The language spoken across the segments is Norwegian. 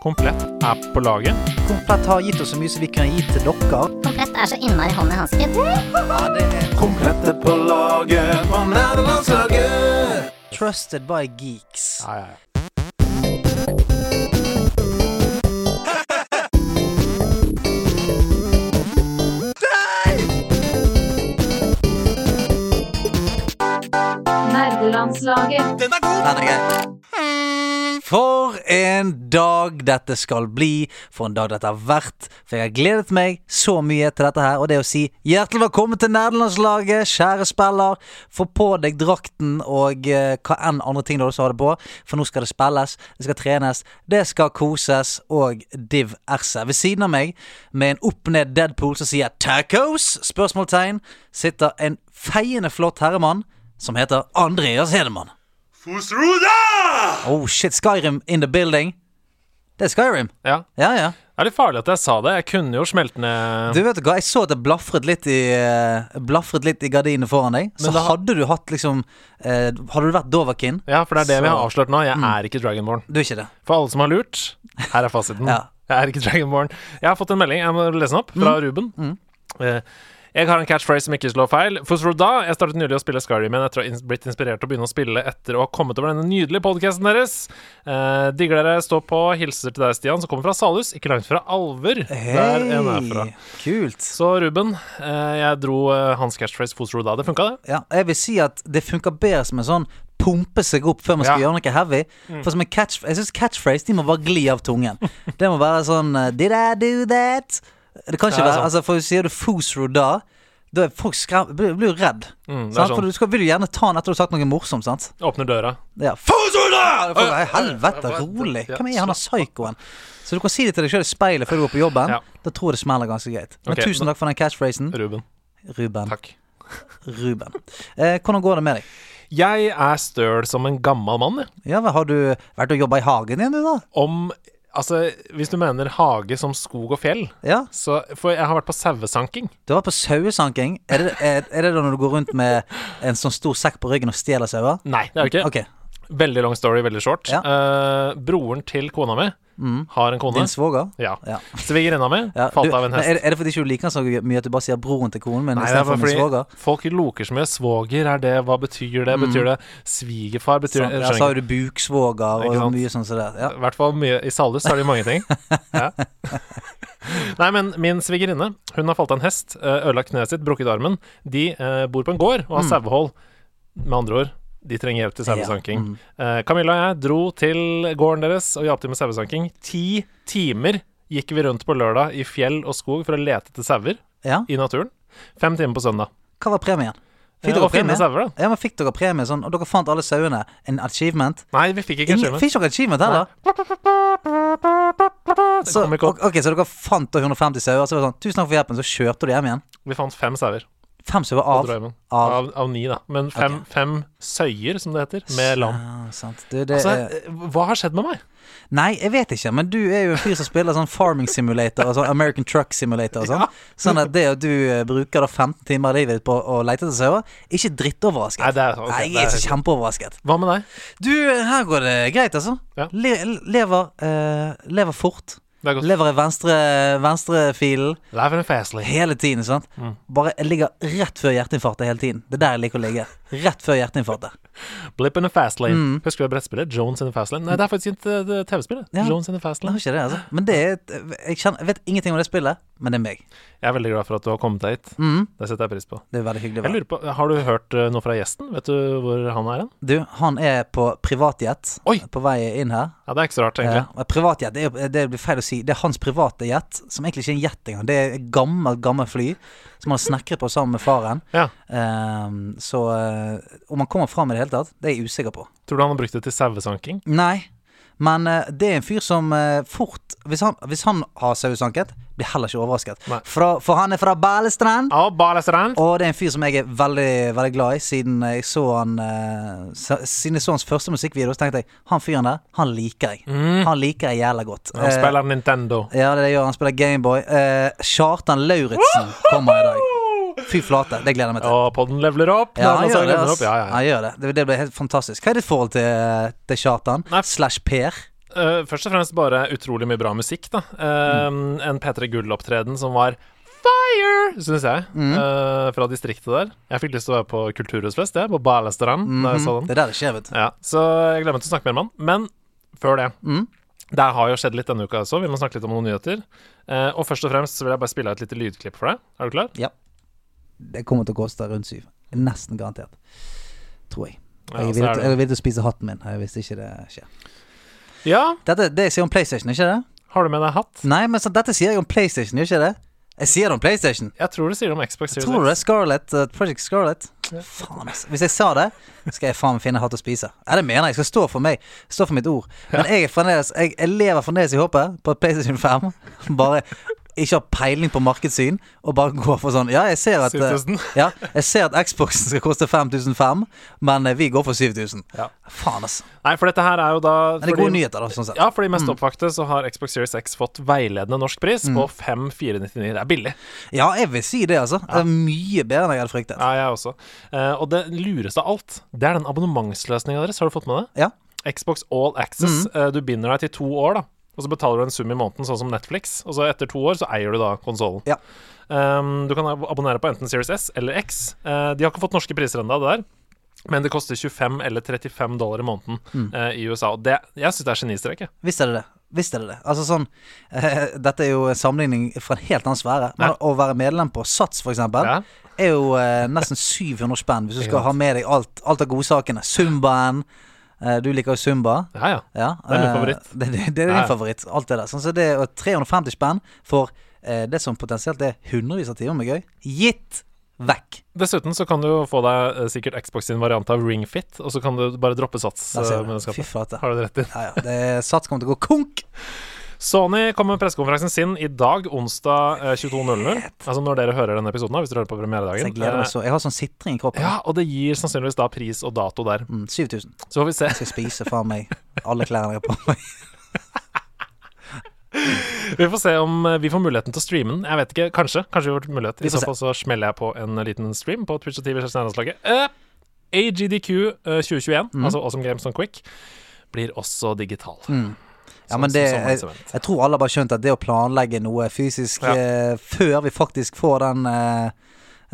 Komplett er på laget. Komplett har gitt oss så mye som vi kan gi til dere. Komplett er så innmari hånd i hansken. Komplette på laget på nerdelandslaget. Trusted by geeks. Ja, ja, ja. Nerdelandslaget. For en dag dette skal bli, for en dag dette har vært. For jeg har gledet meg så mye til dette her, og det å si hjertelig velkommen til nerdelandslaget, kjære spiller. Få på deg drakten og eh, hva enn andre ting du også har det på, for nå skal det spilles, det skal trenes, det skal koses, og div erse. Ved siden av meg, med en opp ned Deadpool som sier tacos, spørsmålstegn, sitter en feiende flott herremann som heter Andreas Hedemann. Oh shit, Skyrim in the building. Det er Skyrim. ja. Ja, ja. Det er litt farlig at jeg sa det. Jeg kunne jo smelte ned Du vet du hva, jeg så at det blafret litt i eh, Blafret litt i gardinene foran deg. Så Men det har- hadde du hatt liksom eh, Hadde du vært Dovakin? Ja, for det er det vi har Så- avslørt nå. Jeg er ikke Dragonborn. Du er ikke det. For alle som har lurt, her er fasiten. Ja. Jeg er ikke Dragonborn. Jeg har fått en melding, jeg må lese den opp, fra Ruben. Eh, jeg har en catchphrase som ikke slår feil. Fosroda, jeg startet nylig å spille Skyrim igjen etter å ha ins- blitt inspirert til å begynne å spille etter å ha kommet over denne nydelige podkasten deres. Eh, digger dere, stå på. Hilser til deg, Stian, som kommer fra Salhus, ikke langt fra Alver. Der en er fra. kult. Så Ruben, eh, jeg dro eh, hans catchphrase Fosroda. Det funka, det? Ja, jeg vil si at det funker bedre som en sånn pumpe seg opp før man skal Ja. Mm. gjøre noe heavy. For som en catch, jeg synes catchphrase de må bare gli av tungen. Det må være sånn eh, Did I do that? Det kan ikke Ja, være altså, For sier du Fosro da, da er folk skrem, blir, blir jo redd. Mm, det er sant? sånn. For du skal, vil jo gjerne ta den etter du har sagt noe morsomt, sant? Åpner døra. Ja, Fosro da! Folk, «Nei, Ja, helvete, ja, ja. rolig. Ja, Hvem er han der psykoen? Så du kan si det til deg sjøl i speilet før du går på jobben. Ja. Da tror jeg det smeller ganske greit. Men Ok, tusen takk for den catchphrasen, Ruben, Ruben. takk. Ruben. Eh, hvordan går det med deg? Jeg er støl som en gammel mann, jeg. Ja, men Har du vært og jobba i hagen igjen, du, da? Om Altså, hvis du mener hage som skog og fjell, Ja, så For jeg har vært på sauesanking. Du var på sauesanking. Er det, er, er det da når du går rundt med en sånn stor sekk på ryggen og stjeler sauer? Nei, det er jo ikke. Ok, Veldig long story, veldig short. Ja. Mm. Eh, broren til kona mi har en kone. Din svoger? Ja. Ja. Svigerinna mi Ja, falt du- av en men hest. Er, er det fordi ikke du liker han så mye at du bare sier broren til konen min Nei, det er istedenfor bare min svoger? Mm. fordi folk loker så mye. Svoger, er det Hva betyr det? Betyr det svigerfar? Betyr Sånn, det ja, så har jo du buksvoger Ikke og sant? mye sånn som det. Ja. I hvert fall mye i Salhus så er det jo mange ting. Ja. Nei, men min svigerinne Hun har falt av en hest, eh, ødelagt kneet sitt, brukket armen. De eh, bor på en gård og har Mm. sauehold. Med andre ord, de trenger hjelp til sauesanking. mm. Eh, Camilla og jeg dro til gården deres og hjalp til med sauesanking. Ti timer gikk vi rundt på lørdag i fjell og skog for å lete etter sauer ja. i naturen. Fem timer på søndag. Hva var premien? Fikk Eh, dere å finne premie? sauer, da. Ja, men fikk dere premie sånn, og dere fant alle sauene? En achievement? Nei, vi fikk ikke Ingen- skjermen. Fikk dere achievement heller? Det Så, kom ikke opp. ok, så dere fant da 150 sauer, så var det sånn 'Tusen takk for hjelpen', så kjørte du hjem igjen? Vi fant fem sauer. Fem sauer på av? Drømmen. av- Av, av, ni, da. Men fem, fem søyer, som det heter, med lam. Ja, sant. Du, det Altså, er eh, hva har skjedd med meg? Nei, jeg vet ikke, men du er jo en fyr som spiller sånn Farming Simulator og sånn American Truck Simulator og sånn. Sånn at det at du eh, bruker da 15 timer av livet ditt på å lete etter sauer, ikke drittoverrasket. Nei, det er- ok, Nei, jeg er det er- ikke kjempeoverrasket. Hva med deg? Du, her går det greit, altså. Ja. Le lever, eh, lever fort. Det er godt. Lever i venstre venstrefilen Live and fastly. hele tiden, sant. Mm. Bare jeg ligger rett før hjerteinfarktet hele tiden. Det er der jeg liker å ligge. Rett før hjerteinfarktet. Blip and fastly. Mm. Husker du det brettspillet? Jones and the Fastlane? Nei, det er faktisk ikke det TV-spillet. Ja. Jones and the Jeg har Fastlane. ikke det, altså. Men det er et, jeg, kjenner, jeg vet ingenting om det spillet, men det er meg. Mm. Jeg er veldig glad for at du har kommet deg hit. Det setter jeg pris på. Det er veldig hyggelig. Jeg å være lurer på, Har du hørt eh, noe fra gjesten? Vet du hvor han er hen? Du, han er på privatjet Oi! på vei inn her. Ja, det er ikke så rart, egentlig. Ja, men privatjet, det, er jo- det blir feil å si. Det er hans private jet, som egentlig ikke er en jet engang. Det er et gammelt, gammelt fly som han har snekret på sammen med faren. Ja. Ehm, så eh, om han kommer fram i det hele tatt, det er jeg usikker på. Tror du han har brukt det til sauesanking? Nei, men eh, det er en fyr som eh, fort Hvis han, hvis han har sauesanket, blir heller ikke overrasket. Nei. Fra, for han er fra Balestrand. Ja, bare restaurant. Og det er en fyr som jeg er veldig, veldig glad i, siden jeg så han eh, s- Siden jeg så hans første musikkvideo, så tenkte jeg han fyren der, han liker jeg. Han liker jeg jævla godt. Mm. Han Eh, spiller Nintendo. ja, det gjør han. Spiller Gameboy. Eh, Kjartan Lauritzen kommer i dag. Fy flate, det gleder jeg meg til. Og podden levler sånn opp. Ja, han Nærmer gjør seg det. levler opp. ass. Ja, ja, ja. Han gjør det. det. Det ble helt fantastisk. Hva er ditt forhold til, til eh, Kjartan? Nei. Slash Per? eh, først og fremst bare utrolig mye bra musikk, da. Eh, En P3 Gull-opptreden som var fire, syns jeg, Mm. eh, fra distriktet der. Jeg fikk lyst til å være på kulturhusfest, jeg, på Balestrand, da jeg så den. Mhm. Det der skjer, vet du. Ja, så jeg glemmer ikke å snakke mer om han. Men før det Mm. Det har jo skjedd litt denne uka også. Vi må snakke litt om noen nyheter. Eh, og først og fremst så vil jeg bare spille av et lite lydklipp for deg. Er du klar? Ja. Det kommer til å koste rundt syv. Nesten garantert. Tror jeg. Ja, Jeg så er vil, det- jeg vil til å spise hatten min eh, hvis ikke det skjer. Ja, Dette det jeg sier om PlayStation, ikke det? har du med deg hatt? Nei, men så, dette sier jeg om PlayStation, ikke det? Jeg sier det om PlayStation. Jeg tror du sier det om Xbox Series Tror du det? X. Scarlett, eh, Project Scarlett? Faen, ass. Hvis jeg sa det, skal jeg faen meg finne hatt å spise. Ja, det mener jeg. Jeg skal stå for meg. Stå for mitt ord. Men jeg, er fremdeles, jeg, jeg lever fremdeles i håpet på at PlayStation 5 bare ikke har peiling på markedssyn, og bare går for sånn Ja, jeg ser at, eh, 7000. ja, jeg ser at Xboxen skal koste 5500, men eh, vi går for 7000. Ja. Faen, altså. Nei, for dette her er jo da Men det er gode nyheter, da, sånn sett. Ja, for de mest oppvakte så har Xbox Series X fått veiledende norsk pris på 5499. Det er billig. Ja, jeg vil si det, altså. Det er mye bedre enn jeg hadde fryktet. Ja, jeg også. Eh, og det lureste av alt, det er den abonnementsløsninga deres. Har du fått med det? Ja. Xbox All Access. eh, Du binder deg til to år, da. Og så betaler du en sum i måneden, sånn som Netflix. Og så etter to år så eier du da konsollen. Ja. Um, du kan ab- abonnere på enten Series S eller X. Eh, de har ikke fått norske priser ennå, det der. Men det koster 25 eller 35 dollar i måneden eh, i USA. Og det, jeg syns det er genistrek. jeg. Visst er det det. Visst er det det. Altså sånn eh, Dette er jo en sammenligning fra en helt annen sfære. Men å være medlem på Sats, for eksempel, Ja. er jo eh, nesten 700 spenn hvis du skal ha med deg alt, alt av godsakene. Zumbaen. Eh, du liker jo Zumba. Ja, ja. Ja, Det er min eh, favoritt. Det, det, det er din Ja, ja. favoritt. Alt det der. Sånn, så det er jo 350 spenn for eh, det som potensielt er hundrevis av timer med gøy. Gitt vekk. Dessuten så kan du jo få deg eh, sikkert Xbox sin variant av Ring Fit, og så kan du bare droppe sats. Der eh, ser med du. det Fy skapet. flate. Har du det rett i? Ja, ja. Det, sats kommer til å gå konk. Sony kom med pressekonferansen sin i dag, onsdag eh, 22.00. Altså når dere hører denne episoden, da, hvis dere hører på Så premieredagen. jeg gleder meg Eh, så. Jeg har sånn sitring i kroppen. Ja, og det gir sannsynligvis da pris og dato der. Mm, 7000. Så får vi se. Skal spise faen meg alle klærne jeg har på meg. Vi får se om eh, vi får muligheten til å streame den. Jeg vet ikke, kanskje. Kanskje vi får mulighet. Vi I får så se. fall så smeller jeg på en liten stream på Twitch og TV Kjærestelandslaget. AGDQ eh, 2021, Mhm. altså Awesome Games on Quick, blir også digital. Mm. Ja, men Sånn Som- det, som jeg, sommerens jeg tror alle har bare skjønt at det å planlegge noe fysisk Ja. eh, før vi faktisk får den eh,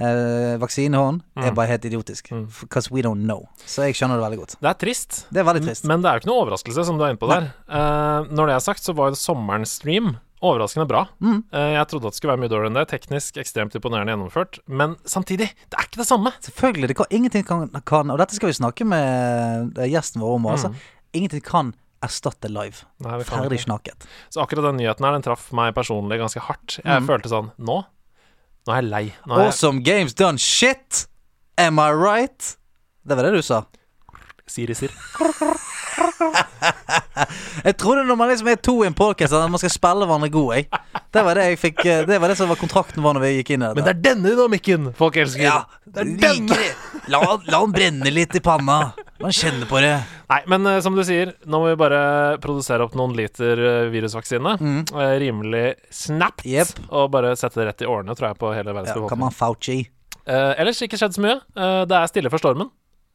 eh, vaksinehånden, Mm. er bare helt idiotisk. Because we don't know. Så jeg skjønner det veldig godt. Det er trist. Det er veldig trist. Men det er jo ikke noe overraskelse, som du er inne på der. Eh, når det er sagt, så var jo sommerens stream overraskende bra. Eh, jeg trodde at det skulle være mye dårligere enn det. Teknisk ekstremt imponerende gjennomført. Men samtidig, det er ikke det samme! Selvfølgelig. Det kan, ingenting kan, kan Og dette skal vi snakke med eh, gjesten vår om. Altså. Ingenting kan erstatte live. Nei, Mm. det kan Ferdig ikke. snakket. Så akkurat den nyheten her, den traff meg personlig ganske hardt. Jeg følte sånn Nå? Nå er jeg lei. Nå er jeg, Awesome games done shit! Am I right? Det var det du sa. Siri sier. Jeg trodde når man liksom er to i en podcast at man skal spille hverandre god, jeg. Det var det jeg fikk eh, Det var det som var kontrakten vår når vi gikk inn i dette. Men det er denne dynamikken folk elsker! ja, det er liker denne. det. La, la han brenne litt i panna. La han kjenne på det. Nei, men eh, som du sier, nå må vi bare produsere opp noen liter eh, virusvaksine. Eh, rimelig snapt. Mm. Jep. Og bare sette det rett i årene, tror jeg, på hele verdens Ja, befolkning. Come on, Fauci. Eh, ellers ikke skjedd så mye. Eh, det er stille for stormen,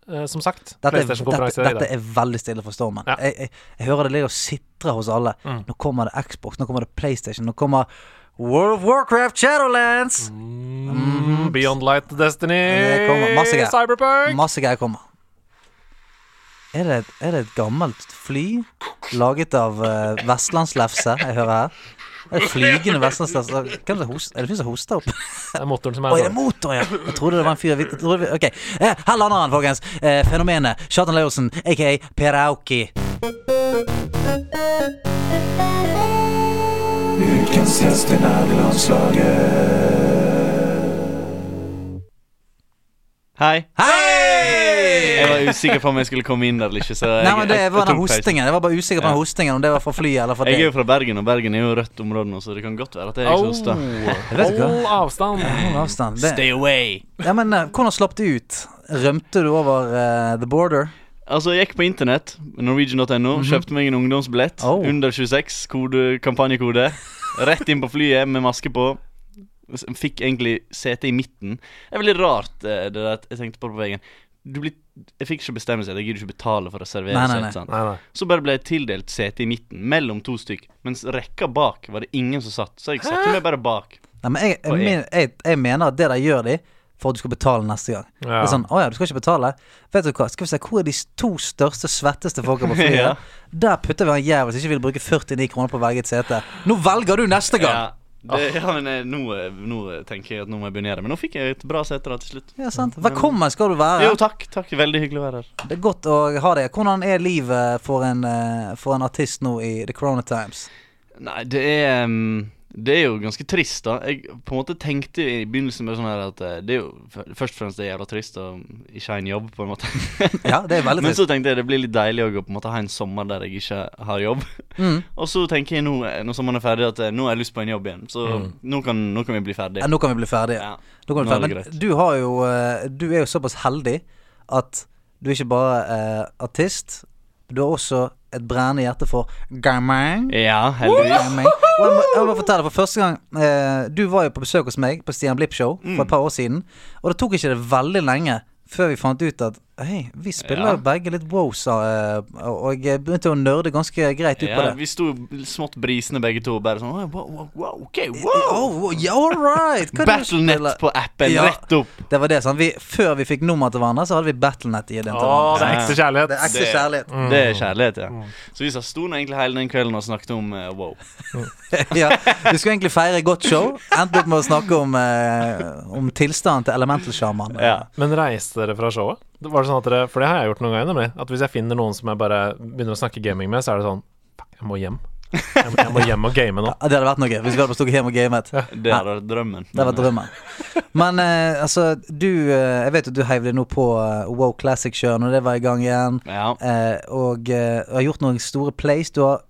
eh, som sagt. Dette er, dette, PlayStation-konferanse i dette dag. er veldig stille for stormen. Ja. Mm. Jeg, jeg, jeg hører det ligger og sitrer hos alle. Nå kommer det Xbox, nå kommer det PlayStation, nå kommer World of Warcraft Shadowlands! Mm, Beyond Light Destiny, Mhm. Det kommer masse greier. Cyberpunk Masse greier kommer. Er det, et- er det et gammelt fly laget av uh, vestlandslefse jeg hører her? Er det flygende vestlandslefse? Hvem er det, som host, er det som hoster opp? Det er motoren som Oi, er sånn. det er motor, ja! Jeg trodde det var en fyr jeg trodde vi- Ok, eh, her lander han, folkens. Eh, fenomenet Kjartan Leorsen, aka Per Auki. Ukens gjest i nerdelandslaget. Hei. Jeg Hei! var usikker på om jeg skulle komme inn der eller ikke. Så jeg, Nei, men jeg- det jeg var den tok pausen. hostingen. Jeg var bare usikker på den Ja. hostingen, om det var fra flyet eller fra Jeg er jo deg. fra Bergen, og Bergen er jo rødt område nå, så det kan godt være at jeg ikke hoster. vet Hold ikke avstand. Hold avstand. Det- Stay away. Ja, men eh, hvordan slapp du ut? Rømte du over eh, the border? Altså, jeg gikk på internett, norwegian.no, kjøpte meg en ungdomsbillett. Oh. Under 26, kode, kampanjekode. Rett inn på flyet med maske på. S- Fikk egentlig sete i midten. Det er veldig rart, eh, det der at jeg tenkte på det på veien. Du blir Jeg fikk ikke bestemme seg. Jeg gidder ikke betale for å servere Nei, nei, nei. seg. sant? Nei, nei. Så bare ble jeg tildelt sete i midten, mellom to stykk. Mens rekka bak var det ingen som satt. Så jeg satte meg bare bak. Nei, men jeg, jeg, Og men- jeg, jeg mener at det der gjør de for at du skal betale neste gang. Ja. Det er sånn, åja, du skal ikke betale Vet du hva, skal vi se, hvor er de to største, svetteste folka på flyet? Ja. Der putter vi han jævel som ikke vil bruke 49 kroner på å velge et sete. Nå velger du neste gang! Ja, det, ja men eh, nå, eh, nå eh, tenker jeg at nå må jeg begynne å gjøre det. Men nå fikk jeg et bra sete da til slutt. Ja, sant. Velkommen skal du være. Jo, takk. takk Veldig hyggelig å være her. Det er godt å ha det. Hvordan er livet for en, eh, for en artist nå i The Corona Times? Nei, det er mm, Det er jo ganske trist, da. Jeg på en måte tenkte i begynnelsen bare sånn her at eh, det er jo f- først og fremst det er jævla trist å ikke ha en jobb, på en måte. Ja, det er veldig Men trist. så tenkte jeg det blir litt deilig også å på en måte ha en sommer der jeg ikke har jobb. Mm. Og så tenker jeg nå, eh, når sommeren er ferdig, at eh, nå har jeg lyst på en jobb igjen. Så Mm. nå, kan, nå kan vi bli Ja, ferdig. nå kan vi bli ferdige. Ja. Nå kan vi Nå er ta- det men greit. du, har jo, eh, du er jo såpass heldig at du er ikke bare eh, artist, du har også et brennende hjerte for gaming. Ja, heldigvis. Gaming. Og jeg må, jeg må fortelle, for første gang eh, Du var jo på besøk hos meg på Stian Blipp Show Mm. for et par år siden. Og det tok ikke det veldig lenge før vi fant ut at Hei, vi spiller Ja. jo begge litt wows, eh, og jeg begynte å nerde ganske greit ut på Ja, det. vi sto smått brisende begge to, bare sånn «Oi, wow, wow, wow, ok, wow! Oh, yeah, all right. Hva er det du spiller? Battlenet på appen, Ja. rett opp! Det var det, sant? Vi, før vi fikk nummer til hverandre, så hadde vi Battlenet i den til Å, det hverandre. er ekte kjærlighet. Det er ekte Det- kjærlighet. Det er kjærlighet, ja. Mm. Så vi sa- sto nå egentlig hele den kvelden og snakket om eh, wow. Ja, vi skulle egentlig feire et godt show. Endte opp med å snakke om, eh, om tilstanden til Elemental-sjaman. Ja. Men reiste dere fra showet? Det Var det sånn at dere, For det har jeg gjort noen ganger, nemlig. At hvis jeg finner noen som jeg bare begynner å snakke gaming med, så er det sånn Fuck, jeg må hjem. Jeg må, jeg må hjem og game nå. Ja, Det hadde vært noe hvis vi hadde bare stukket hjem og gamet. Det hadde vært drømmen. eh, Det var drømmen. Men eh, altså, du eh, Jeg vet jo du heiv deg nå på eh, Wow Classic-kjøren, og det var i gang igjen. Ja. Eh, og eh, har gjort noen store plays. Du har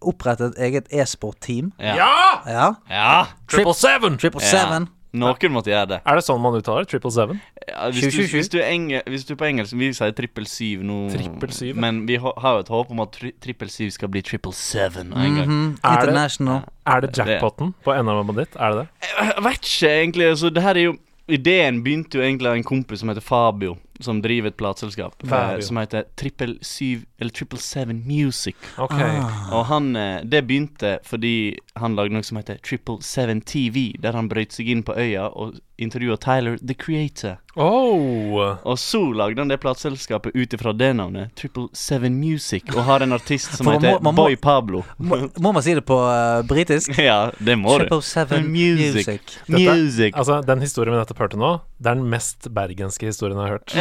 opprettet eget e-sport-team. Ja. Ja. ja. Triple seven! Triple Ja. Seven. Noen måtte gjøre det. Er det sånn man uttaler Triple seven? Ja, Sju, hvis, du, sju, sju. hvis, du er enge, hvis du på engelsk Vi sier trippel syv nå, Trippel syv, ja. men vi har har jo et håp om at tri trippel syv skal bli trippel seven en gang. Mhm. Er det- International. Er det jackpoten på NM-en ditt? Er det det? Jeg vet ikke, egentlig. Altså, det her er jo Ideen begynte jo egentlig av en kompis som heter Fabio, som driver et plateselskap eh, Fabio. som heter Trippel Syv Eller Trippel Seven Music. Ok. Ah. Og han, eh, det begynte fordi han lagde noe som heter Triple Seven TV, der han brøt seg inn på øya og intervjua Tyler the Creator. Oh. Og så lagde han det plateselskapet ut ifra det navnet, Triple Seven Music, og har en artist som For man må- heter man må- Boy Pablo. Må, må man si det på eh, britisk? ja, det må du. Triple Seven Music. Music. Dette- Music. Altså, Den historien vi nettopp hørte nå, det er den mest bergenske historien jeg har Mhm. hørt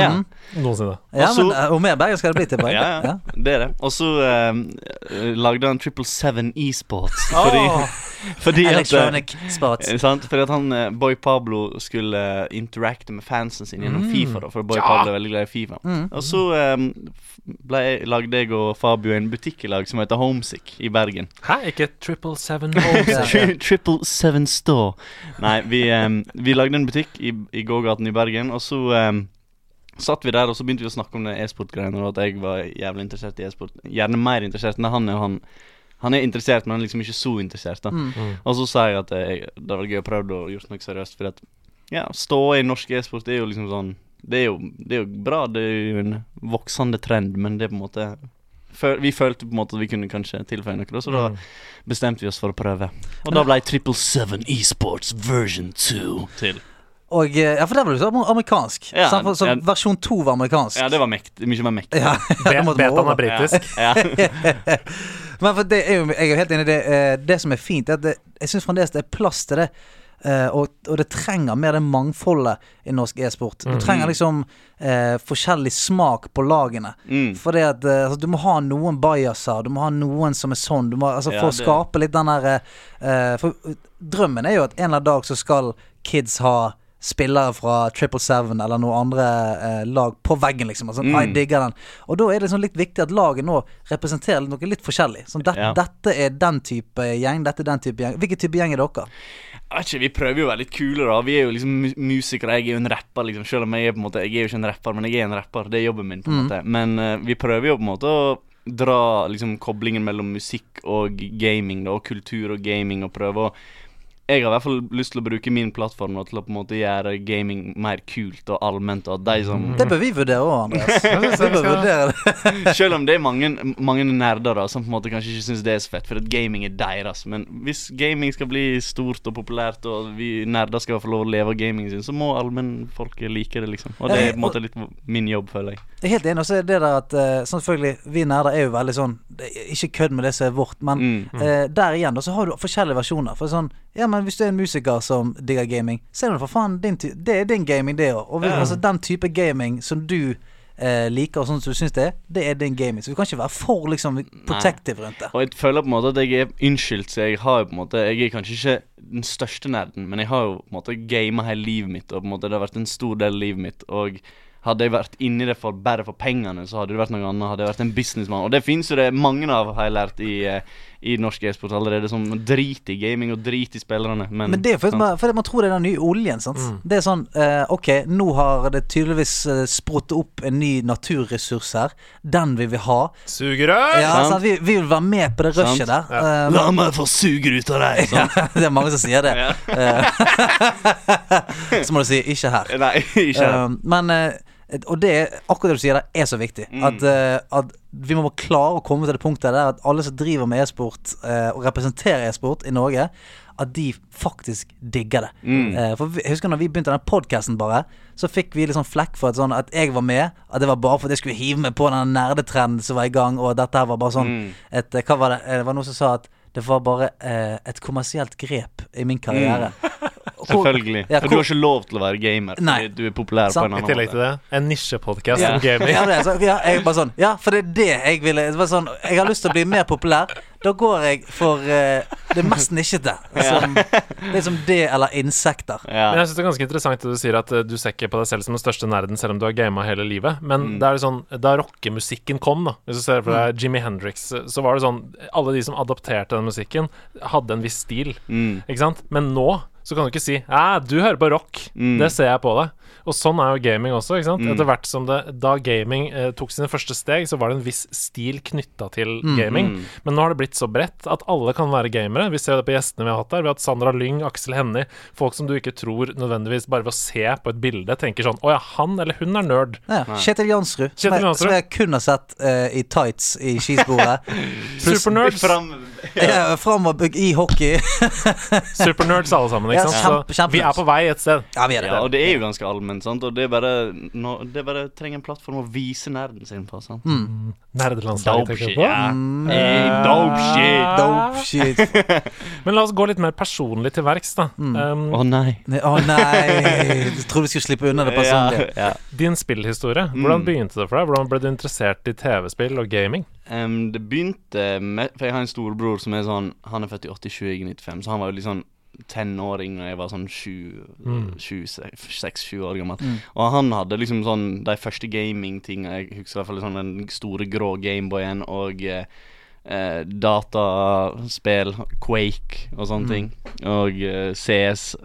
Ja. noensinne. Ja, Og så- men eh, Hvor mer bergensk skal det bli til? Bergen? Ja, ja, det er det. Og så eh, lagde han Triple Seven Esports. Fordi, fordi at Electronic sports. Eh, Sant? Fordi at han, eh, Boy Pablo skulle eh, interacte med fansen sin gjennom Mm. Fifa. da For Boy Pablo er veldig glad i Fifa. Og så eh, f- ble jeg, lagde jeg og Fabio en butikk i lag som heter Homesick i Bergen. Hæ, ikke Triple seven Ja, ja. Tri Triple Seven Store. Nei, vi, eh, vi lagde en butikk i, i gågaten i Bergen, og så eh, Satt vi der, og så begynte vi å snakke om det e-sport-greiene, og at jeg var jævlig interessert i e-sport. Gjerne mer interessert enn han er. Han, han er interessert, men han er liksom ikke så interessert. da Mm. og så sa jeg at jeg, det var gøy å prøve å gjøre noe seriøst, for at ja, stå i norsk e-sport det er jo liksom sånn det er jo, det er jo bra, det er jo en voksende trend, men det er på en måte føl- Vi følte på en måte at vi kunne kanskje tilføye noe, da, så da bestemte vi oss for å prøve. Og da ble Triple Seven Esports version 2 til. Og, eh, ja, for der var det så amer- amerikansk. Ja, sant? For- så ja. versjon to var amerikansk. Ja, det var mekt, mye mer mektig. Ja, da måtte man Betaen over. er britisk. Ja, ja. Men for det er jo, jeg er jo helt enig i det. eh, Det som er fint, er at det, jeg syns fremdeles det er plass til det. eh, og, og det trenger mer det mangfoldet i norsk e-sport. Mm. Du trenger liksom eh, forskjellig smak på lagene. Mm. For det at eh, altså, du må ha noen bajaser, du må ha noen som er sånn. Du må, altså, Ja, for å det- skape litt den der eh, For eh, drømmen er jo at en eller annen dag så skal kids ha spillere fra Triple Seven eller noen andre eh, lag på veggen, liksom. Altså, «Nei, jeg digger den. Og da er det liksom litt viktig at laget nå representerer noe litt forskjellig. Sånn, det, Ja. Dette er den type gjeng, dette er den type gjeng. Hvilken type gjeng er dere? Jeg vet ikke, Vi prøver jo å være litt kule, da. Vi er jo liksom mu- musikere. Jeg er jo en rapper, liksom. Selv om jeg er på en måte Jeg er jo ikke en rapper, men jeg er en rapper. Det er jobben min, på en måte. Men eh, vi prøver jo på en måte å dra liksom koblingen mellom musikk og gaming, da, og kultur og gaming, og prøve å jeg har i hvert fall lyst til å bruke min plattform nå til å på en måte gjøre gaming mer kult og allment. Og at de som Det bør vi vurdere òg, Andreas. Jeg synes Vi jeg bør skal- vurdere det. Selv om det er mange, mange nerder da som på en måte kanskje ikke syns det er så fett, for at gaming er deres. Men hvis gaming skal bli stort og populært, og vi nerder skal få lov å leve av gamingen sin, så må allmennfolket like det, liksom. Og det er på en måte litt min jobb, føler jeg. Jeg er helt enig. Og så er det der at eh, selvfølgelig, vi nerder er jo veldig sånn det er Ikke kødd med det som er vårt, men Mm. eh, der igjen, da, så har du forskjellige versjoner. For sånn Ja, men hvis du er en musiker som digger gaming, så er det for faen din ty Det er din gaming, det òg. Og vi, altså, den type gaming som du eh, liker, og sånn som du syns det er, det er din gaming. Så vi kan ikke være for liksom protective rundt det. Og jeg føler på en måte at jeg er unnskyldt, så jeg har jo på en måte Jeg er kanskje ikke den største nerden, men jeg har jo på en måte gama hele livet mitt, og på en måte det har vært en stor del av livet mitt. Og hadde jeg vært inni det for bare for pengene, så hadde det vært noe annet. Hadde jeg vært en businessmann. Og det fins jo det mange av, har jeg lært, i, eh, i norsk e-sport allerede, som driter i gaming og driter i spillerne. Men, sånn, Men det er fordi sant? man, fordi man tror det er den nye oljen. sant? Det er sånn eh, Ok, nå har det tydeligvis uh, sprutt opp en ny naturressurs her. Den vil vi ha. Sugerør! Ja, Sant. sant? Vi, vi vil være med på det rushet Sant. der. Eh, La meg få suger ut av deg! Sånn. det er mange som sier det. Ja. Eh, så må du si 'ikke her'. Nei, ikke det. Eh, men eh, Og det er akkurat det du sier der, er så viktig. Mm. At, eh, at vi må bare klare å komme til det punktet der at alle som driver med e-sport, eh, og representerer e-sport i Norge, at de faktisk digger det. Mm. Eh, for vi, jeg husker når vi begynte den podkasten, bare, så fikk vi litt sånn flekk for at, sånn, at jeg var med. At det var bare fordi jeg skulle hive meg på den nerdetrenden som var i gang, og at dette her var bare sånn Mm. et, eh, Hva var det? Eh, Det var noen som sa at det var bare eh, et kommersielt grep i min karriere. Hvor- Mm. Selvfølgelig. Ja, For du hvor- har ikke lov til å være gamer. Nei. Fordi du er populær Sant. på I en annen tillegg til det, måte. en nisjepodkast Ja. om gaming. Ja, det er, så, ja, jeg bare sånn Ja, for det er det jeg ville det var sånn, Jeg har lyst til å bli mer populær. Da går jeg for eh, det mest nisjete. Som, det er som det eller insekter. Ja. Men jeg synes det er ganske interessant at du sier at eh, du ser ikke på deg selv som den største nerden, selv om du har gama hele livet. Men det er jo sånn, da rockemusikken kom, da hvis du ser for deg Jimmy Hendrix, eh, så var det sånn Alle de som adopterte den musikken, hadde en viss stil, ikke sant? Men nå så kan du ikke si Æ, du hører på rock. Det ser jeg på deg. Og sånn er jo gaming også. ikke sant? Mm. Etter hvert som det, Da gaming eh, tok sine første steg, så var det en viss stil knytta til Mm-hmm. gaming. Men nå har det blitt så bredt at alle kan være gamere. Vi ser det på gjestene vi har hatt der. Vi har hatt Sandra Lyng, Aksel Hennie. Folk som du ikke tror nødvendigvis bare ved å se på et bilde tenker sånn Å ja, han eller hun er nerd. Ja, Kjetil Jansrud, som, Kjetil jeg- Jansrud. som jeg kun har sett eh, i tights i skisporet. Supernerds. Fram- ja. Fram og bygg i hockey. Supernerds alle sammen, ikke Ja, sant. kjempe- Så kjempenerds. vi er på vei et sted. Ja, vi er det. Ja, og det er jo ganske allment, sant. Og det er bare, nå, det er bare trenger en plattform å vise nerden sin på. sant? Nerdelandslaget Dope tenker shit. jeg på. Mm. Ja. Hey, dope shit. Dope shit. Men la oss gå litt mer personlig til verks, da. Mm. Um, Å nei. Nei, Å nei! Jeg trodde vi skulle slippe unna det personlige. Ja, ja. Din spillhistorie, Mm. hvordan begynte det for deg? Hvordan ble du interessert i TV-spill og gaming? Em, det begynte med For jeg har en storebror som er sånn Han er født i 87, jeg er 95, så han var jo litt sånn tenåring da jeg var sånn seks-sju år gammel. Og han hadde liksom sånn de første gamingtinga Jeg husker i hvert fall sånn den store grå Gameboyen og eh, eh, dataspill, Quake og sånne ting. Og eh, CS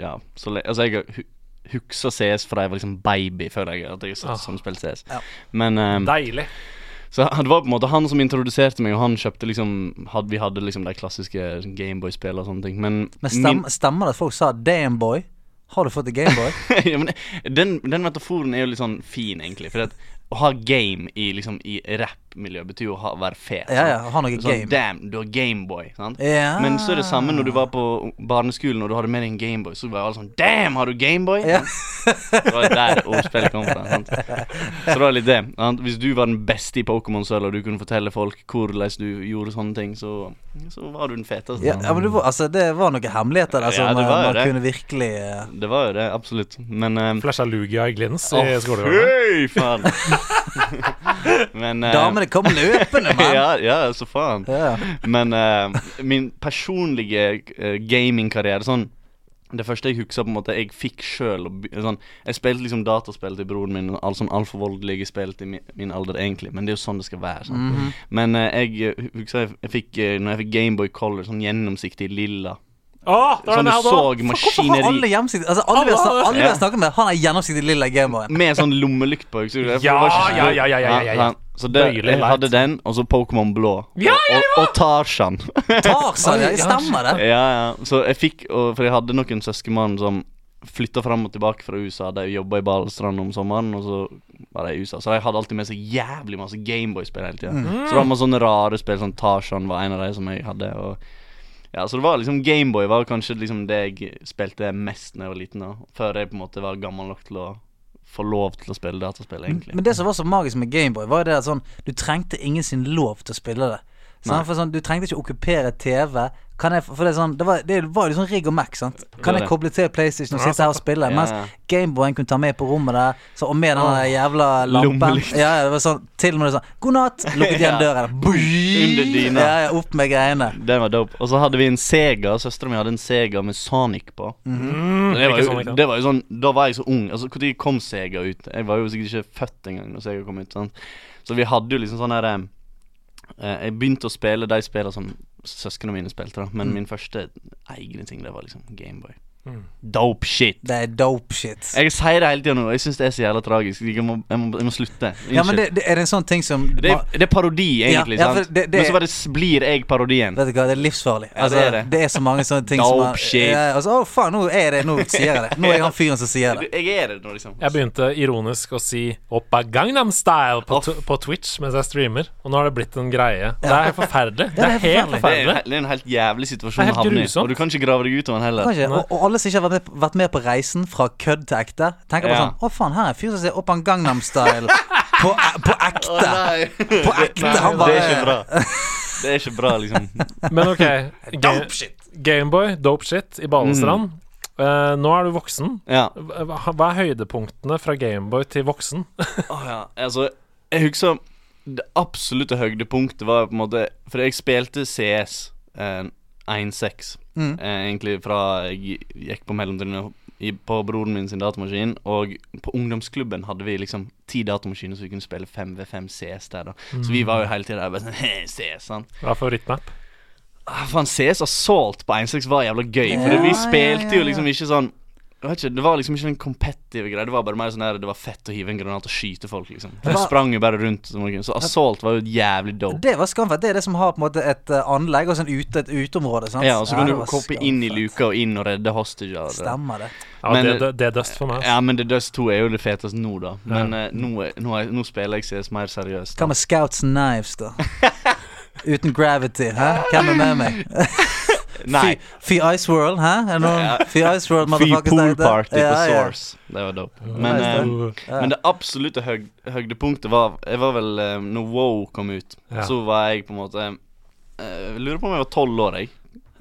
Ja, så le Altså, jeg hu- husker CS fra jeg var liksom baby, føler jeg, at jeg satt som spilte CS. Ja. Men em, Deilig. så det var på en måte han som introduserte meg, og han kjøpte liksom had, Vi hadde liksom de klassiske Gameboy-spillene og sånne ting, men Men stem, stemmer det at folk sa 'damn boy'? Har du fått en Gameboy? min, ja, men den, den metaforen er jo litt sånn fin, egentlig. For at å ha game i, liksom, i rappmiljø betyr jo å ha, være fet. Ja, ja, sant? ha noe sånn, game. Damn, du har Gameboy. sant? Ja. Men så er det samme når du var på barneskolen og du hadde med deg en Gameboy. Så var jo alle sånn Damn, har du Gameboy? Ja. Det var der ordspillet kom fra. Sant? Så det var litt det. Sant? Hvis du var den beste i Pokémon selv, og du kunne fortelle folk hvordan du gjorde sånne ting, så, så var du den feteste. Ja, ja, men det var, altså, det var noen hemmeligheter der Ja, som det var eh, man jo det. kunne virkelig eh, Det var jo det, absolutt. Men eh, Flasha Lugia i glins Å, i skolegården. fy faen! Men eh, Damene kom løpende, mann! ja, ja, så faen. Ja. Men eh, min personlige eh, gamingkarriere sånn det første jeg husker, på en måte jeg fikk sjøl sånn, Jeg spilte liksom dataspill til broren min, og alt sånn altfor voldelige spill til min, min alder, egentlig, men det er jo sånn det skal være. Sant? Mhm. Men eh, jeg eh, husker jeg, jeg fikk, eh, når jeg fikk Gameboy Color, sånn gjennomsiktig lilla Å, det var den Sånn du jeg hadde så òg! Hvorfor har alle maskineri hjemsikt Altså alle vi har snak- alle vi har snakket med, han har gjennomsiktig lilla Gameboy. med sånn lommelykt på. ikke sant? For det var ikke så- Ja, ja, ja, ja, ja, ja, ja. Ja, sant. Så det, Bøyelig jeg leit. hadde den, og så Pokémon blå. Ja, ja, Og, og Tarzan. Tarzan, ja, Oi, ja. stemmer det? ja, ja. Så jeg fikk og, For jeg hadde noen søskenbarn som flytta fram og tilbake fra USA. De jobba i Balestrand om sommeren, og så var de i USA. Så de hadde alltid med seg jævlig masse Gameboy-spill hele tida. Så det var med sånne rare spill, sånn Tarzan var en av de som jeg hadde. Og ja, Så det var liksom Gameboy var kanskje liksom det jeg spilte mest da jeg var liten, da. før jeg på en måte var gammel nok til å få lov til å spille dataspill, egentlig. Men det som var så magisk med Gameboy, var jo det at sånn, du trengte ingen sin lov til å spille det. Sånn, for sånn, du trengte ikke okkupere TV. Kan jeg, for det, er sånn, det, var, det var jo sånn rigg og mac. Sant? Kan jeg var det. koble til PlayStation og sitte her og spille? Ja. Mens Gameboyen kunne ta med på rommet der, så, og med den der jævla lampen. lommelykt. Ja, ja, det var sånn, til og med sånn God natt! Lukket igjen Ja. døren. Under dyna. Ja, ja, opp med greiene. Den var dope. Og så hadde vi en Sega. Søstera mi hadde en Sega med Sonic på. Og Mm, det, var Ikke jo, Sonic, da. det var jo sånn Da var jeg så ung. Altså, Når kom Sega ut? Jeg var jo sikkert ikke født engang når Sega kom ut. Sant? Så vi hadde jo liksom sånn her eh, Jeg begynte å spille de spillene som søsknene mine spilte, da. Mm. Men min første egne ting, det var liksom Gameboy. Dope shit. Det er dope shit. Jeg sier det hele tida nå, og jeg syns det er så jævla tragisk. Jeg må, jeg må, jeg må slutte. Unnskyld. Ja, men det, det, er det en sånn ting som det, er, det er parodi, egentlig. ja, for sant? det- det- men så bare s- blir jeg parodien. Vet du hva, det er livsfarlig. Ja, Altså, det det, er er det. så mange sånne ting som Dope er- shit. Ja, altså, å faen, nå er det Nå sier jeg det. Nå er jeg han fyren som sier det. Jeg er det nå, liksom. Jeg begynte ironisk å si 'Oppa Gangnam Style' på, Off. tw- på Twitch mens jeg streamer, og nå har det blitt en greie. Det er forferdelig. Det er helt Det er, en, forferdelig. det er en helt jævlig situasjon Det er helt å havne i. grusomt. Og du kan ikke grave deg ut av den heller. Kanskje, og, og alle som liksom? ikke har vært med, vært med på reisen fra kødd til ekte, tenker bare Ja. sånn Å, faen, her er en fyr som ser opp en Gangnam Style på, e-, på Å, ekte. nei. På ekte. Han Det er ikke bare bra. Det er ikke bra, liksom. Men OK. Ga- Dope shit. Gameboy, dope shit i Mm. Balestrand. Eh, nå er du voksen. Ja. Hva hva er høydepunktene fra Gameboy til voksen? Å, ja. Altså, jeg husker det absolutte høydepunktet var på en måte For jeg spilte CS eh, 1.6, Mm. eh, egentlig fra jeg gikk på mellomtrinnet i- på broren min sin datamaskin, og på ungdomsklubben hadde vi liksom ti datamaskiner, så vi kunne spille 5v5 CS der, da. Så Mm. vi var jo hele tida der bare sånn «Heh, CS, sant. Hva er favorittmap? Ah, Faen, CS Assault på 1.6 var jævla gøy, for Ja, vi ja, spilte ja, ja. jo liksom ikke sånn jeg vet ikke, Det var liksom ikke en competitive greie. Det var bare mer sånn der, det var fett å hive en granat og skyte folk, liksom. Det Jeg var- sprang jo bare rundt. som noen- Så Assault var jo jævlig dope. Det var skamfett. Det er det som har på en måte et eh, anlegg og sånn ute, et uteområde. sant? Ja, og så kan det du var koppe inn i skamfett. luka og inn og redde hostager. Stemmer det. Ja, Men- det, det, det er dust for meg. altså. Ja, men The Dust 2 er jo det feteste nå, da. Men eh, nå, er- nå, er- nå spiller jeg CS mer seriøst. Hva med Scouts and Knives, da? Uten gravity, hæ? Hvem er med meg? Nei. Fy Ice World, hæ? Er det noen Fy Ice World, Free motherfuckers pool der ute? party på Ja, ja. Source. Det var dope. Men nice, eh, Uh, Men det absolutte høg høydepunktet var Jeg var vel eh, Når Wow kom ut, Ja. så var jeg på en måte eh, Jeg lurer på om jeg var tolv år, jeg.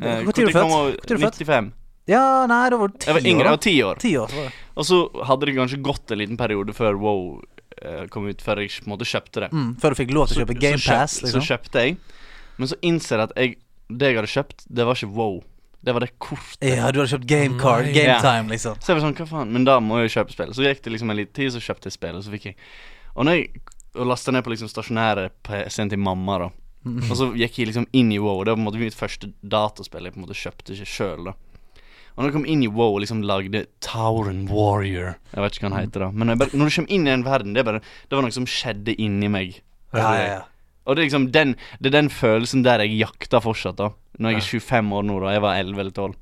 Eh, Hvor tid er du hvor tid kom født? jeg- Hvor tid er du født? 95. Ja, nei, da var du ti Jeg var yngre, jeg år. var ti år. da. Ti år, så var det. Og så hadde det kanskje gått en liten periode før Wow eh, kom ut, før jeg på en måte kjøpte det. Mm, før du fikk lov til å kjøpe Game så, Pass, kjøp, liksom. så kjøpte jeg, men så innser jeg at jeg, det jeg hadde kjøpt, det var ikke Wow. Det var det kortet. Ja, du hadde kjøpt Game Card, Nei. Game Ja. Time, liksom. Så jeg var sånn, hva faen, men da må jeg jo kjøpe spill. Så gikk det liksom en liten tid, så kjøpte jeg spill, og så fikk jeg Og når jeg og lasta ned på liksom stasjonære PC-en til mamma, da. Og så gikk jeg liksom inn i WoW. Det var på en måte mitt første dataspill jeg på en måte kjøpte ikke sjøl, da. Og når jeg kom inn i WoW og liksom lagde Tauren Warrior Jeg vet ikke hva han heter, da. Men når, jeg bare, når du kommer inn i en verden, det er bare Det var noe som skjedde inni meg. Ja, ja, ja. Og det er liksom den Det er den følelsen der jeg jakter fortsatt, da. Når jeg er 25 år nå, da. Jeg var 11 eller 12.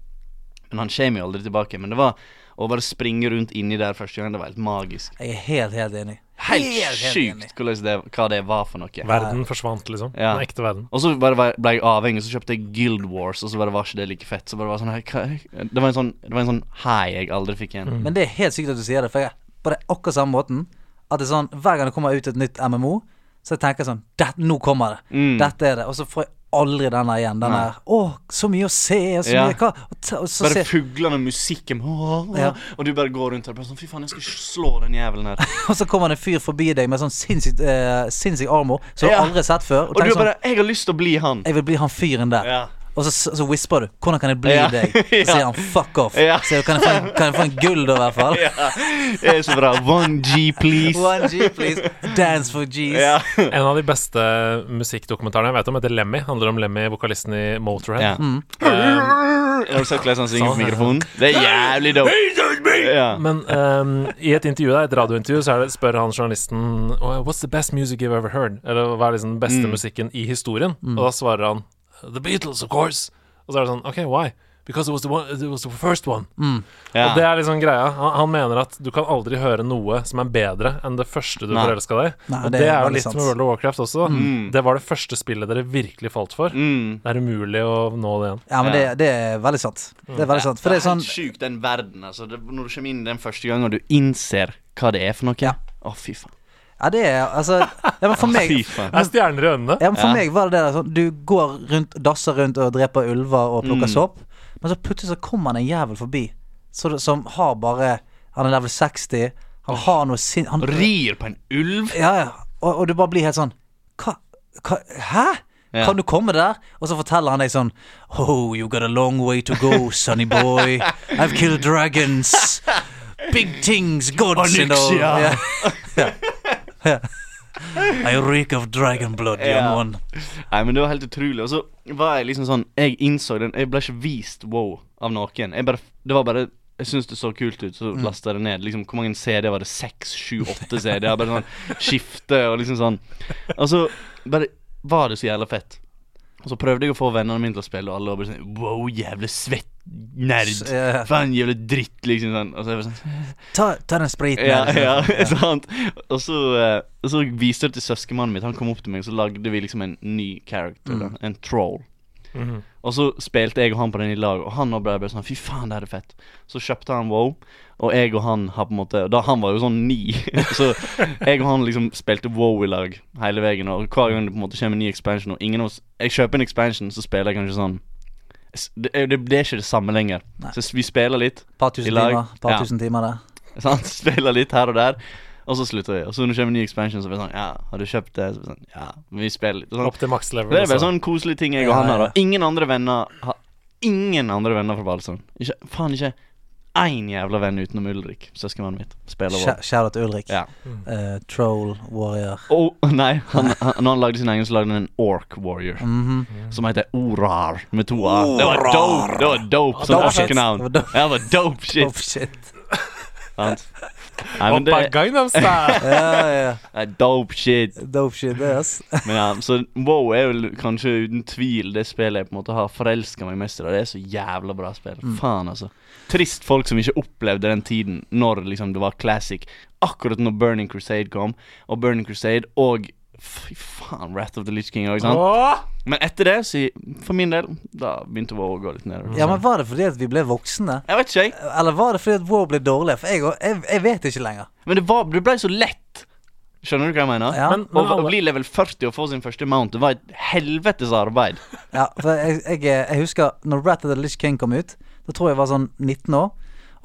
Men han kommer jo aldri tilbake. Men det var å bare springe rundt inni der første gang, det var helt magisk. Jeg er helt, helt enig. Helt, enig. sjukt hvordan det, hva det var for noe. verden forsvant, liksom. Ja. Den ekte verden. Og så bare var- ble jeg avhengig, så kjøpte jeg Guild Wars, og så bare var ikke det like fett. Så bare var sånn, «Hei, hva, det var en sånn Det var en sånn high jeg aldri fikk igjen. Men det er helt sykt at du sier det, for jeg er på det akkurat samme måten. At det er sånn, Hver gang det kommer ut et nytt MMO, så jeg tenker sånn det, Nå kommer det. Mm. Dette er det. Og så får jeg aldri den der igjen. Den der Å, så mye å se, og så Ja. mye hva og, ta- og så se, Bare fuglene og musikken, «Åh, åh», Ja. og du bare går rundt der bare sånn Fy faen, jeg skal slå den jævelen her. og så kommer det en fyr forbi deg med sånn sinnssykt eh, sinnssyk armor som du Ja. aldri har sett før. Og, Og du tenker er sånn bare Jeg har lyst til å bli han. Jeg vil bli han fyren der. Ja. Og så, så whisper du 'Hvordan kan jeg bli Ja. deg?' Og så sier Ja. han 'fuck off'. Ja. Så kan jeg, få en, kan jeg få en gull, da, i hvert fall? Det er så bra. One G, please. One G, please. Dance for G's. Ja. En av de beste musikkdokumentarene jeg vet om, heter Lemmy. Handler om Lemmy, vokalisten i Mm. Motorhead. Um, Ja. Har du sett hvordan han synger på mikrofonen? Det er jævlig dope. ja. Men ehm, i et intervju der, et radiointervju så er det, spør han journalisten «Well, What's the best music you've ever heard? Eller hva er liksom den beste Mm. musikken i historien? Og da svarer han The Beatles, of course. Og så er det sånn OK, why? Because it was the, one, it was the first one. Og det ja. er liksom greia. Han, han mener at du kan aldri høre noe som er bedre enn det første du Nei. forelska deg. i. Nei, og det det er er jo veldig litt sant. med World of Warcraft også. Mm. Det var det første spillet dere virkelig falt for. Mm. Det er umulig å nå det igjen. Ja, men det, Ja. Mm. det er veldig sant. Det er veldig sant. For det er sånn helt sjukt, den verden. Altså, det, når du kommer inn den første gangen og du innser hva det er for noe. Ja. Å, fy faen. Ja, det er altså ja, men For meg Fy faen. Det er stjerner i øynene. Ja, men for Ja. meg var det det der sånn Du går rundt, dasser rundt og dreper ulver og plukker Mm. sopp, men så plutselig så kommer det en jævel forbi så, som har bare Han er level 60, han har noe sinn... Han Rir på en ulv? Ja, ja. Og, og du bare blir helt sånn Hva? hva hæ? Ja. Kan du komme der? Og så forteller han deg sånn Oh, you got a long way to go, sonny boy. I've killed dragons. Big things, gods and all. Onyxia. Ja. Ja. I reek of dragon blood, young Ja. one. Nei, men det var helt utrolig. Og så var jeg liksom sånn Jeg innså den Jeg ble ikke vist wow av noen. Jeg bare Det var bare jeg syntes det så kult Mm. ut, så lasta jeg det ned. Liksom, Hvor mange CD var det? Seks, sju, åtte CD? Jeg bare sånn Skifte og liksom sånn. Og så bare var det så jævla fett. Og så prøvde jeg å få vennene mine til å spille, og alle var bare sånn Wow, jævla svett nerd. Så, ja. Faen, jævla dritt, liksom sånn. Og så er jeg bare sånn Ta, ta den spriten. Ja, her, ja, liksom. sant. Og så, eh, og så viste jeg det til søskenmannen mitt. Han kom opp til meg, så lagde vi liksom en ny character. Mm. Da, en troll. Mhm. Og så spilte jeg og han på den i lag, og han også ble bare sånn Fy faen, det her er fett. Så kjøpte han Wow, og jeg og han har på en måte Da han var jo sånn ni, så jeg og han liksom spilte Wow i lag hele veien. Og hver gang det på en måte kommer en ny expansion, og ingen av oss Jeg kjøper en expansion, så spiller jeg kanskje sånn Det, er- det, det er ikke det samme lenger. Nei. Så vi spiller litt. Par I tusen lag. timer, par Ja. tusen timer der. Sant? Spiller litt her og der, og så slutter vi. Og så når det kommer en ny expansion, så blir det sånn Ja, har du kjøpt det? Så blir det sånn, ja, men vi spiller litt. Og Sånn. Opp til maks level. altså. Det er bare også. sånn koselige ting jeg altså. Ja, og han har. ja. da. Ingen andre venner har Ingen andre venner fra Balsam. Ikke, faen ikke én jævla venn utenom Ulrik, søskenmannen mitt. Spiller vår. Shout- Shout out til Ulrik. Ja. Eh, troll warrior. Og nei, han, han, når han lagde sin egen, så lagde han en Orc Warrior. Mhm. Som heter Orar, med to a. Det var dope! Det var dope som Dope shit. orkenavn. Det var Det dope. var dope Oh, shit. shit. Sant? Nei, men det Oppa Gangnam Style! Ja, ja. er dope shit. Dope shit, det, er ass. Men ja, så WoW er vel kanskje uten tvil det spillet jeg på en måte har forelska meg mest i. og Det er så jævla bra spill. Mm. Faen, altså. Trist folk som ikke opplevde den tiden når liksom det var classic. Akkurat når Burning Crusade kom, og Burning Crusade og Fy faen, Wrath of the Litch King. Ikke sant? Åh! Men etter det, så for min del, da begynte WoW å gå litt nedover. Ja, men Var det fordi at vi ble voksne? Jeg vet ikke, jeg. Eller var det fordi at War ble dårlig? For jeg, jeg, jeg vet ikke lenger. Men det, var, det ble så lett. Skjønner du hva jeg mener? Ja, Men, Å men alle, å bli level 40 og få sin første mount, det var et helvetes arbeid. ja for jeg, jeg, eh, jeg husker når Rat of the Litch King kom ut. Da tror jeg jeg var sånn 19 år.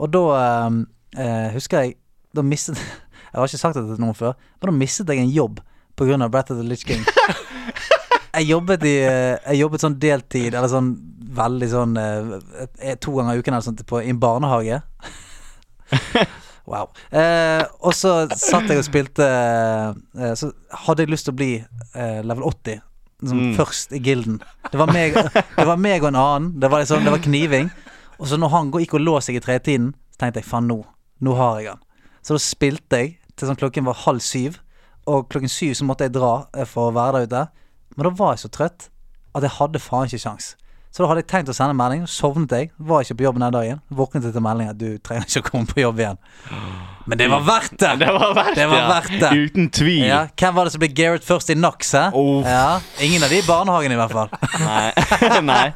Og da ehm, eh, husker jeg Da mistet Jeg har ikke sagt det til noen før, men da mistet jeg en jobb pga. Rat of the Litch King. Jeg jobbet, i, eh, jeg jobbet sånn deltid, eller sånn veldig sånn eh, To ganger i uken eller sånt på, i en barnehage. Wow. Eh, og så satt jeg og spilte eh, Så hadde jeg lyst til å bli eh, level 80. Som først i gilden. Det var, meg, det var meg og en annen. Det var, liksom, det var kniving. Og så når han gå- gikk og lå seg i tretiden, så tenkte jeg faen, nå Nå har jeg han. Så da spilte jeg til sånn klokken var halv syv. Og klokken syv så måtte jeg dra eh, for å være der ute. Men da var jeg så trøtt at jeg hadde faen ikke sjans. Så da hadde jeg tenkt å sende melding, sovnet jeg. Var ikke på jobb den dagen. Våknet jeg til melding at du trenger ikke å komme på jobb igjen. Men det var verdt det! Mm. Det var verdt Det var verdt det. Uten tvil. Ja, hvem var det som ble Gareth først i Knox? hæ? Oh. Ja, ingen av de i barnehagen, i hvert fall. Nei. Nei.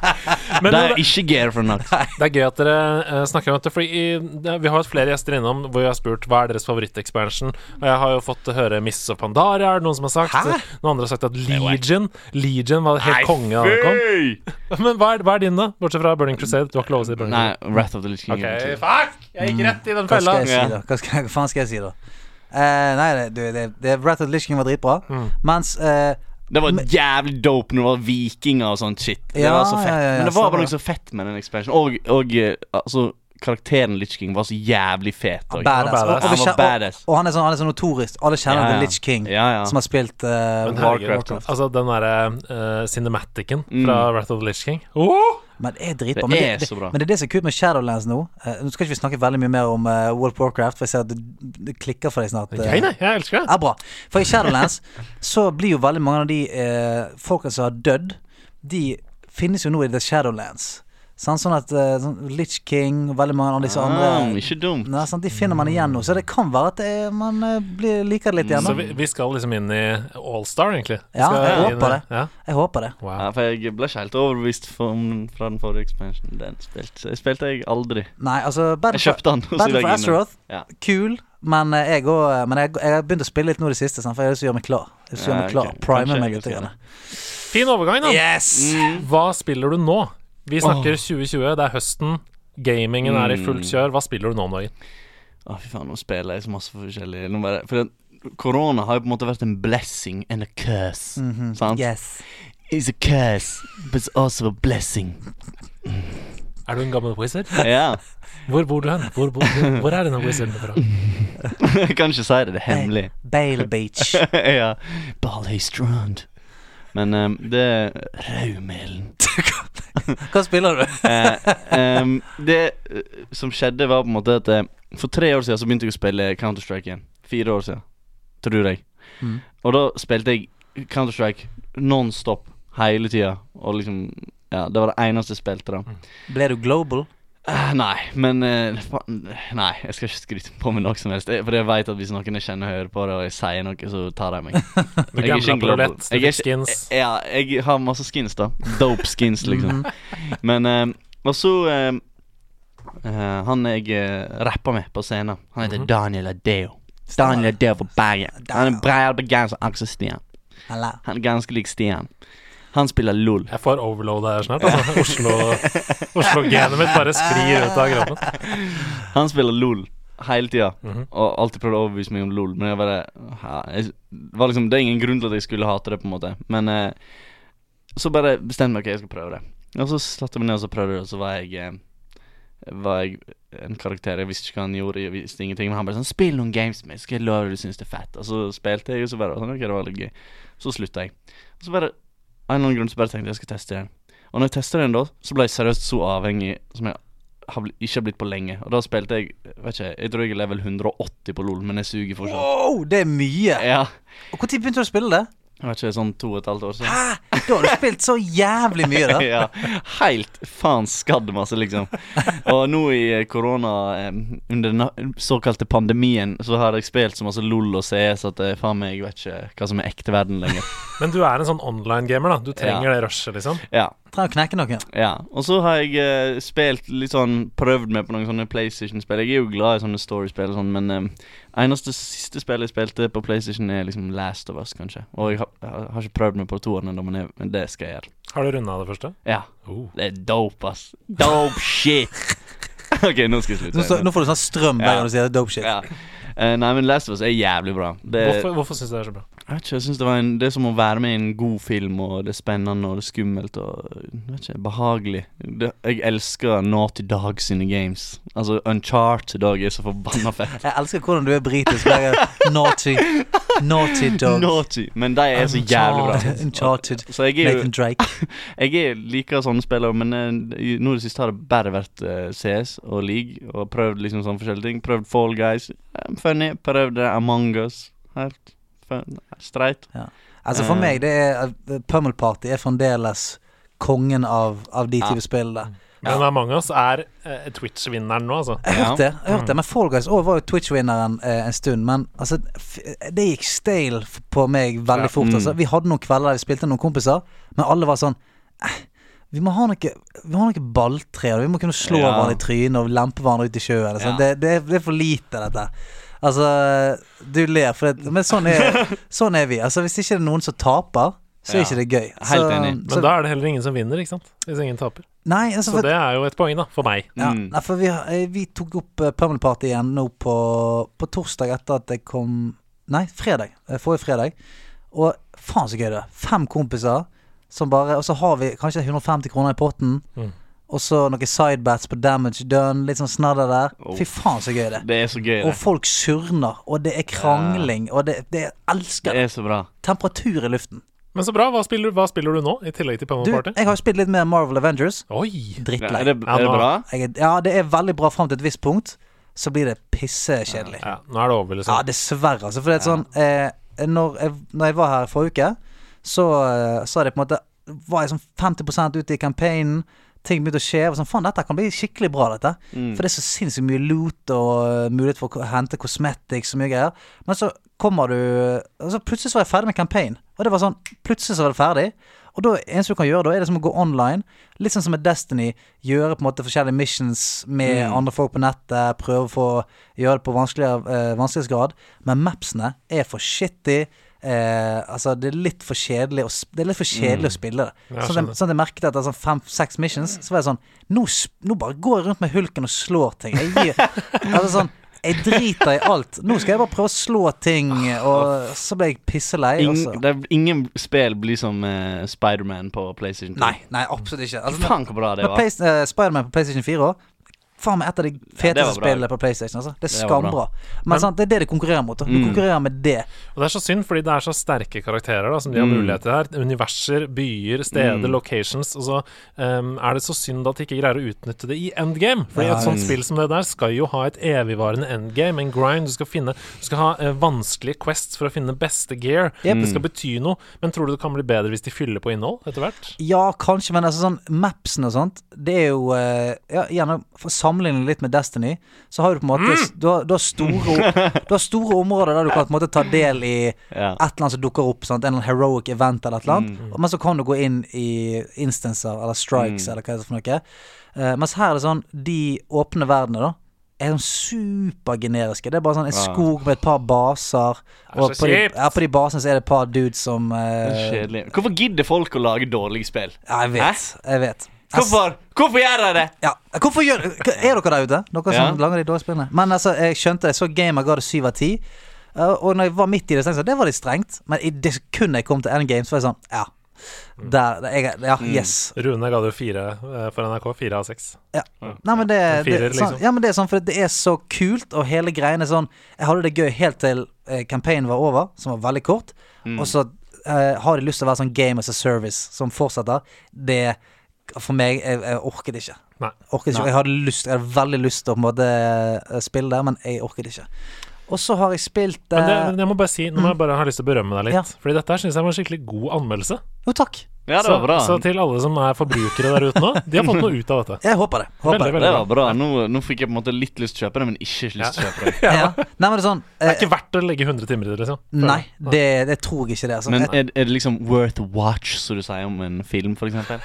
men det det, er ikke Gear for Knox. det er gøy at dere eh, snakker om dette, Fordi i, det, vi har hatt flere gjester innom hvor jeg har spurt hva er deres favoritt-expansion. Og jeg har jo fått høre Miss of Pandaria, er det noen som har sagt. Noen andre har sagt at Legion Legion var helt konge da den kom. Men hva er, hva er din, da? Bortsett fra Burning Crusade. Du har ikke lov å si Burning Nei, Mm. Crusade. Wrath of the Litch King. Ok, er betyr- fuck! Jeg gikk rett i den Hva fella. skal jeg si, Ja. da? Hva, skal, hva faen skal jeg si, da? Eh, nei, det, du, det, det Rattled Litch King var dritbra. Mm. Mens eh, Det var jævlig dope når det var vikinger og sånt shit. Det Ja, var så fett. ja, ja, ja, Men det var stemmer bare noe så fett med den expansionen. Og, og eh, altså, karakteren Litch King var så jævlig fet. og- Badass. Han var badass. Og, og, vi Han var kjen- badass. og, og han er sånn, han er sånn notorisk. Alle kjenner Ja, ja. The Litch King, Ja, ja. som har spilt eh, Men herregud, Altså, altså. Warcraft, eh, Mm. Morten, altså den derre uh, cinematicen fra Wrath of the Lich King. Men det er dritbra. Det Men er så bra. Men det er det som er kult med Shadowlands nå. Eh, nå skal ikke vi snakke veldig mye mer om eh, World of Warcraft, for jeg ser at det, det klikker for deg snart. eh. Jeg, nei, jeg elsker det. Ja, bra. For i Shadowlands så blir jo veldig mange av de eh, folka som har dødd, de finnes jo nå i The Shadowlands. Sånn, sånn at eh, sånn, Litch King og veldig mange av disse Ah, andre ikke dumt. Nei, sant, De finner man igjen nå, så det kan være at eh, man eh, blir, liker det litt igjen. Så da. vi, vi skal liksom inn i Allstar, egentlig. Vi Ja, skal jeg inn håper i- det. Ja. Jeg håper det. Wow. Ja, for jeg ble ikke helt overbevist for, om, fra den forrige expansionen. Den spilte, jeg spilte jeg aldri. Nei, altså Battle Jeg for, kjøpte den. og så Battle gikk for jeg inn i den. Azeroth, Ja. kul, men eh, jeg òg Men jeg, jeg har begynt å spille litt nå i det siste, sant, for jeg har lyst til å gjøre meg klar. Jeg har lyst til å gjøre meg Ja, klar ok. Kanskje Prime jeg meg kan litt. si Grann. Fin overgang, da. Yes! Mm. Hva spiller du nå? Vi snakker 2020, det er høsten. Gamingen er i Mm. fullt kjør. Hva spiller du nå om dagen? Å, fy faen, nå spiller jeg så masse forskjellig. Nå bare, for den- korona har jo på en måte vært en blessing and a curse. Mm. Mm. Sant? Mhm. Yes. It's a curse, but it's also a blessing. Er du en gammel wizard? Ja. Hvor bor du hen? Hvor, bor, hvor, hvor er denne wizarden fra? Jeg kan ikke si det. Det er hemmelig. Bale Beach. ja. Ballet Strand. Men ehm, det er Raumelen. Hva spiller du? Eh, ehm, det eh, som skjedde, var på en måte at eh, for tre år siden så begynte jeg å spille Counter-Strike igjen. Fire år siden, tror jeg. Mm. Og da spilte jeg Counter-Strike non-stop hele tida. Og liksom Ja, det var det eneste jeg spilte da. Ble du global? Eh, nei, men eh, faen, Nei, jeg skal ikke skryte på meg noe som helst. Jeg, for jeg vet at hvis noen jeg kjenner hører på det, og jeg sier noe, så tar de meg. Du Jeg er gambler ikke en på global. roulette, du Jeg er fikk ikke- skins. Ja, jeg har masse skins, da. Dope skins, liksom. Men eh, Og så eh, eh, Han jeg uh, rapper med på scenen, han heter Daniel Adeo. Daniel Adeo fra Bergen. Han er breialbergenser, Aksel Stian. Eller? Han er ganske lik Stian. Han spiller LOL. Jeg får overload her snart. Altså. Oslo- Oslo-genet mitt bare sklir ut av kroppen. Han spiller LOL hele tida, og alltid prøvde å overbevise meg om LOL. Men jeg bare ja, jeg, var liksom, Det er ingen grunn til at jeg skulle hate det, på en måte. Men eh, så bare bestemte jeg meg ok, jeg skal prøve det. Og så satte jeg meg ned og så prøvde det, og så var jeg eh, var jeg en karakter jeg visste ikke hva han gjorde. Jeg visste ingenting Men han bare sånn 'Spill noen games med meg, skal jeg love deg du syns det er fett.' Og så spilte jeg, og så bare sånn, Ok, det var litt gøy. Så slutta jeg. Og så bare av en eller annen grunn så bare tenkte jeg jeg skal teste den. Og når jeg testa den, da, så ble jeg seriøst så avhengig som jeg har bli, ikke har blitt på lenge. Og da spilte jeg vet ikke, Jeg tror jeg er level 180 på LOL, men jeg suger fortsatt. Wow, det er mye! Ja, Og Når begynte du å spille det? jeg vet ikke, sånn to og et halvt år siden. Hæ? Da har du spilt så jævlig mye, da. ja, helt faen skadd masse, liksom. Og nå i eh, korona, eh, under den na- såkalte pandemien, så har jeg spilt så masse LOL og CS at eh, faen meg, jeg vet ikke hva som er ekte verden lenger. Men du er en sånn online-gamer, da. Du trenger Ja. det rushet, liksom. Ja, Trenger å knekke noen. ja. Og så har jeg eh, spilt litt sånn Prøvd meg på noen sånne PlayStation-spill. Jeg er jo glad i sånne story-spill og sånn, men eh, eneste siste spillet jeg spilte på PlayStation, er liksom Last of Us, kanskje. Og jeg har, jeg har ikke prøvd meg på toeren ennå, men, jeg- men det skal jeg gjøre. Har du runda det første? Ja. Oh. Det er dope, ass. Dope shit. ok, nå skal jeg slutte. Nå, så, nå får du sånn strøm hver Ja. gang du sier dope shit. Ja. Eh, nei, men Last of Us er jævlig bra. Det, Hvorfor, hvorfor syns du det er så bra? Jeg vet ikke, jeg synes det, var en, det er som å være med i en god film, og det er spennende og det er skummelt og jeg vet ikke, behagelig. Det, jeg elsker Naughty Dog sine games. Altså, Uncharted Dog er så forbanna fett. Jeg elsker hvordan du er britisk. hver gang. Naughty. Naughty dog. Naughty, men de er så jævlig bra. Uncharted. Så jeg er jo Nathan Drake. Jeg er liker sånne spillere, men eh, i- nå i det siste har det bare vært eh, CS og League. Og prøvd liksom sånne forskjellige ting. Prøvd Fall Guys. eh, Funny. Prøvd eh, Among Us. Helt fun. streit. Altså For Eh. meg, det er Pummel Party er fremdeles kongen av, av de type spill der. Men Among us er eh, Twitch-vinneren nå, altså. Jeg har hørt Ja. Mm. det. jeg har hørt det Men Fall Guys også var jo Twitch-vinneren eh, en stund. Men altså, f det gikk stale f- på meg veldig fort. mm. Altså. Vi hadde noen kvelder der vi spilte med noen kompiser, men alle var sånn eh, vi må ha noe, vi må ha noe balltre. og Vi må kunne slå Ja. hverandre i trynet og lempe hverandre ut i sjøen. eller sånn. Det, det, er- det er for lite, dette. Altså, du ler, for det, men sånn er, sånn er vi. Altså, Hvis ikke det er noen som taper, så er Ja. ikke det gøy. Helt så, enig. Men da er det heller ingen som vinner, ikke sant? Hvis ingen taper. nei, altså, Så for, det er jo et poeng, da, for meg. ja, Mm. nei, for vi, har- eh, vi tok opp eh, Pummel Party igjen nå på, på torsdag etter at jeg kom Nei, fredag. eh, Forrige fredag. Og faen så gøy det er. Fem kompiser som bare Og så har vi kanskje 150 kroner i potten. Mm. Og så noen sidebats på damage done, litt sånn snadder der. Oh. Fy faen så gøy det er. Det er så gøy, Og det. folk surner, og det er krangling, og det, det jeg elsker Det det. er så bra. Temperatur i luften. Men så bra. Hva spiller, hva spiller du nå, i tillegg til Pump Du, Party? jeg har spilt litt mer Marvel Avengers. Oi! Ja, Drittlei. er, det, er det bra? Jeg er- Ja, det er veldig bra fram til et visst punkt. Så blir det pissekjedelig. Ja, nå er det over, Ja, liksom. dessverre. Altså, for det er sånn eh, når, jeg, når jeg var her forrige uke, så, eh, så hadde jeg på en måte Var jeg sånn 50 ute i campaignen. Ting begynte å skje. Jeg var sånn, Faen, dette kan bli skikkelig bra, dette. For det er så sinnssykt mye loot og eh, mulighet for å ko- hente cosmetics og mye greier. Men så kommer du Og så plutselig så var jeg ferdig med campaign. Og det var sånn Plutselig så var det ferdig. Og da, eneste du kan gjøre da, er det som å gå online. Litt sånn som med Destiny. Gjøre på en måte forskjellige missions med andre folk på nettet. Prøve å få gjøre det på vanskeligere, eh, vanskelighetsgrad. Men mapsene er for shitty. Eh, altså, det er litt for kjedelig å, sp- det er litt for kjedelig Mm. å spille det. Ja, sånn, at skjønner. jeg, sånn at jeg merket etter sånn fem-seks missions, så var jeg sånn nå, sp- nå bare går jeg rundt med hulken og slår ting. Jeg gir altså sånn jeg driter i alt. Nå skal jeg bare prøve å slå ting, og så ble jeg pisselei. altså. og så- Ah, Ingen, det, er- ingen spill blir som eh, Spiderman på PlayStation 2. Nei, nei, absolutt ikke. Altså, Faen, så bra det Men var. Play, eh, Spiderman på PlayStation 4 òg. Faen meg et av de det feteste var bra. spillene på PlayStation. Altså. Det er Det var bra. Mm. skambra. Men sant, det er det det konkurrerer mot. Da. Du konkurrerer med det. Og det er så synd, fordi det er så sterke karakterer da, som de har Mm. mulighet til her. Universer, byer, steder, locations. Og så ehm, er det så synd at de ikke greier å utnytte det i endgame. Fordi et sånt spill som det der skal jo ha et evigvarende endgame, en grind. Du skal, finne, du skal ha eh, vanskelige quests for å finne beste gear. Det skal bety noe. Men tror du det kan bli bedre hvis de fyller på innhold etter hvert? Ja, kanskje, men altså sånn mapsen og sånt, det er jo eh, ja, Gjerne for å sammenligne litt med Destiny, så har du på en Mm! måte du, har, du, har store, du har store områder der du kan på en måte ta del i Ja. et eller annet som dukker opp, sant? en eller annen heroic event eller et eller annet. Mm. Men så kan du gå inn i instanser eller strikes eller hva det er for noe. Eh, mens her er det sånn, de åpne verdenene, da, er sånn supergeneriske. Det er bare sånn en Ja. skog med et par baser, Ah. er og så på de, kjipt. ja, på de basene så er det et par dudes som eh, Kjedelig. Hvorfor gidder folk å lage dårlige spill? Ja, jeg vet. Jeg vet. Jeg Hvorfor, hvorfor gjør de det? Ja, hvorfor gjør hva- Er dere der ute? Dere som Ja. lager de dårlige spillene? Men altså, jeg skjønte Jeg så Gamer ga det syv av ti. eh, Og når jeg var midt i det, så tenkte jeg sånn, det var litt strengt. Men i det sekundet jeg kom til endgame, så var jeg sånn Ja. Der, der jeg, ja, yes. Rune ga det jo fire eh, for NRK. Fire av seks. Ja. Nei, men det, En firer, det, sånn, liksom. ja, men det er sånn, for det er så kult, og hele greiene er sånn Jeg hadde det gøy helt til eh, campaignen var over, som var veldig kort, Mm. og så eh, har de lyst til å være sånn game as a service som fortsetter. Det For meg Jeg, jeg orket ikke. Nei. Orket ikke. Jeg hadde, lyst, jeg hadde veldig lyst til å på en måte eh, spille der, men jeg orket ikke. Og så har jeg spilt Men det, eh, men jeg må bare si, nå må jeg bare ha lyst til å berømme deg litt. Ja. Fordi dette her syns jeg var en skikkelig god anmeldelse. Jo, takk. Ja, det Så, var bra. så til alle som er forbrukere der ute nå, de har fått noe ut av dette. Jeg håper det. Håper Veldig, det. veldig det bra. var bra. Nå, nå fikk jeg på en måte litt lyst til å kjøpe det, men ikke lyst til å kjøpe det. Ja. Nei, men det er sånn Det eh, er ikke verdt å legge 100 timer i det, liksom. Føler Nei, jeg. det, det tror jeg ikke det. Altså. Men Jeg- er, er det liksom worth a watch, som du sier om en film, for eksempel?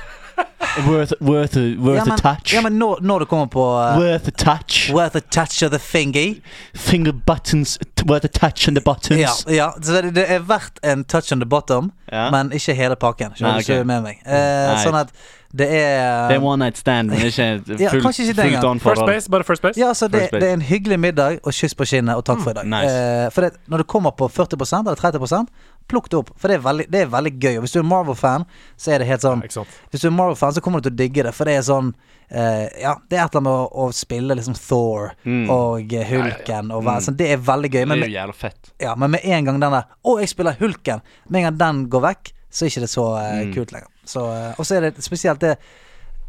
Worth, worth, a, worth ja, men, a touch. ja, men når, når det kommer på eh, worth a touch. Worth a touch of the thingy. Finger buttons. t- Worth a touch on the buttons. Ja, ja. Så det, det er verdt en touch on the bottom, Ja. men ikke hele pakken. Skjønner du Nei, ikke ok. Mm. med meg? Eh, Nei. sånn at det er Det er one night stand, men ikke et Ja, fullt, kanskje ikke den fullt gangen. on First forhold. base, bare first base. ja, så det, First base. det er en hyggelig middag og kyss på kinnet og takk for i dag. nice. Eh, for det, når du kommer på 40 eller 30 plukk det opp. For det er veldig, det er veldig gøy. Og hvis du er Marvel-fan, så er det helt sånn Ikke sant. Hvis du er Marvel-fan, så kommer du til å digge det. For det er sånn eh, Ja, det er et eller annet med å, å spille liksom Thor Mm. og eh, Hulken og hva sånn. Det er veldig gøy. Det Men er med, jo jævla fett. Ja, men med en gang den der Å, jeg spiller Hulken Med en gang den går vekk Så er ikke det så eh, kult lenger så, eh, Og så er det spesielt det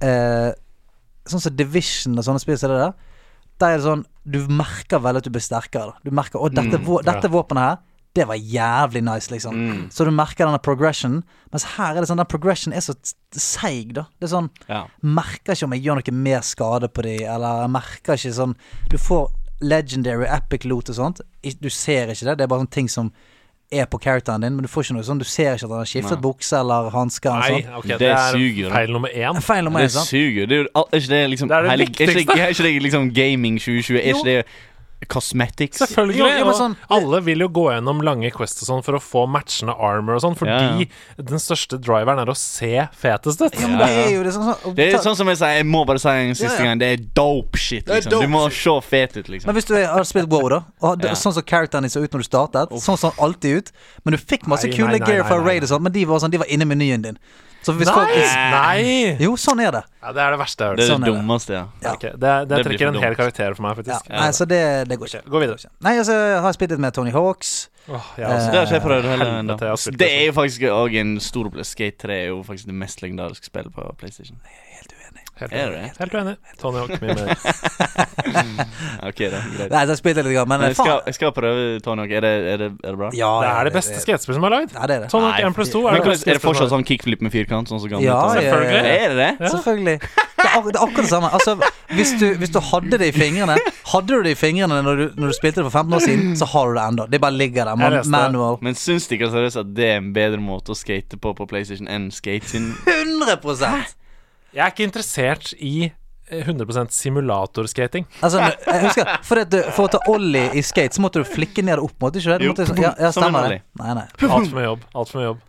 eh, Sånn som Division og sånne spill som det der Der er det sånn Du merker vel at du blir sterkere da. Du merker Å, dette, vå dette våpenet her det var jævlig nice liksom Så du merker denne progression Mens her er det sånn Den progression er så t- seig da Det er sånn Ja. Merker ikke om jeg gjør noe mer skade på de Eller jeg merker ikke sånn Du får legendary epic loot og sånt I- Du ser ikke det, det er bare sånne ting som Er på characteren din, men du får ikke noe sånn Du ser ikke at han har skiftet bukse eller hansker og Nei, sånt ok, Det det er suger jo, da. feil nummer én. Feil nummer Det én, sant? suger. Det er, jo, al- er ikke det liksom Det er det hele- Er ikke viktigste. det, er ikke det liksom gaming 2020? Er Jo. ikke det cosmetics? Selvfølgelig. Jo, jo, men og sånn- alle vil jo gå gjennom lange quests og sånn for å få matchende armor og sånn, fordi Ja, ja. den største driveren er å se fetest ut. Ja, men det er jo det er sånn, sånn, Det er sånn som jeg sier, jeg må bare si en siste Ja, ja. gang, det er dope shit, liksom. dope du må se fet ut, liksom. Men hvis du er- har spilt WoW, da, og det, Ja. sånn som characteren din så ut når du startet, sånn så han alltid ut Men du fikk masse Nei, kule nei, nei, gear fra nei, nei, Raid og sånt, men de var sånn, de var inne i menyen din. Så hvis folk Nei! Nei! Jo, sånn er det. Ja, det er det verste jeg har Det hørt. er Sånn det er det. dummeste, ja. Ja. Ok, det, det Det trekker blir for en hel dumt. karakter for meg, Ja. faktisk. Nei, så det, det går ikke. Gå videre. Nei, altså, jeg har spilt litt med Tony Hawks. Åh, jeg altså. har også- Så det har ikke jeg prøvd heller Helvete, ennå. jeg har spilt Det det. er jo faktisk òg en stor opplevelse. Skate 3 er jo faktisk det mest legendariske spillet på PlayStation. Helt uenig. Helt Er uenig. det? Helt uenig. Tony Hawk mye mer. Ok, da, greit. Nei, så jeg spilte litt, grann, men Men jeg skal, faen. jeg skal prøve Tony Hawk. Er det, er det, er det bra? Ja, Det ja, er det beste Sånn. skatespillet som er lagd. Ja, det er det. Tony Hawk Nei, 1 pluss 2 er Men det hvordan- beste. er det fortsatt skatespillet sånn kickflip med firkant? Sånn som gamle Ja, Tony Hawk? ja, Selvfølgelig. ja, ja. Er det det? Ja. Selvfølgelig. Det er, ak det er akkurat det samme. Altså, hvis du, hvis du hadde det i fingrene Hadde du det i fingrene når du, når du spilte det for 15 år siden, så har du det ennå. Det bare ligger Jeg der. Man, leste det. manual. Men syns dere seriøst at det er en bedre måte å skate på på PlayStation enn skate sin? 100 Jeg er ikke interessert i eh, 100 simulatorskating. Altså, jeg husker, for, at du, for å ta ollie i skate, så måtte du flikke ned og opp, måtte du ikke det? Du Jo, måtte, ja, ja, som en stemmer det. ollie. Nei, nei. Altfor mye jobb. Alt for mye jobb.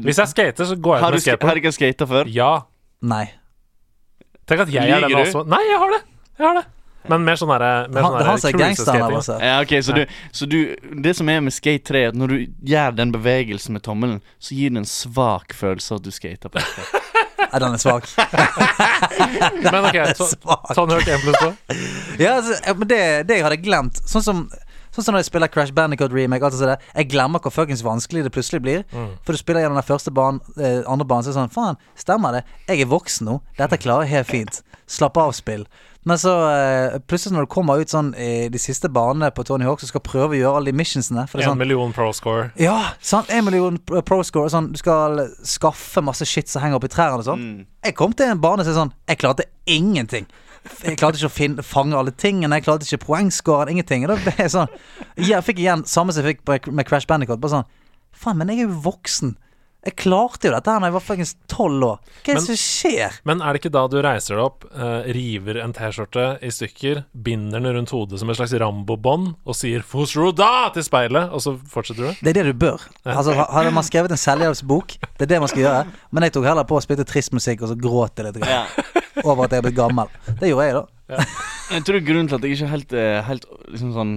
Hvis jeg skater, så går jeg har ut du med sk- har skateboard. ikke skata før? Ja. nei. Tenk at jeg er den Lyger du? også. Nei, jeg har det! Jeg har det. Men mer sånn herre mer Han, sånn han herre som er gangsteren her, cruiseskating. altså. Ja, ok, så Nei. du, så du Det som er med skate 3, er at når du gjør den bevegelsen med tommelen, så gir det en svak følelse at du skater på dette. Nei, den er svak. Men ok, Den er så, svak. Tony Hawk 1 pluss 2. Ja, altså, ja, men det, det jeg hadde glemt Sånn som Sånn som når jeg spiller Crash Bandicoot Remake alt det der, Jeg glemmer hvor fuckings vanskelig det plutselig blir For du spiller gjennom den første banen eh, Andre banen Så er det sånn Faen, stemmer det? Jeg er voksen nå Dette klarer jeg helt fint Slapp av spill Men så eh, plutselig når du kommer ut sånn I de siste banene på Tony Hawk Så skal du prøve å gjøre alle de missionsene For det er En sånn million pro score. Ja, sant En million pro pro score sånn, Du skal skaffe masse shit som henger opp i trærne og sånn jeg kom til en bane som er sånn Jeg klarte ingenting. Jeg klarte ikke å finne, fange alle tingene. Jeg klarte ikke poengscoren. Ingenting. Og da ble jeg sånn Jeg fikk igjen samme som jeg fikk på- med Crash Bandicoot. Bare sånn Faen, men jeg er jo voksen. Jeg klarte jo dette her da jeg var fuckings tolv år. Hva er det som skjer? Men er det ikke da du reiser deg opp, eh, river en T-skjorte i stykker, binder den rundt hodet som et slags Rambo-bånd, og sier 'Fosroda!' til speilet, og så fortsetter du? Det er det du bør. Altså, ha- Hadde man skrevet en selvhjelpsbok, det er det man skal gjøre. Men jeg tok heller på å spille trist musikk, og så gråt jeg litt grann Ja. over at jeg er blitt gammel. Det gjorde jeg, da. Jeg tror grunnen til at jeg ikke helt, eh, helt liksom sånn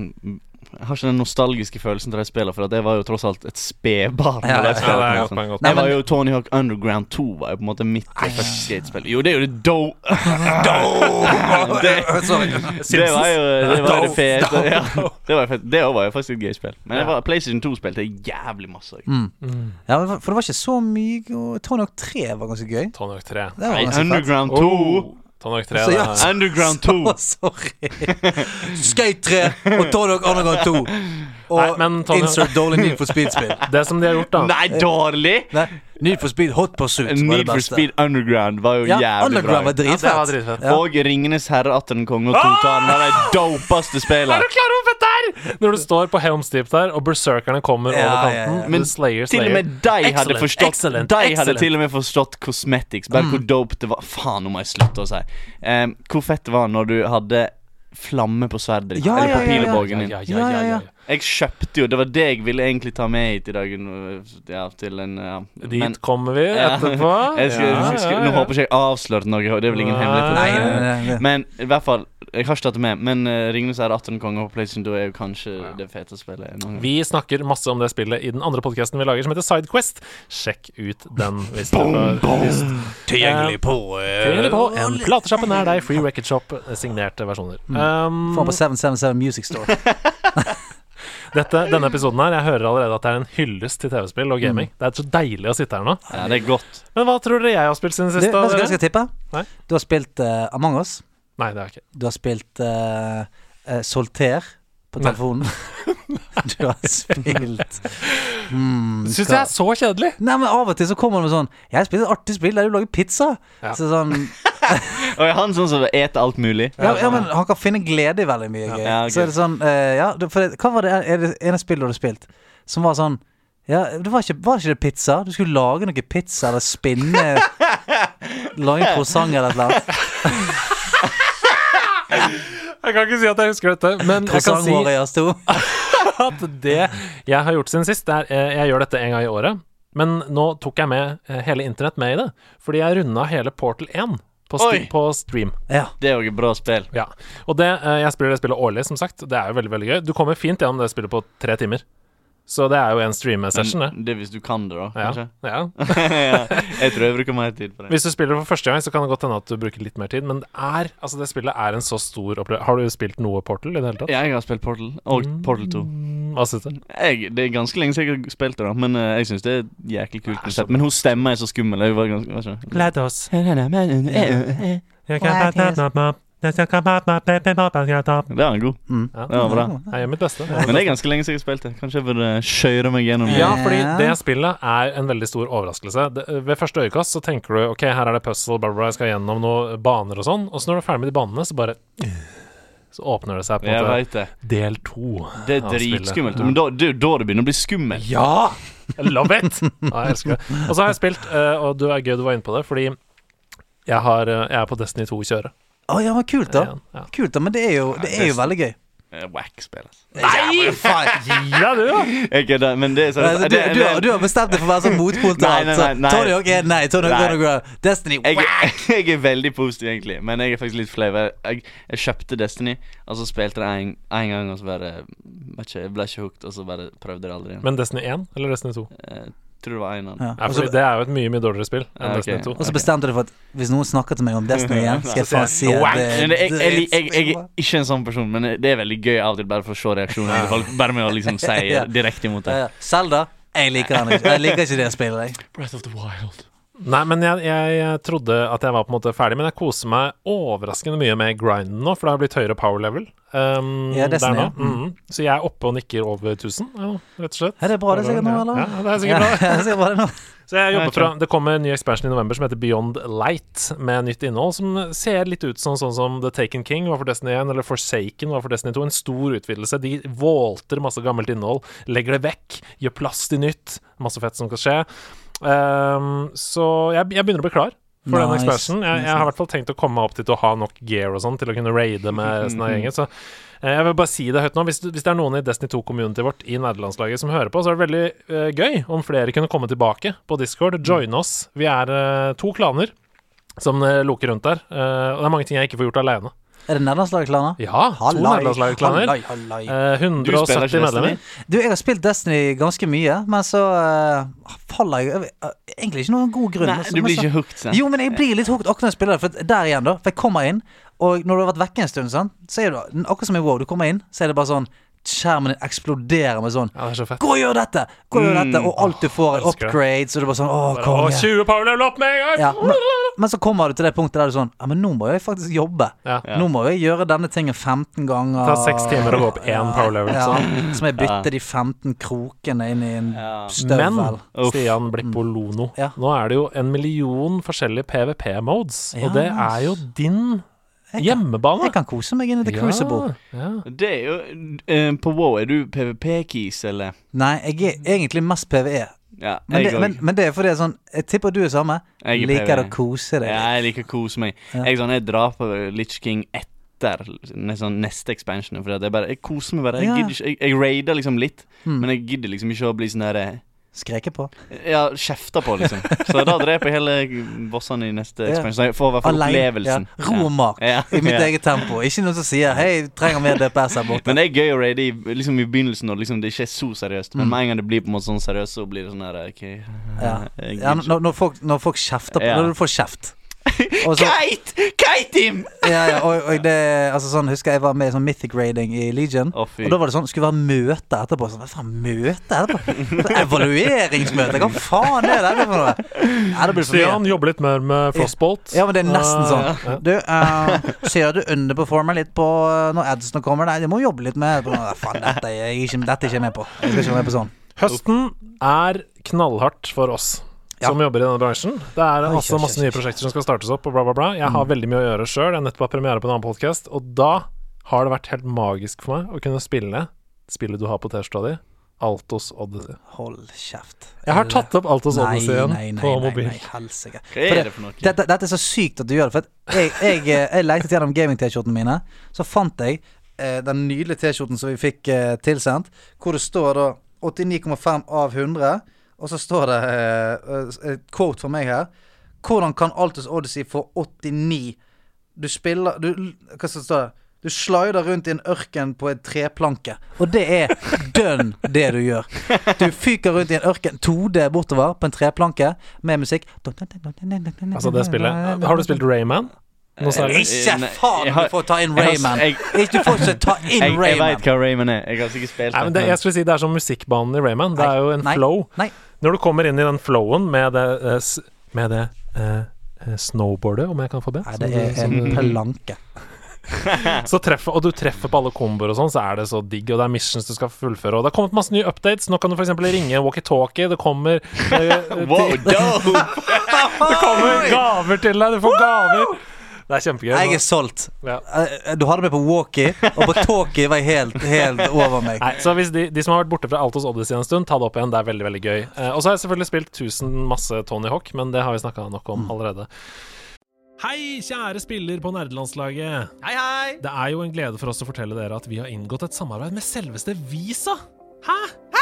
jeg har ikke den nostalgiske følelsen til de spillene, for at jeg var jo tross alt et spedbarn. Ja, når ja, ja, de spillene det er kom, godt sånn. poeng, godt Jeg poeng. var jo Tony Hawk Underground 2, var jo på en måte mitt første skatespill. Jo, det er jo det do... det, Sorry. det var jo det, var det Do- fete. Ja, det var, fett. det også var jo faktisk et gøy spill. Men det var, PlayStation 2 spilte jeg jævlig masse. også. Mm. Ja, men for- for det var ikke så mye go- Tony Hawk 3 var ganske gøy. Tony Hawk 3. Det var Nei, ganske fett. Underground 2! Oh, Tony Hawk 3 Så det ja, er- Underground 2! Så- Sorry. Skate 3 og Tony Hawk Underground 2. Og Nei, men Tony- insert dårlig Need for Speed-spill. Det som de har gjort, da Nei, dårlig! Nei, Need for Speed Hot Pursuit var det Need for beste. Speed Underground var jo ja, jævlig Underground bra. var dritfett. Ja, det var dritfett. Ja. Og Ringenes herre atten konge og totalen er de dopeste spillene. Er du klar over dette her?! Når du står på Helms Deep der, og berserkerne kommer Ja, over ja, ja. kanten. Men Men slayer, Til og slayer. med de hadde Excellent, forstått excellent, De hadde excellent. Mm. til og med forstått cosmetics. Bare hvor dope det var. Faen, nå må jeg slutte å si. Eh, hvor fett det var når du hadde flamme på sverdet ditt, Ja, eller på ja, ja, ja. pilebågen din. Ja, ja, Ja, ja, ja, ja, ja. ja. Jeg kjøpte jo Det var det jeg ville egentlig ta med hit i dag. øh, Ja, til en ja. Dit Men- kommer vi Ja. etterpå. jeg skal, Ja, jeg skal, ja, Nå ja. håper ikke jeg avslørte noe, det er vel ingen Nei. hemmelighet. Nei, nei, nei, nei. Men i hvert fall, jeg har ikke tatt det med. Men uh, Ringenes herre 18 konger på PlayStation 2 er jo kanskje det fete spillet. noen gang. Vi snakker masse om det spillet i den andre podkasten vi lager, som heter Sidequest. Sjekk ut den. Hvis du har lyst. Tilgjengelig på eh, Tilgjengelig på en platesjappe nær deg, Free Record Shop, signerte versjoner. Mm. Um, Få på 777 Music Store. dette, denne episoden her, jeg hører allerede at det er en hyllest til TV-spill og gaming. Det er så deilig å sitte her nå. Ja, det er godt. Men hva tror dere jeg har spilt siden Du, vet sist? du da, hva jeg dere? skal tippe? Nei. Du har spilt eh, Among Us. Nei, det er jeg ikke. Du har spilt eh, eh, Solter på telefonen. Du har spilt mm, Syns hva- jeg er så kjedelig! Nei, men Av og til så kommer det med sånn 'Jeg spiller et artig spill der du lager pizza'. Ja. Så sånn Og er han sånn som eter alt mulig? Ja, ja, men han kan finne glede i veldig mye gøy. Ja, ok. Så er det sånn eh, Ja, det- for det, hva var det, er det ene spillet du hadde spilt som var sånn ja, det var ikke, var ikke det pizza? Du skulle lage noe pizza eller spinne Lage en croissant eller et eller annet. Jeg kan ikke si at jeg husker dette, men jeg kan Croissant si Warriors 2. at det jeg har gjort siden sist, det er eh, Jeg gjør dette en gang i året, men nå tok jeg med eh, hele internett med i det. Fordi jeg runda hele Portal 1 på, sti- Oi. på stream. Ja. Det er jo et bra spill. Ja. Og det, eh, jeg spiller det spillet årlig, som sagt. Det er jo veldig veldig gøy. Du kommer fint gjennom det spillet på tre timer. Så det er jo en streamesession, det. Men det er hvis du kan det, da, Ja. kanskje. ja. Ja. jeg tror jeg bruker mer tid på det. Hvis du spiller for første gang, så kan det godt hende at du bruker litt mer tid, men det er Altså, det spillet er en så stor opplevelse. Har du spilt noe Portal i det hele tatt? Jeg har spilt Portal, og Portal 2. Hva synes du? Jeg, det er ganske lenge siden jeg har spilt det, da men eh, jeg syns det er et jæklig kult. Det er så konsept. Men hun stemmer er så skummel. Jeg var ganske, altså, var ikke? Let us. det? You can Black Det er han god. Mm. Ja. Det var bra. Jeg gjør mitt beste. Men det er ganske lenge siden jeg har spilt det. Kanskje jeg burde skjøre meg gjennom det. Ja, Ja. fordi det spillet er en veldig stor overraskelse. Det, ved første øyekast så tenker du OK, her er det puzzle, bla, bla, bla, jeg skal gjennom noen baner og sånn. Og så når du er ferdig med de banene, så bare Så åpner det seg på Jeg en måte vet det. del to. Det er av spillet. dritskummelt. Men da, det er jo da det begynner å bli skummelt. Ja! I love it! Ja, jeg elsker det. Og så har jeg spilt, eh, og du er gøy du var inne på det, fordi jeg, har, eh, jeg er på Destiny 2-kjøret. Å ja, men kult, da. igjen. Ja. Kult, da, Men det er jo, det er jo veldig gøy. Eh, Whack spill, altså. Nei! faen. Gi deg, du, da! Jeg kødder, men det er Nei, sant. altså, Du, Det- du, det- har- du har bestemt deg for å være sånn motpol til Nei, alt. nei, så nei, nei. Tony Hawk er nei. Tony Hawk Nei. Underground. Destiny. jeg, jeg er veldig positiv, egentlig, men jeg er faktisk litt flau. Jeg, jeg, jeg kjøpte Destiny, og så spilte det en, en gang, og så bare vet ikke, Jeg ble ikke hooked, og så bare prøvde jeg det aldri igjen. Men Destiny 1 eller Destiny 2? Eh, tror det var en av Ja. dem. Ja, Og fordi så- det er jo et mye mye dårligere spill enn Ja, ok. Destiny 2. og så bestemte du deg for at hvis noen snakker til meg om Destiny igjen, skal jeg faen si Whack. at det Men det- Jeg, jeg, jeg, jeg er ikke en sånn person, men det er veldig gøy av og til bare for å se reaksjonene til folk. Bare med å liksom si Ja. direkte imot Ja, ja. deg. Zelda. Jeg liker den ikke. Jeg liker ikke det spillet. Jeg. Breath of the Wild. Nei, men jeg, jeg trodde at jeg var på en måte ferdig, men jeg koser meg overraskende mye med grinden nå, for det har blitt høyere power level. Um, Ja, der Destiny, nå. ja. Mm. Mhm. Så jeg er oppe og nikker over 1000, ja, rett og slett. Er det bra, det er sikkert nå, eller? Ja, det er sikkert bra. Ja, det er bra det nå. Så jeg jobber Jeg tror- fra Det kommer en ny expansion i november som heter Beyond Light, med nytt innhold som ser litt ut som sånn som The Taken King var for Destiny 1, eller Forsaken var for Destiny 2. En stor utvidelse. De volter masse gammelt innhold, legger det vekk, gjør plass til nytt. Masse fett som skal skje. Ehm, så jeg, jeg begynner å bli klar. For den Nice. expansionen jeg, jeg har i hvert fall tenkt å komme meg opp dit og ha nok gear og sånn til å kunne raide med resten av Mm-hmm. gjengen. Så eh, jeg vil bare si det høyt nå. Hvis, du- hvis det er noen i Destiny 2-communityet vårt i nederlandslaget som hører på, så er det veldig eh, gøy om flere kunne komme tilbake på Discord. Joine oss. Vi er eh, to klaner som eh, loker rundt der. Eh, og det er mange ting jeg ikke får gjort aleine. Er det nederlandslaget-klaner? Ja, to nederlandslagsklaner. Eh, 170 Du spiller ikke Destiny? medlemmer. Du, jeg har spilt Destiny ganske mye, men så eh, faller jeg over eh, Egentlig ikke noen god grunn. Nei, altså, du men blir så- ikke hooked, sant? Jo, men jeg blir litt hooked akkurat når jeg spiller det. For at der igjen, da. For jeg kommer inn, og når du har vært vekke en stund, sant, så er det akkurat som i WoW. Du kommer inn, så er det bare sånn Skjermen din eksploderer med sånn Ja, det er så fett. Gå og gjør dette! Gå og gjør dette! Og alt du får er Mm. elsker det. upgrades, og du er bare sånn Å, Og konge. 20 power level opp med en Ja, gang! men, men så kommer du til det punktet der du er sånn Ja, men nå må jeg faktisk jobbe. Ja. Nå må jeg gjøre denne tingen 15 ganger. Ta seks timer å gå opp én power level. Ja, sånn. så må jeg bytte de 15 krokene inn i en Ja. støvel. Mm. Men Stian Blippolono, Ja. nå er det jo en million forskjellige PVP-modes, Ja, og det er jo din hjemmebane. Jeg kan kose meg inn i The Crucible. Ja, ja. Det er jo eh, På Wow, er du PVP-keys, eller? Nei, jeg er egentlig mest E. PVE. Ja, Men jeg det, òg. men, men det er fordi det er sånn Jeg tipper du er samme. Jeg er Liker å PvE. kose deg. Ja, jeg liker å kose meg. Ja. Jeg, er sånn, jeg drar på Litch King etter ne- sånn, neste expansion. For jeg, bare, jeg koser meg bare. Jeg, Ja. Hmm. gidder ikke, jeg, jeg raider liksom litt, men jeg gidder liksom ikke å bli sånn der eh, Skreke på. Ja, kjefta på, liksom. Så da dreper jeg hele bossene i neste Ja. expansion. Så jeg får i hvert fall Alene. Ja. opplevelsen. Ro og mak. Ja. I mitt Ja. eget tempo. Ikke noen som sier 'hei, trenger mer DPS her borte'. Men det er gøy å raide i, liksom, i begynnelsen når liksom, det ikke er så seriøst. Men med en gang det blir på en måte sånn seriøst, så blir det sånn her OK. Hmm. Ja. Ja, Jeg gidder ikke. når, når, folk, når folk kjefter på Ja. Når du får kjeft. Og så- Kite! Kite him! ja, ja, og, og det, altså sånn, husker jeg var med i sånn mythic raiding i Legion. Å, fy. og da var det sånn, skulle være møte etterpå. Sånn, hva faen, møte etterpå? Evalueringsmøte? Hva faen er dette for noe? Ja, det blir for mye. Stian jobber litt mer med Frostbolt. Ja, men det er nesten Ah, sånn. Du, eh, ser du underperformer litt på eh, når adsene kommer? Nei, du må jobbe litt med Hva Faen, dette er jeg ikke, dette er ikke jeg med på. Jeg skal ikke være med på sånn. Høsten er knallhardt for oss. Ja. Som jobber i denne bransjen. Det er Oi, altså oi, masse oi, nye oi. prosjekter som skal startes opp, og bla, bla, bla. Jeg Mm. har veldig mye å gjøre sjøl. Jeg har nettopp hatt premiere på en annen podkast, og da har det vært helt magisk for meg å kunne spille spillet du har på T-skjorta di, Altos Odyssey. Hold kjeft. Jeg har tatt opp Altos Nei, Odyssey igjen nei, nei, på nei, mobil. Nei, helsike. Hva er det for noe? Dette, dette er så sykt at du gjør det. For at jeg, jeg, eh, jeg lette gjennom gaming-T-skjortene mine. Så fant jeg eh, den nydelige T-skjorten som vi fikk eh, tilsendt, hvor det står da 89,5 av 100. Og så står det eh, eh, et quote fra meg her. Hvordan kan Altus Odyssey få 89? Du spiller du, Hva som står det? Du slider rundt i en ørken på en treplanke. Og det er dønn det du gjør. Du fyker rundt i en ørken 2D bortover på en treplanke med musikk. Altså, Altså det spillet Har du spilt Rayman? Noe særlig? Ikke Eh, Nei, faen jeg har- du får ta inn jeg har- Rayman! jeg- Ikke Du får ikke ta Jeg, inn jeg veit Rayman! hva Rayman er. Jeg har sikkert spilt Nei, men det, jeg skulle si det er som musikkbanen i Rayman. Det Nei, er jo en nei, flow. nei. Når du kommer inn i den flowen med det, eh, s- med det eh, eh, snowboardet, om jeg kan få be, Nei, som det du- er som en du- planke. så treffer, og du treffer på alle komboer og sånn, så er det så digg, og det er missions du skal fullføre, og det har kommet masse nye updates. Nå kan du f.eks. ringe walkietalkie, det kommer eh, Wow, til- dope! Det kommer gaver til deg, du får gaver! Det er kjempegøy. Jeg er solgt. Ja. Eh, Du hadde meg på walkie, og på talkie var jeg helt, helt over meg. Nei, så hvis de, de som har vært borte fra Altos Odyssey en stund, ta det opp igjen. Det er veldig veldig gøy. Eh, og så har jeg selvfølgelig spilt 1000 masse Tony Hawk, men det har vi snakka nok Mm. om allerede. Hei, kjære spiller på nerdelandslaget. Hei, hei! Det er jo en glede for oss å fortelle dere at vi har inngått et samarbeid med selveste Visa. Hæ? Hæ?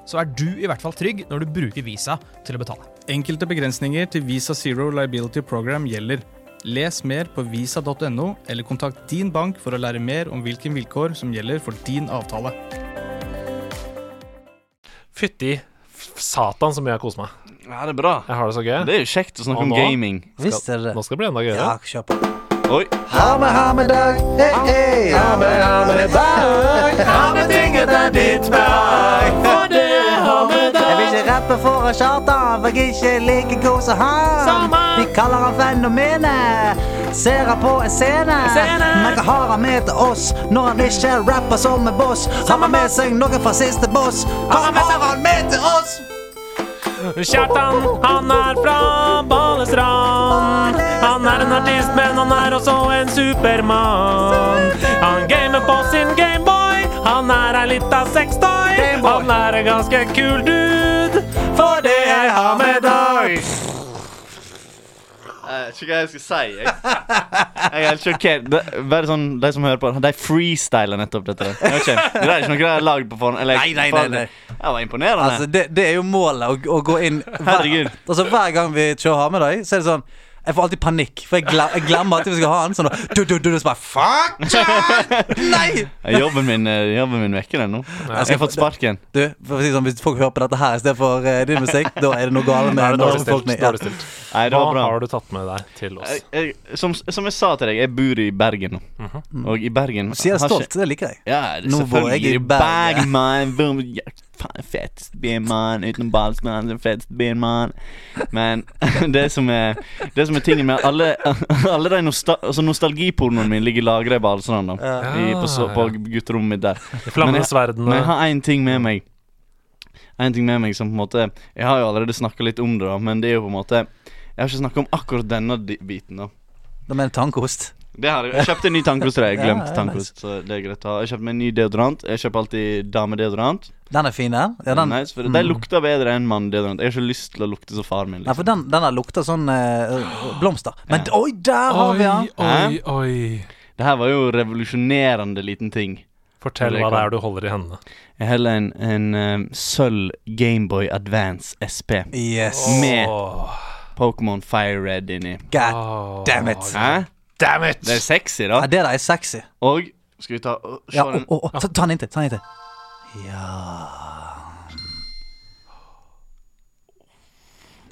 så er du i hvert fall trygg når du bruker Visa til å betale. Enkelte begrensninger til Visa Zero Liability Program gjelder. Les mer på visa.no, eller kontakt din bank for å lære mer om hvilke vilkår som gjelder for din avtale. Fytti f- satan så mye jeg koser meg. Ja, det er bra. Jeg har det så gøy. Det er jo kjekt å snakke Og om nå? gaming. Visste dere Nå det? skal det bli enda gøyere. Ja, kjør på. Oi. Ha med, ha med dag. Hei, hei. Ha med, ha med dag. Ha med tinget er ditt dag. For det har med dag. Jeg vil ikke rappe for en charter, for jeg er ikke like god som han. De kaller han Fenomenet. Ser han på en scene. Men hva har han med til oss når han ikke rapper som en boss? Har han med seg noe fra siste boss? Hva har han med til oss? Kjartan, han er fra Balestrand. Han er en artist, men han er også en supermann. Han gamer på sin Gameboy. Han er ei lita sextoy. Han er en ganske kul dude. For det jeg har med dag. Eh, Jeg vet ikke hva jeg skal si. Jeg, jeg er helt sjokkert. Det- Bare sånn, De som hører på, de freestyler nettopp dette. der. Jeg vet ikke, det er ikke noe de har lagd på forhånd. Eller, Nei, nei, nei, nei. Det var imponerende. Altså, det, det er jo målet, å, å gå inn hver, Herregud. altså, hver gang vi kjører Hamedøy, så er det sånn Jeg får alltid panikk, for jeg, gle- jeg glemmer alltid vi skal ha den. Sånn, og du, du, du, du, så bare, Fuck! shit! Nei! Jobben min, eh, jobben min vekker den nå. Jeg har fått sparken. Du, for å si det sånn, Hvis folk hører på dette her i stedet for eh, din musikk, da er det noe galt Da er med det dårlig norsk stilt. befolkning. Ja. Dårlig stilt. Nei, det Hva var bra. har du tatt med deg til oss? Jeg, jeg, som, som jeg sa til deg, jeg bor i Bergen nå. Mhm. Og i Bergen Sier det har stolt. ikke- Det liker jeg. Ja, det- Nå bor selvfølgelig. jeg i Bergen. man. Boom, ja, faen, Fettest byen, man. Uten balsmann, den fetteste byen, man. Men det som er Det som er tingen med alle, alle de nostal altså nostalgipornoen min ligger lagra i Balestrand. da. I- På, så- på gutterommet mitt der. De Men flammende jeg sverdene. har én ting med meg. En ting med meg som på en måte Jeg har jo allerede snakka litt om det, da men det er jo på en måte Jeg har ikke snakka om akkurat denne di- biten. da Da mener jeg tankost. det har jeg. jeg kjøpte en ny tannkost til deg. Jeg Ja, glemte ja, tannkost. Så det er greit å ha Jeg kjøpte meg en ny deodorant. Jeg kjøper alltid damedeodorant. Den er fin, den. Ja, den. Nice, for De lukter bedre enn manndeodorant. Jeg har ikke lyst til å lukte som faren min. Nei, for Liksom. den, den der lukter sånn eh, blomster. Men oi, der har vi den! oi, oi. Det her var jo revolusjonerende liten ting. Fortell hva det er du holder i hendene. Jeg heller en, en eh, sølv Gameboy Advance SP Yes. med Åh, Pokémon Fire Red inni. God åh. damn it. Hæ? Damn it! Det er sexy, da. Ja, det der er sexy. Og skal vi ta å, se Ja, den? å, å, å, ta, ta den inntil. Ta den inntil. Ja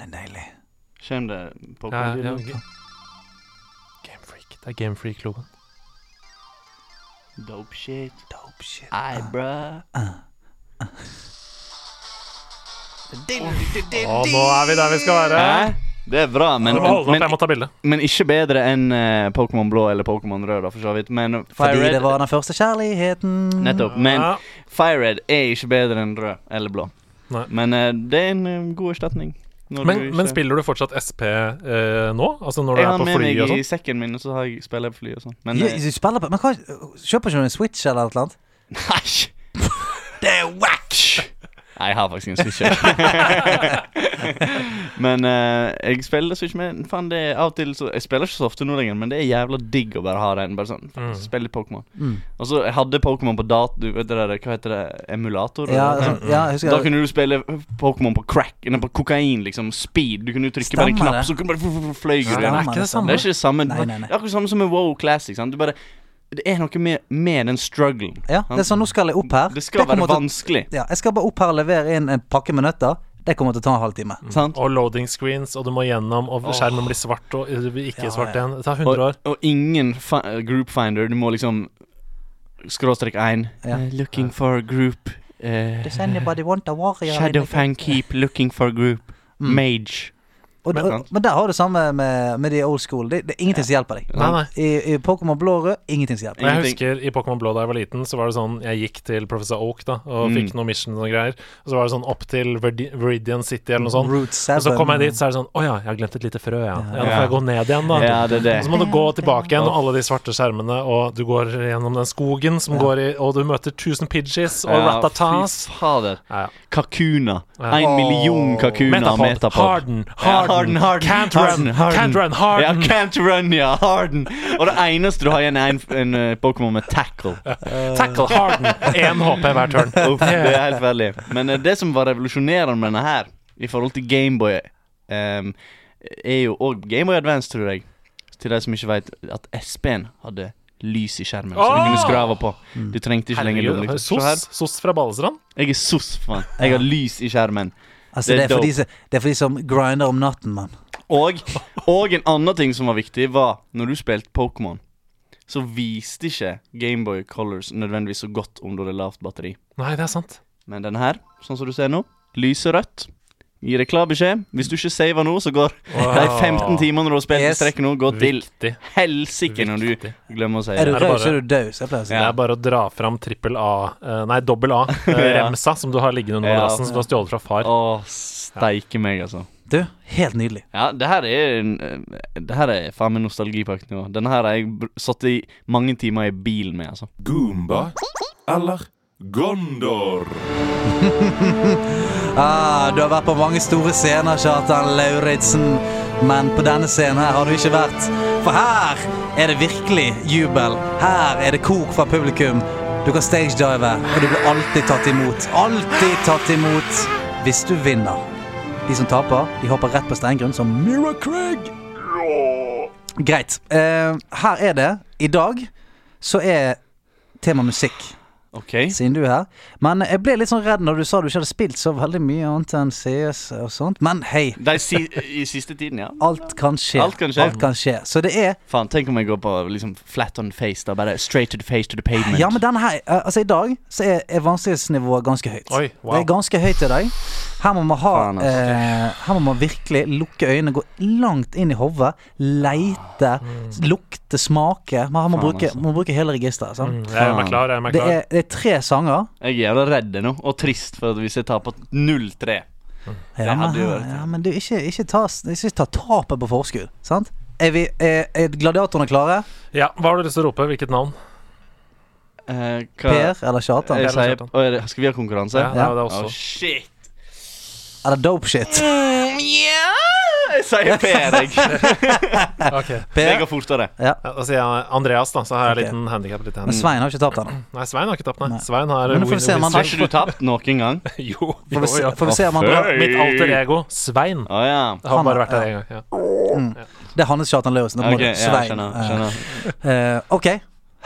Det er deilig. Kjem det Ja, Pokémon? ja, ja. Game Freak. Det er Game Freak-logoen. Dope shit. Dope shit. Ei, bruh. Å, nå er vi der vi skal være. Hæ? Det er bra, men, Jeg må holde opp, men jeg må ta bilde. Men ikke bedre enn eh, Pokémon blå eller Pokémon rød, da, for så vidt. Men Fire Fordi Red det var Mm. den første kjærligheten. Nettopp. Men Ja. Fire Red er ikke bedre enn rød eller blå. Nei. Men eh, det er en eh, god erstatning. når Men, du ikke- men spiller du fortsatt SP eh, nå? Altså når du Jeg er har på med fly og meg i sånn? sekken min, og så har jeg, spiller jeg på fly og sånn. Men Ja, eh, du spiller på Men hva, kjøper ikke du en Switch eller noe annet? Nei! Det er wack! Nei, jeg har faktisk en Switch. jeg. men eh, jeg spiller Switch med Faen, det er av og til så Jeg spiller ikke så ofte nå lenger, men det er jævla digg å bare ha den. Bare sånn, faen, Spille litt Pokémon. Mm. Og så jeg hadde Pokémon på dat... Du vet det der, hva heter det? Emulator? Ja, eller? sånn, ja, jeg husker Da kunne du spille Pokémon på crack Nei, på kokain, liksom. Speed. Du kunne jo trykke på en Stemmer knapp, det. så kunne du bare fløy du Det igjen. er ikke det samme. Det er ikke det samme. Nei, nei, nei. Det er akkurat samme som med WoW Classic. Sant? Du bare, det er noe med, med den strugglen. Ja, det er sånn, nå skal jeg opp her. Det skal være kommer til- vanskelig. Ja, jeg skal bare opp her og levere inn en pakke med nøtter. Det kommer til å ta en halvtime. Sant? Og loading screens, og du må gjennom, og skjermen blir svart og det blir ikke Ja, svart ja. igjen. Det tar 100 Og, år. og ingen fa eh, group finder. Du må liksom Skråstrek 1. Ja. Eh, looking for a group. eh, There's anybody want a warrior in the- Shadowfang keep looking for a group. Mm. Mage. Og, Men- og, men der har du samme med, med de old school. Det, det er ingenting som hjelper deg. Nei, nei. I, i Pokémon blå og rød, ingenting som hjelper. Og Jeg Ingenting. husker I Pokémon Blå da jeg var liten, så var det sånn Jeg gikk til Professor Oak da og Mm. fikk noen missions og greier. Og så var det sånn opp til Verdi- Veridian City eller noe sånt. Route 7. Og så kom jeg dit, så er det sånn Å ja, jeg har glemt et lite frø, ja. Ja, Da får Ja. jeg gå ned igjen, da. Ja, det er det. Og så må du gå tilbake igjen, og alle de svarte skjermene, og du går gjennom den skogen som går i Og du møter 1000 pidgeys og Ja, ratatas. Fy fader. Ja, ja. Kakuna. Ja. En million kakuner av Metapod. Metapod. Harden, harden, can't run, can't run, harden. Ja, can't run, ja. Harden. Og det eneste du har igjen, er en, en eh, Pokémon med tackle. Tackle Harden. Én HP hver turn. Uff, det er helt veldig. Men eh, det som var revolusjonerende med denne her, i forhold til Gameboy, um, er jo òg Gameboy Advance, tror jeg, til de som ikke veit, at SP-en hadde lys i skjermen, som du kunne skrave på. Du trengte ikke lenger Herregud, lommelykt. Se her. SOS, SOS fra Balestrand. Jeg er sos, faen. Jeg har lys i skjermen. altså, det, det er er for de, dope. som- det er for de som grinder om natten, mann. Og, og en annen ting som var viktig, var når du spilte Pokémon, så viste ikke Gameboy Colors nødvendigvis så godt om du hadde lavt batteri. Nei, det er sant. Men denne her, sånn som du ser nå, lyser rødt. Gir deg klar beskjed. Hvis du ikke saver nå, så går de 15 timene du har spilt i Yes. strekk nå, går til Viktig. helsike når du Viktig. glemmer å Er save. du Er det rød, bare- så er du død. Så jeg pleier å si. Det er bare å dra fram trippel A eh, Nei, dobbel Ja. A-remsa som du har liggende under Ja. madrassen, som du har stjålet fra far. Å, steike meg, altså. Du, helt nydelig. Ja, det her er en- eh, Det her er faen meg nostalgipakt nå. Denne her har jeg br- satt i mange timer i bil med, altså. Goomba eller Gondor? Ah, du har vært på mange store scener, Kjartan Lauritzen. Men på denne scenen her har du ikke vært. For her er det virkelig jubel. Her er det kok fra publikum. Du kan stagedive, og du blir alltid tatt imot. Alltid tatt imot hvis du vinner. De som taper, de hopper rett på steingrunn som Mira Craig. Greit. Eh, her er det. I dag så er tema musikk, OK. siden du er her. Men jeg ble litt sånn redd når du sa du ikke hadde spilt så veldig mye annet enn CS og sånt. Men hei, De si, I siste tiden, ja. alt kan skje. Alt kan skje. Alt kan skje. Så det er Faen, tenk om jeg går på liksom flat on face, da. Bare straight to the face to the pavement. Ja, men denne her eh, Altså, i dag så er, er vanskelighetsnivået ganske høyt. Oi, wow. Det er ganske høyt i dag. Her må man ha Faen, altså. eh, Her må man virkelig lukke øynene, gå langt inn i hodet, leite, lukte, smake. Man her må, Faen, bruke, altså. må bruke hele registeret. sant? Jeg gjør meg klar. Mm, Jeg gjør meg Det klar. er, det er tre sanger. Jeg er jævla redd nå, og trist for at hvis jeg taper 0-3 Ja, men, hadde jo vært- ja, men du, ikke, ikke, ta, ikke ta tapet på forskudd. Sant? Er, vi, er, er gladiatorene klare? Ja, hva har du lyst til å rope? Hvilket navn? Eh, hva Per eller Kjartan? Jeg sier, Kjartan. Å, er det- Skal vi ha konkurranse? Ja, det er det Å, også. shit. Eller dope shit? Mm, ja Jeg sier Per, jeg. Ok. Jeg Per? går fortere. Ja, da sier jeg Andreas, da, så har jeg Ok. en liten handikap. Litt Men handicap. Svein har ikke tapt ennå. Nei, Svein har ikke tapt, nei. Nei. Svein har Men nå får vi win- se om han- Har win- ikke du tapt noen gang? Jo, Får vi jo, se, ja. får vi se om han drar Føy. Mitt alter ego, Svein. Å ja. Det har Han- bare vært der én gang. Ja. Det er Hannes Kjartan Lauritzen. Ok, Okay, ja, Svein. skjønner, eh, skjønner. Eh, ok,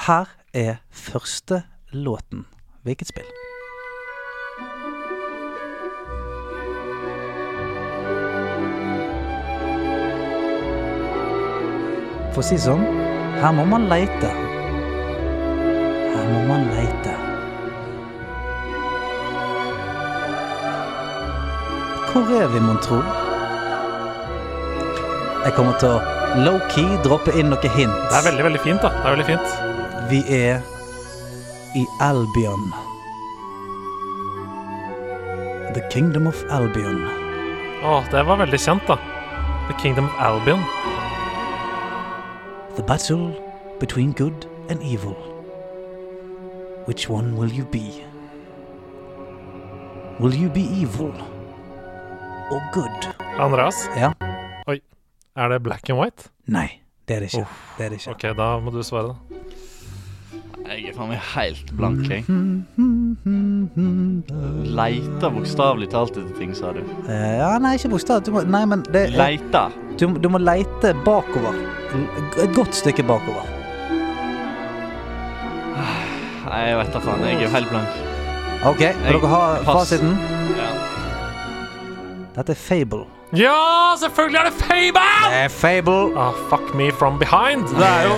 her er første låten. Hvilket spill? For å si det sånn, her må man leite. Her må man leite. Hvor er vi, mon tro? Jeg kommer til å low-key droppe inn noen hint. Det er veldig, veldig fint, da. Det er veldig fint. Vi er i Albion. The Kingdom of Albion. Å, det var veldig kjent, da. The Kingdom of Albion. The battle between good and evil. Which one will you be? Will you be evil or good? Andreas, Ja. er det black and white? Nei, det er det ikke. Det er det ikke. Ok, da må du svare, da. Jeg er faen meg helt blank, jeg. Leita bokstavelig talt etter ting, sa du. Eh, ja, nei, ikke bokstav. Du må, nei, men det, Leita. du, du må leite bakover. Et godt stykke bakover. Nei, jeg vet da faen. Jeg er jo helt blank. Ok, vil dere ha pass. fasiten? Ja. Dette er Fable. Ja, selvfølgelig er det Fable! Det er Fable. Ah, fuck me from behind. Det er jo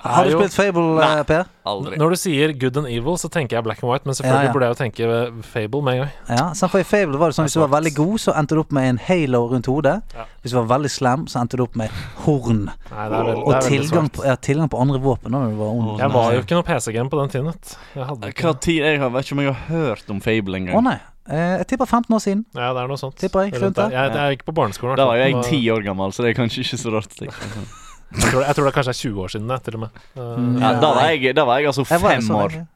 Har du jo- spilt Fable, eh, Per? Aldri. Når du sier good and evil, så tenker jeg black and white, men selvfølgelig Ja, ja. burde jeg jo tenke eh, Fable med en gang. Ja, sant, for I Fable var det sånn hvis du var veldig god, så endte du opp med en halo rundt hodet. Hvis du var veldig slem, så endte du opp med horn. Nei, det er veldig, Og det er veldig tilgang svart. på, ja, tilgang på andre våpen. da, Når du var ond. Å, Jeg var jo ikke noe PC-game på den tiden. vet du. Jeg hadde ikke Hva tid jeg har, vet ikke om jeg har hørt om Fable Å engang. nei. Eh, jeg tipper 15 år siden. Ja, det er noe sånt. Tipper jeg, Rundt skjønte der. Jeg, jeg gikk på barneskolen. i Da var hvert jo jeg fall. Det ti år gammel, så det er kanskje ikke så rart. liksom. Jeg tror, det- jeg tror det kanskje er 20 år siden, det, til og med. Mm. Eh, Ja, da, var jeg, da var jeg altså Jeg var jo fem så år. lenge.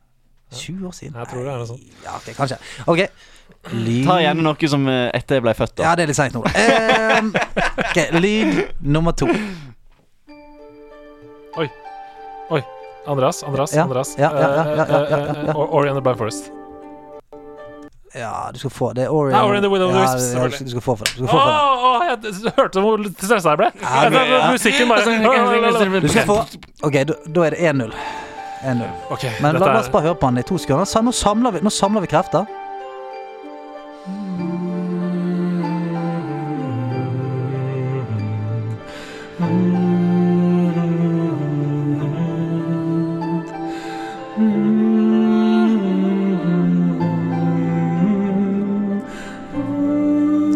20 år siden. Jeg tror det er noe sånt. Nei, Ja, ok, kanskje. Ok. Lyd Ta gjerne noe som eh, etter jeg ble født, da. Mm. Ja, det er litt seint nå. da. Eh, ok, Lyd nummer to. Andreas, Andreas, Ja, Andreas. ja, ja, ja, ja, ja, ja, ja. Eh, eh, Or- Ori and the Blind Forest. Ja, du skal få. Det er Ori. Ja, Ori and the Will of the Ja, Wisps, ja, selvfølgelig. du skal få for det. Du skal Åh, få for det. åh, jeg d- hørte hvor stressa jeg ble. Ja, men- Jeg- jeg- Musikken bare Du skal sånn få Ok, da, da er det 1-0. 1-0. Ok, Men la, dette la oss er- bare høre på han i to sekunder. Så nå, samler vi, nå samler vi krefter.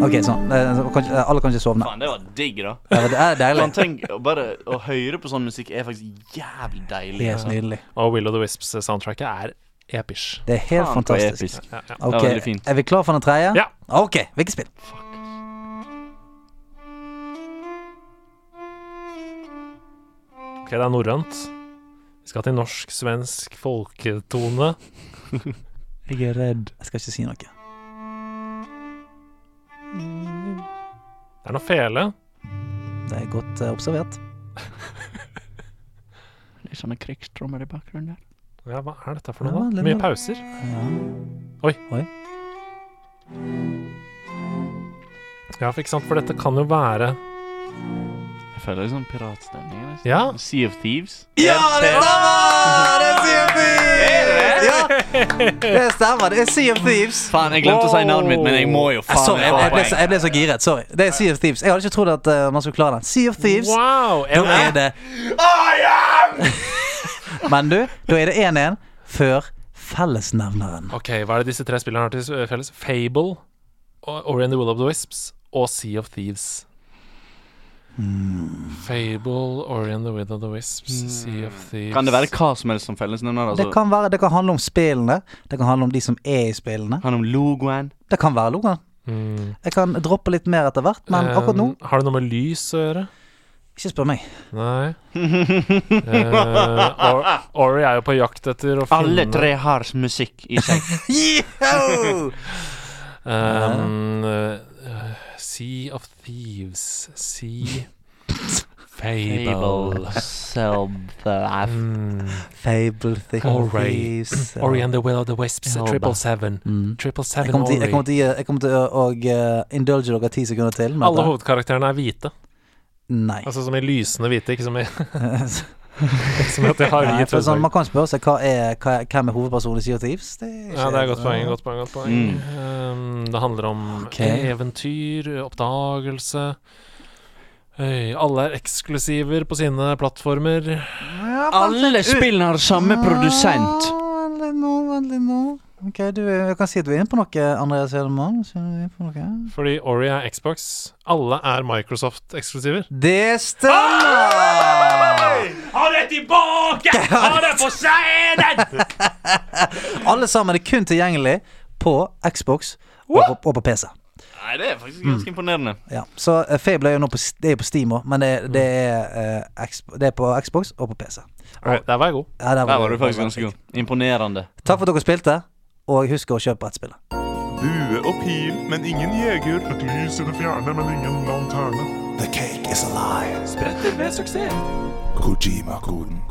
Ok, sånn. Eh, så kan ikke- eh, Alle kan ikke sovne. Faen, det var digg, da. Ja, Det er deilig. Sånn, tenk, å bare Å høre på sånn musikk er faktisk jævlig deilig. altså. Helt nydelig. Og Will of the Wisps-soundtracket er episk. Det er helt Faen, så fantastisk. episk. Ja, ja. Ok, Det var veldig fint. Er vi klar for den tredje? Ja. Ok, hvilket spill? Ok, det er norrønt. Vi skal til norsk, svensk, folketone. Jeg er redd. Jeg skal ikke si noe. Det er noe fele. Det er godt eh, observert. Litt sånne krigstrommer i bakgrunnen der. Ja, hva er dette for Ja, noe, da? litt- Mye pauser. Ja. Oi. Oi. Ja, for ikke sant, for dette kan jo være Jeg føler litt sånn piratstemning. eller? Ja. Sånn Sea of Thieves. Ja, det stemmer! Det er Sea of Thieves! Ja, det stemmer. Det er Sea of Thieves. Eh, Faen, jeg glemte å si navnet mitt, men jeg må jo faen Sorry, meg jeg få jeg ble, poeng. så, jeg ble så giret. Sorry. Det er Sea of Thieves. Jeg hadde ikke trodd at eh, man skulle klare den. Sea of Thieves. Wow! Da en- er det Men du, da er det 1-1 før fellesnevneren. Ok, hva er det disse tre spillerne har til s- felles? Fable, O- Ori and the Will of the Wisps og Sea of Thieves. Fable, Ori and the Will of the Wisps, Sea of Hmm. Thieves Kan det være hva som helst som fellesnevner? Det Altså, kan, være, det kan handle om spillene. Det kan handle om de som er i spillene. Han om logoen. Det kan være logoen. Mm. Jeg kan droppe litt mer etter hvert, men akkurat nå Um, Har det noe med lys å gjøre? ikke spør meg. Nei. Eh, Or Ori er jo på jakt etter å finne Alle tre har musikk i seg. Yeeho! Um, eh, sea of Thieves, Sea Fable. Mm. Fable Thick Ori. Thieves, Ori and the Will of the Wisps, Elba. Triple Seven. Mm. Triple Jeg Seven kommer til, jeg Ori. kommer til, å gi- jeg kommer til å og, eh, indulge dere ti sekunder til. med Alle dette. hovedkarakterene er hvite. Nei. Altså som i lysende hvite, ikke som i ikke som at jeg har Nei, hvit for sånn, hudfarge. man kan spørre seg hva er, hva er, hvem er hovedpersonen i Sea of Thieves. Det er, ikke- Ja, det er godt poeng. Godt poeng, godt poeng. Mm. Um, det handler om Ok. eventyr, oppdagelse Øy, Alle er eksklusiver på sine plattformer. Ja, Alle spillene har samme produsent. Ah, Vent litt nå, vent litt nå. Ok, du, er- jeg kan si at du er inne på noe, Andreas Hedemann. Så er du inne på noe. Fordi Ori er Xbox. Alle er Microsoft-eksklusiver. Det stemmer! Ha det tilbake! Ha det for scenen! Alle sammen er kun tilgjengelig på Xbox og på, og på PC. Nei, det er faktisk Mm. ganske imponerende. Ja. Så eh, Fable er jo nå på, det er jo på Steam òg, men det, Mm. det, er, eh, Xbox- det er på Xbox og på PC. Der var jeg god. Ja, Der var du faktisk ganske god. Imponerende. Takk for at dere spilte, og husk å kjøpe brettspillet. Bue og pil, men ingen jeger. Et lys i det fjerne, men ingen lanterne. The cake is a lie. Spretter med suksess. Kojima-koden.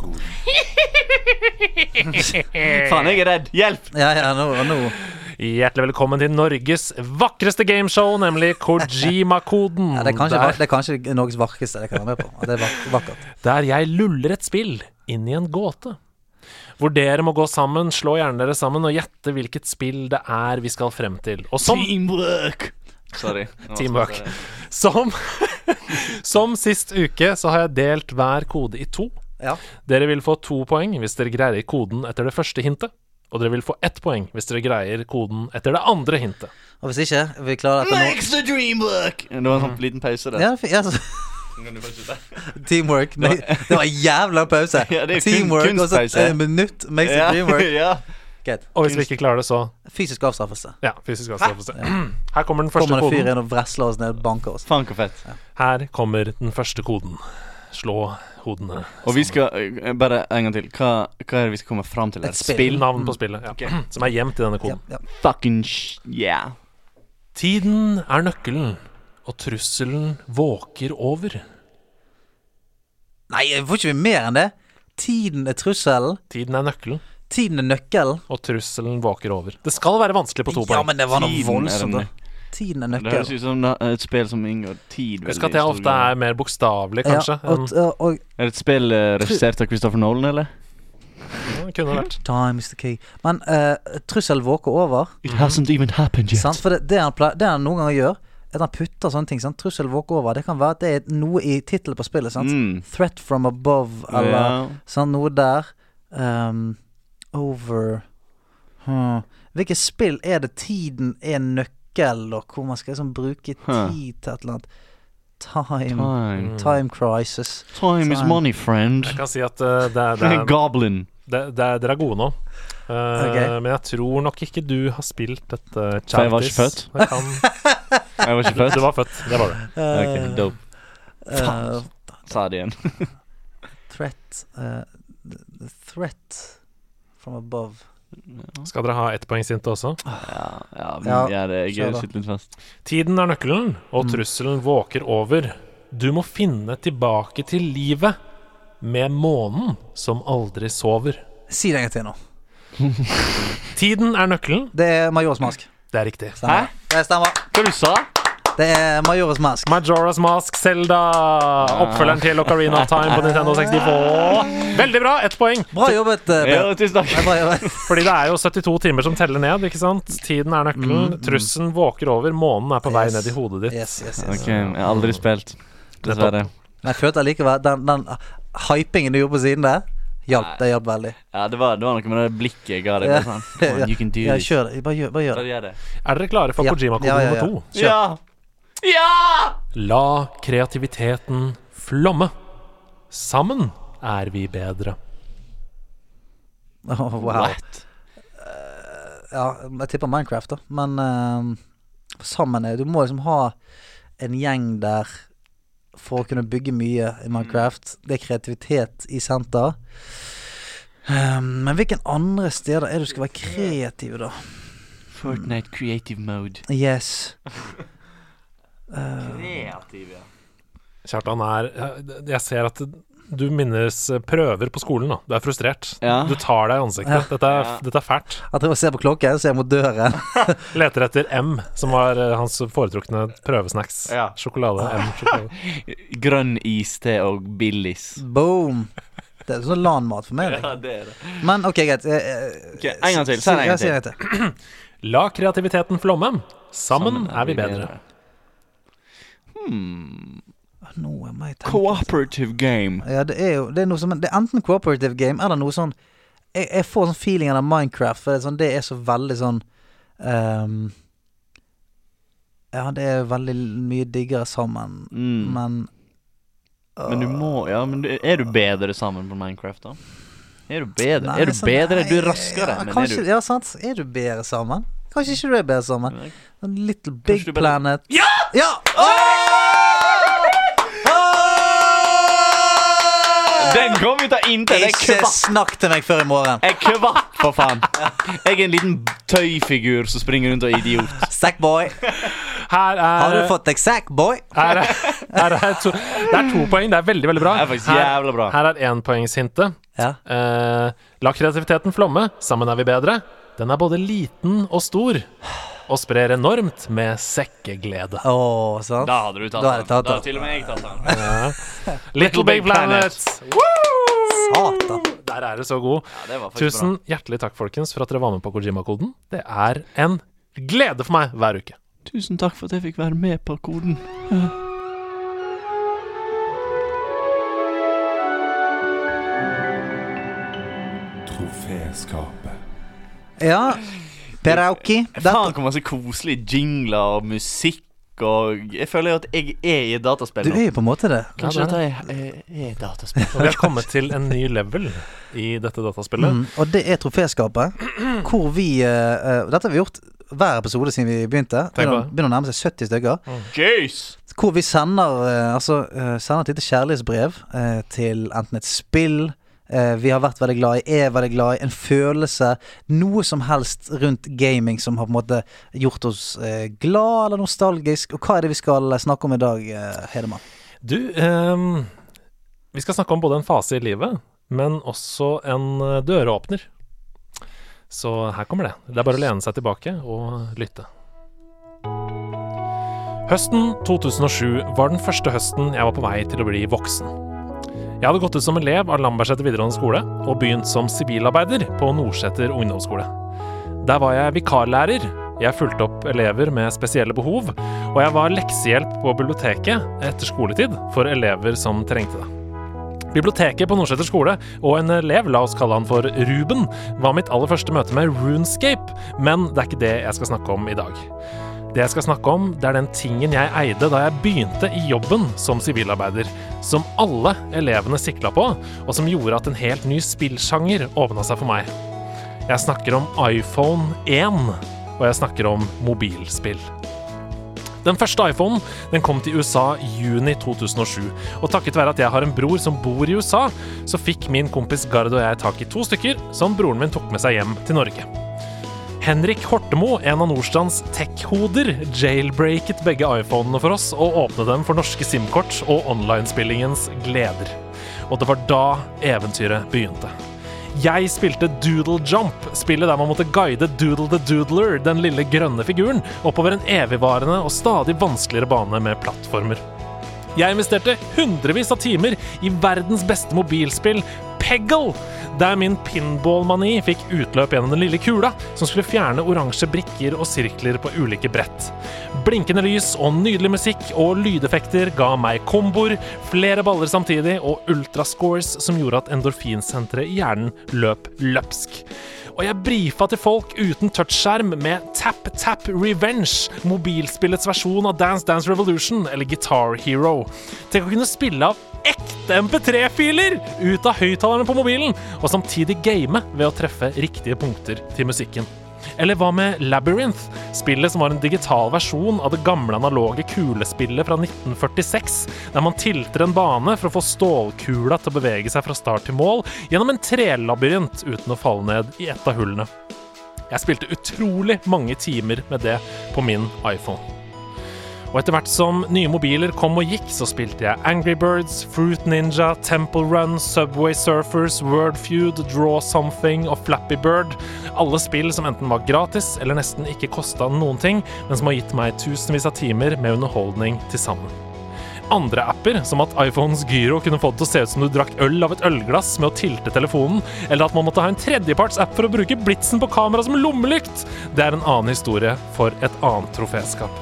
Eh. Faen, jeg er redd. Hjelp! Ja, ja, nå, nå. Hjertelig velkommen til Norges vakreste gameshow, nemlig Kojima-koden. Ja, det, er kanskje, der, det er kanskje Norges vakreste jeg kan være med på. og Det er vak- vakkert. der jeg luller et spill inn i en gåte. Hvor dere må gå sammen, slå gjerne dere sammen og gjette hvilket spill det er vi skal frem til. Og som Teamwork! Sorry. Teamwork. Som, som sist uke så har jeg delt hver kode i to. Ja. Dere vil få to poeng hvis dere greier koden etter det første hintet. Og dere vil få ett poeng hvis dere greier koden etter det andre hintet. Og hvis ikke, vi klarer dette nå. Makes the dream work! Det var en sånn liten pause der. Ja, fi- ja, så- teamwork. Nei, Det var en jævla pause. Ja, det er kun- Teamwork, og så kunstpause. et minutt makes it Ja, dreamwork. ja. Greit. Og hvis vi ikke klarer det, så Fysisk avstraffelse. ja, fysisk avstraffelse. Her kommer den første Kommer det en fyr koden. inn og vresler oss ned og banker oss. Faen, hvor fett. Her kommer den første koden. Slå hodene. Og vi skal eh, Bare en gang til. Hva, hva er det vi skal komme fram til? Et her? spill. Navn på spillet, ja. som er gjemt i denne Ja, koden. ja. Fucking sh... Yeah. Tiden er nøkkelen, og trusselen våker over. Nei, får ikke vi mer enn det? Tiden er trusselen. Tiden er nøkkelen, Tiden er nøkkelen. og trusselen våker over. Det skal være vanskelig på to Ja, poeng. men det var noe Tiden er voldsomt. da. nøkkelen. Tiden er Det høres nøkkelen. ut som na- et spill som inngår tid. Husk veldig at jeg stor ofte grad. er mer bokstavelig, Ja, kanskje. og, og, og Er det et spill eh, regissert av Christopher Nolan, eller? enn kunne vært. Time is the key. Men eh, trussel våker over. It hasn't even happened Sant? For det, det, han pleier, det han noen ganger gjør, er at han putter sånne ting. Sant? Trussel våker over. Det kan være at det er noe i tittelen på spillet. Sant? Mm. Threat from above, eller Ja. sånn noe der. Ehm, over hmm. Hvilket spill er det tiden er nøkkel, og hvor man skal liksom bruke tid Huh. til et eller annet? Time Time. Mm. Mm. Time crisis. Time is Time. money, friend. Mm. Jeg kan si at eh, det er, det er, Goblin. det, det er, dere er gode nå. Eh, Ok. Men jeg tror nok ikke du har spilt dette eh, For jeg var ikke Charities. Det kan- Jeg var ikke født. Du var født, det var du. Ok, dope. Eh, eh, Sa det igjen. threat eh, the Threat from above. Skal dere ha ettpoengshinte også? Ja, ja, men, Ja, ja det, jeg kjør da. sitter litt fast. Tiden er nøkkelen, og trusselen våker over. Du må finne tilbake til livet med månen som aldri sover. Si det en gang til nå. Tiden er nøkkelen. Det er Majors mask. Det er riktig. Sånn Stemmer. Det stemmer. Hva du sa Det er Majoras Mask. Majora's Mask, Zelda Ah. Eh, Oppfølgeren til Ocarina of Time på Nintendo 64. Veldig bra! Ett poeng. Bra jobbet, eh, Ja, Per. tusen takk. Det er Bra jobbet. Fordi det er jo 72 timer som teller ned. ikke sant? Tiden er nøkkelen. Trusselen våker over. Månen er på vei Mm. Yes. ned i hodet ditt. Yes, yes, yes. Ok, jeg har aldri spilt, dessverre. Men jeg følte allikevel den, den hypingen du gjorde på siden der, hjalp. Det hjalp veldig. Ja, det var, det var noe med det blikket jeg ga deg. bare Sånn. Come on, you can do Ja, this. kjør det. Bare gjør, bare gjør Bare det. gjør det. Er dere klare for Ja. Kojima-kode Ja, ja, ja. nummer to? Ja! Ja! La kreativiteten flomme. Sammen er vi bedre. Åh, Oh, wow. Eh, What? Ja, jeg tipper Minecraft, da. Men ehm, sammen er Du må liksom ha en gjeng der for å kunne bygge mye i Mm. Minecraft. Det er kreativitet i senter. Ehm, men hvilken andre steder er det du skal være kreativ, da? Fortnite creative mode. Yes. Kreativ, ja. Kjartan er eh, jeg- Jeg ser at du minnes prøver på skolen. da Du er frustrert. Ja. Du tar deg i ansiktet. Dette er, dette er fælt. Jeg driver og ser på klokken, ser mot døren. Leter etter M, som var eh, hans foretrukne prøvesnacks. Ja. Sjokolade. M, sjokolade. Grønn iste og Billies. Boom! Det er sånn LAN-mat for meg. det. Ja, det er det. Men ok, greit. eh, eh, Ok, en gang til. Si det en ja, gang si det til. en gang til. La kreativiteten flomme. Sammen, er vi bedre. Nå er meg tenkt- Hmm. Cooperative game. Ja, det er jo det er noe som Det er enten cooperative game eller noe sånn Jeg, jeg får sånn feelingen av Minecraft, for det er, sånn, det er så veldig sånn ehm, Ja, det er veldig mye diggere sammen, Mm. men Men du må Ja, men du- er du bedre sammen på Minecraft, da? Er du bedre? Nei, er du sånn- bedre? Du er nei, raskere, ja, men kanskje, er du Ja, sant. Er du bedre sammen? Kanskje ikke du er bedre sammen. Nei. Little Big du er bedre- Planet. Ja! ja! Den kom ut av intet! Jeg Ikke kvapp! snakk til meg før i morgen. Jeg kvapp, for faen! Jeg er en liten tøyfigur som springer rundt og er idiot. Sackboy. Her Har du er, fått deg sackboy? her er, her er to, Det er to poeng. Det er veldig, veldig bra. Det er faktisk Her- jævla bra. Her er enpoengshintet. Ja. Eh, la kreativiteten flomme, sammen er vi bedre. Den er både liten og stor, og sprer enormt med sekkeglede. Å, sant? Da hadde du tatt Da hadde den. jeg tatt Da den. hadde til og med jeg tatt den. Little Big Planet! Satan. Der er du så god. Ja, det var faktisk Tusen hjertelig takk, folkens, for at dere var med på Kojima-koden. Det er en glede for meg hver uke. bra. Tusen takk for at jeg fikk være med på koden. Troféskapet. Ja. Perauki. Faen, Dette, hvor masse koselige jingler og musikk og Jeg føler jo at jeg er i et dataspill du nå. er jo på en måte det. Ja, Kanskje det at jeg er- er i et dataspill. Og vi har kommet til en ny level i dette dataspillet. Mm, og det er troféskapet, hvor vi eh, eh, Dette har vi gjort hver episode siden vi begynte. Tenk på Mm. Begynner, det. begynner å nærme seg 70 stykker. Jeez! Hvor vi sender, eh, altså, eh, sender et lite kjærlighetsbrev eh, til enten et spill eh, vi har vært veldig glad i, er veldig glad i, en følelse, noe som helst rundt gaming som har på en måte gjort oss eh, glad eller nostalgisk. Og hva er det vi skal eh, snakke om i dag, eh, Hedemann? Du, ehm, vi skal snakke om både en fase i livet, men også en eh, døråpner. Så her kommer det. Det er bare å lene seg tilbake og lytte. Høsten 2007 var den første høsten jeg var på vei til å bli voksen. Jeg hadde gått ut som elev av Lambertseter videregående skole og begynt som sivilarbeider på Nordseter ungdomsskole. Der var jeg vikarlærer. Jeg fulgte opp elever med spesielle behov, og jeg var leksehjelp på biblioteket etter skoletid for elever som trengte det. Biblioteket på Nordseter skole og en elev, la oss kalle han for Ruben, var mitt aller første møte med Runescape, men det er ikke det jeg skal snakke om i dag. Det jeg skal snakke om, det er den tingen jeg eide da jeg begynte i jobben som sivilarbeider, som alle elevene sikla på, og som gjorde at en helt ny spillsjanger åpna seg for meg. Jeg snakker om iPhone 1, og jeg snakker om mobilspill. Den første iPhonen den kom til USA i juni 2007, og takket være at jeg har en bror som bor i USA, så fikk min kompis Gard og jeg tak i to stykker som broren min tok med seg hjem til Norge. Henrik Hortemo, en av Nordstrands tech-hoder, jailbreaket begge iPhonene for oss og åpnet dem for norske SIM-kort og online-spillingens gleder. Og det var da eventyret begynte. Jeg spilte Doodle Jump, spillet der man måtte guide Doodle the Doodler, den lille grønne figuren, oppover en evigvarende og stadig vanskeligere bane med plattformer. Jeg investerte hundrevis av timer i verdens beste mobilspill, Peggle, der min pinballmani fikk utløp gjennom den lille kula som skulle fjerne oransje brikker og sirkler på ulike brett. Blinkende lys og nydelig musikk og lydeffekter ga meg komboer, flere baller samtidig og ultrascores som gjorde at endorfinsenteret i hjernen løp løpsk. Og jeg brifa til folk uten touchskjerm med Tap Tap Revenge, mobilspillets versjon av Dance Dance Revolution eller Guitar Hero. Tenk å kunne spille av ekte MP3-filer ut av høyttalerne på mobilen, og samtidig game ved å treffe riktige punkter til musikken. Eller hva med Labyrinth, spillet som var en digital versjon av det gamle analoge kulespillet fra 1946, der man tilter en bane for å få stålkula til å bevege seg fra start til mål gjennom en trelabyrint uten å falle ned i et av hullene. Jeg spilte utrolig mange timer med det på min iPhone. Og etter hvert som nye mobiler kom og gikk, så spilte jeg Angry Birds, Fruit Ninja, Temple Run, Subway Surfers, Word Feud, Draw Something og Flappy Bird. Alle spill som enten var gratis eller nesten ikke kosta noen ting, men som har gitt meg tusenvis av timer med underholdning til sammen. Andre apper, som at iPhones gyro kunne få det til å se ut som du drakk øl av et ølglass med å tilte telefonen, eller at man måtte ha en tredjeparts-app for å bruke blitsen på kamera som lommelykt, det er en annen historie for et annet troféskap.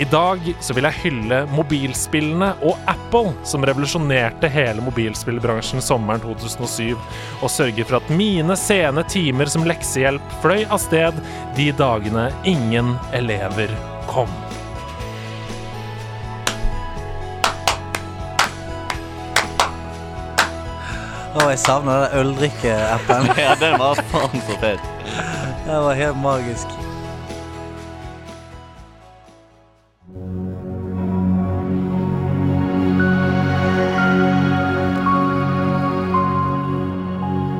I dag så vil jeg hylle mobilspillene og Apple, som revolusjonerte hele mobilspillbransjen sommeren 2007, og sørge for at mine sene timer som leksehjelp fløy av sted de dagene ingen elever kom. Å, jeg savner den øldrikkeappen. Ja, den var faen så fet. Det var helt magisk.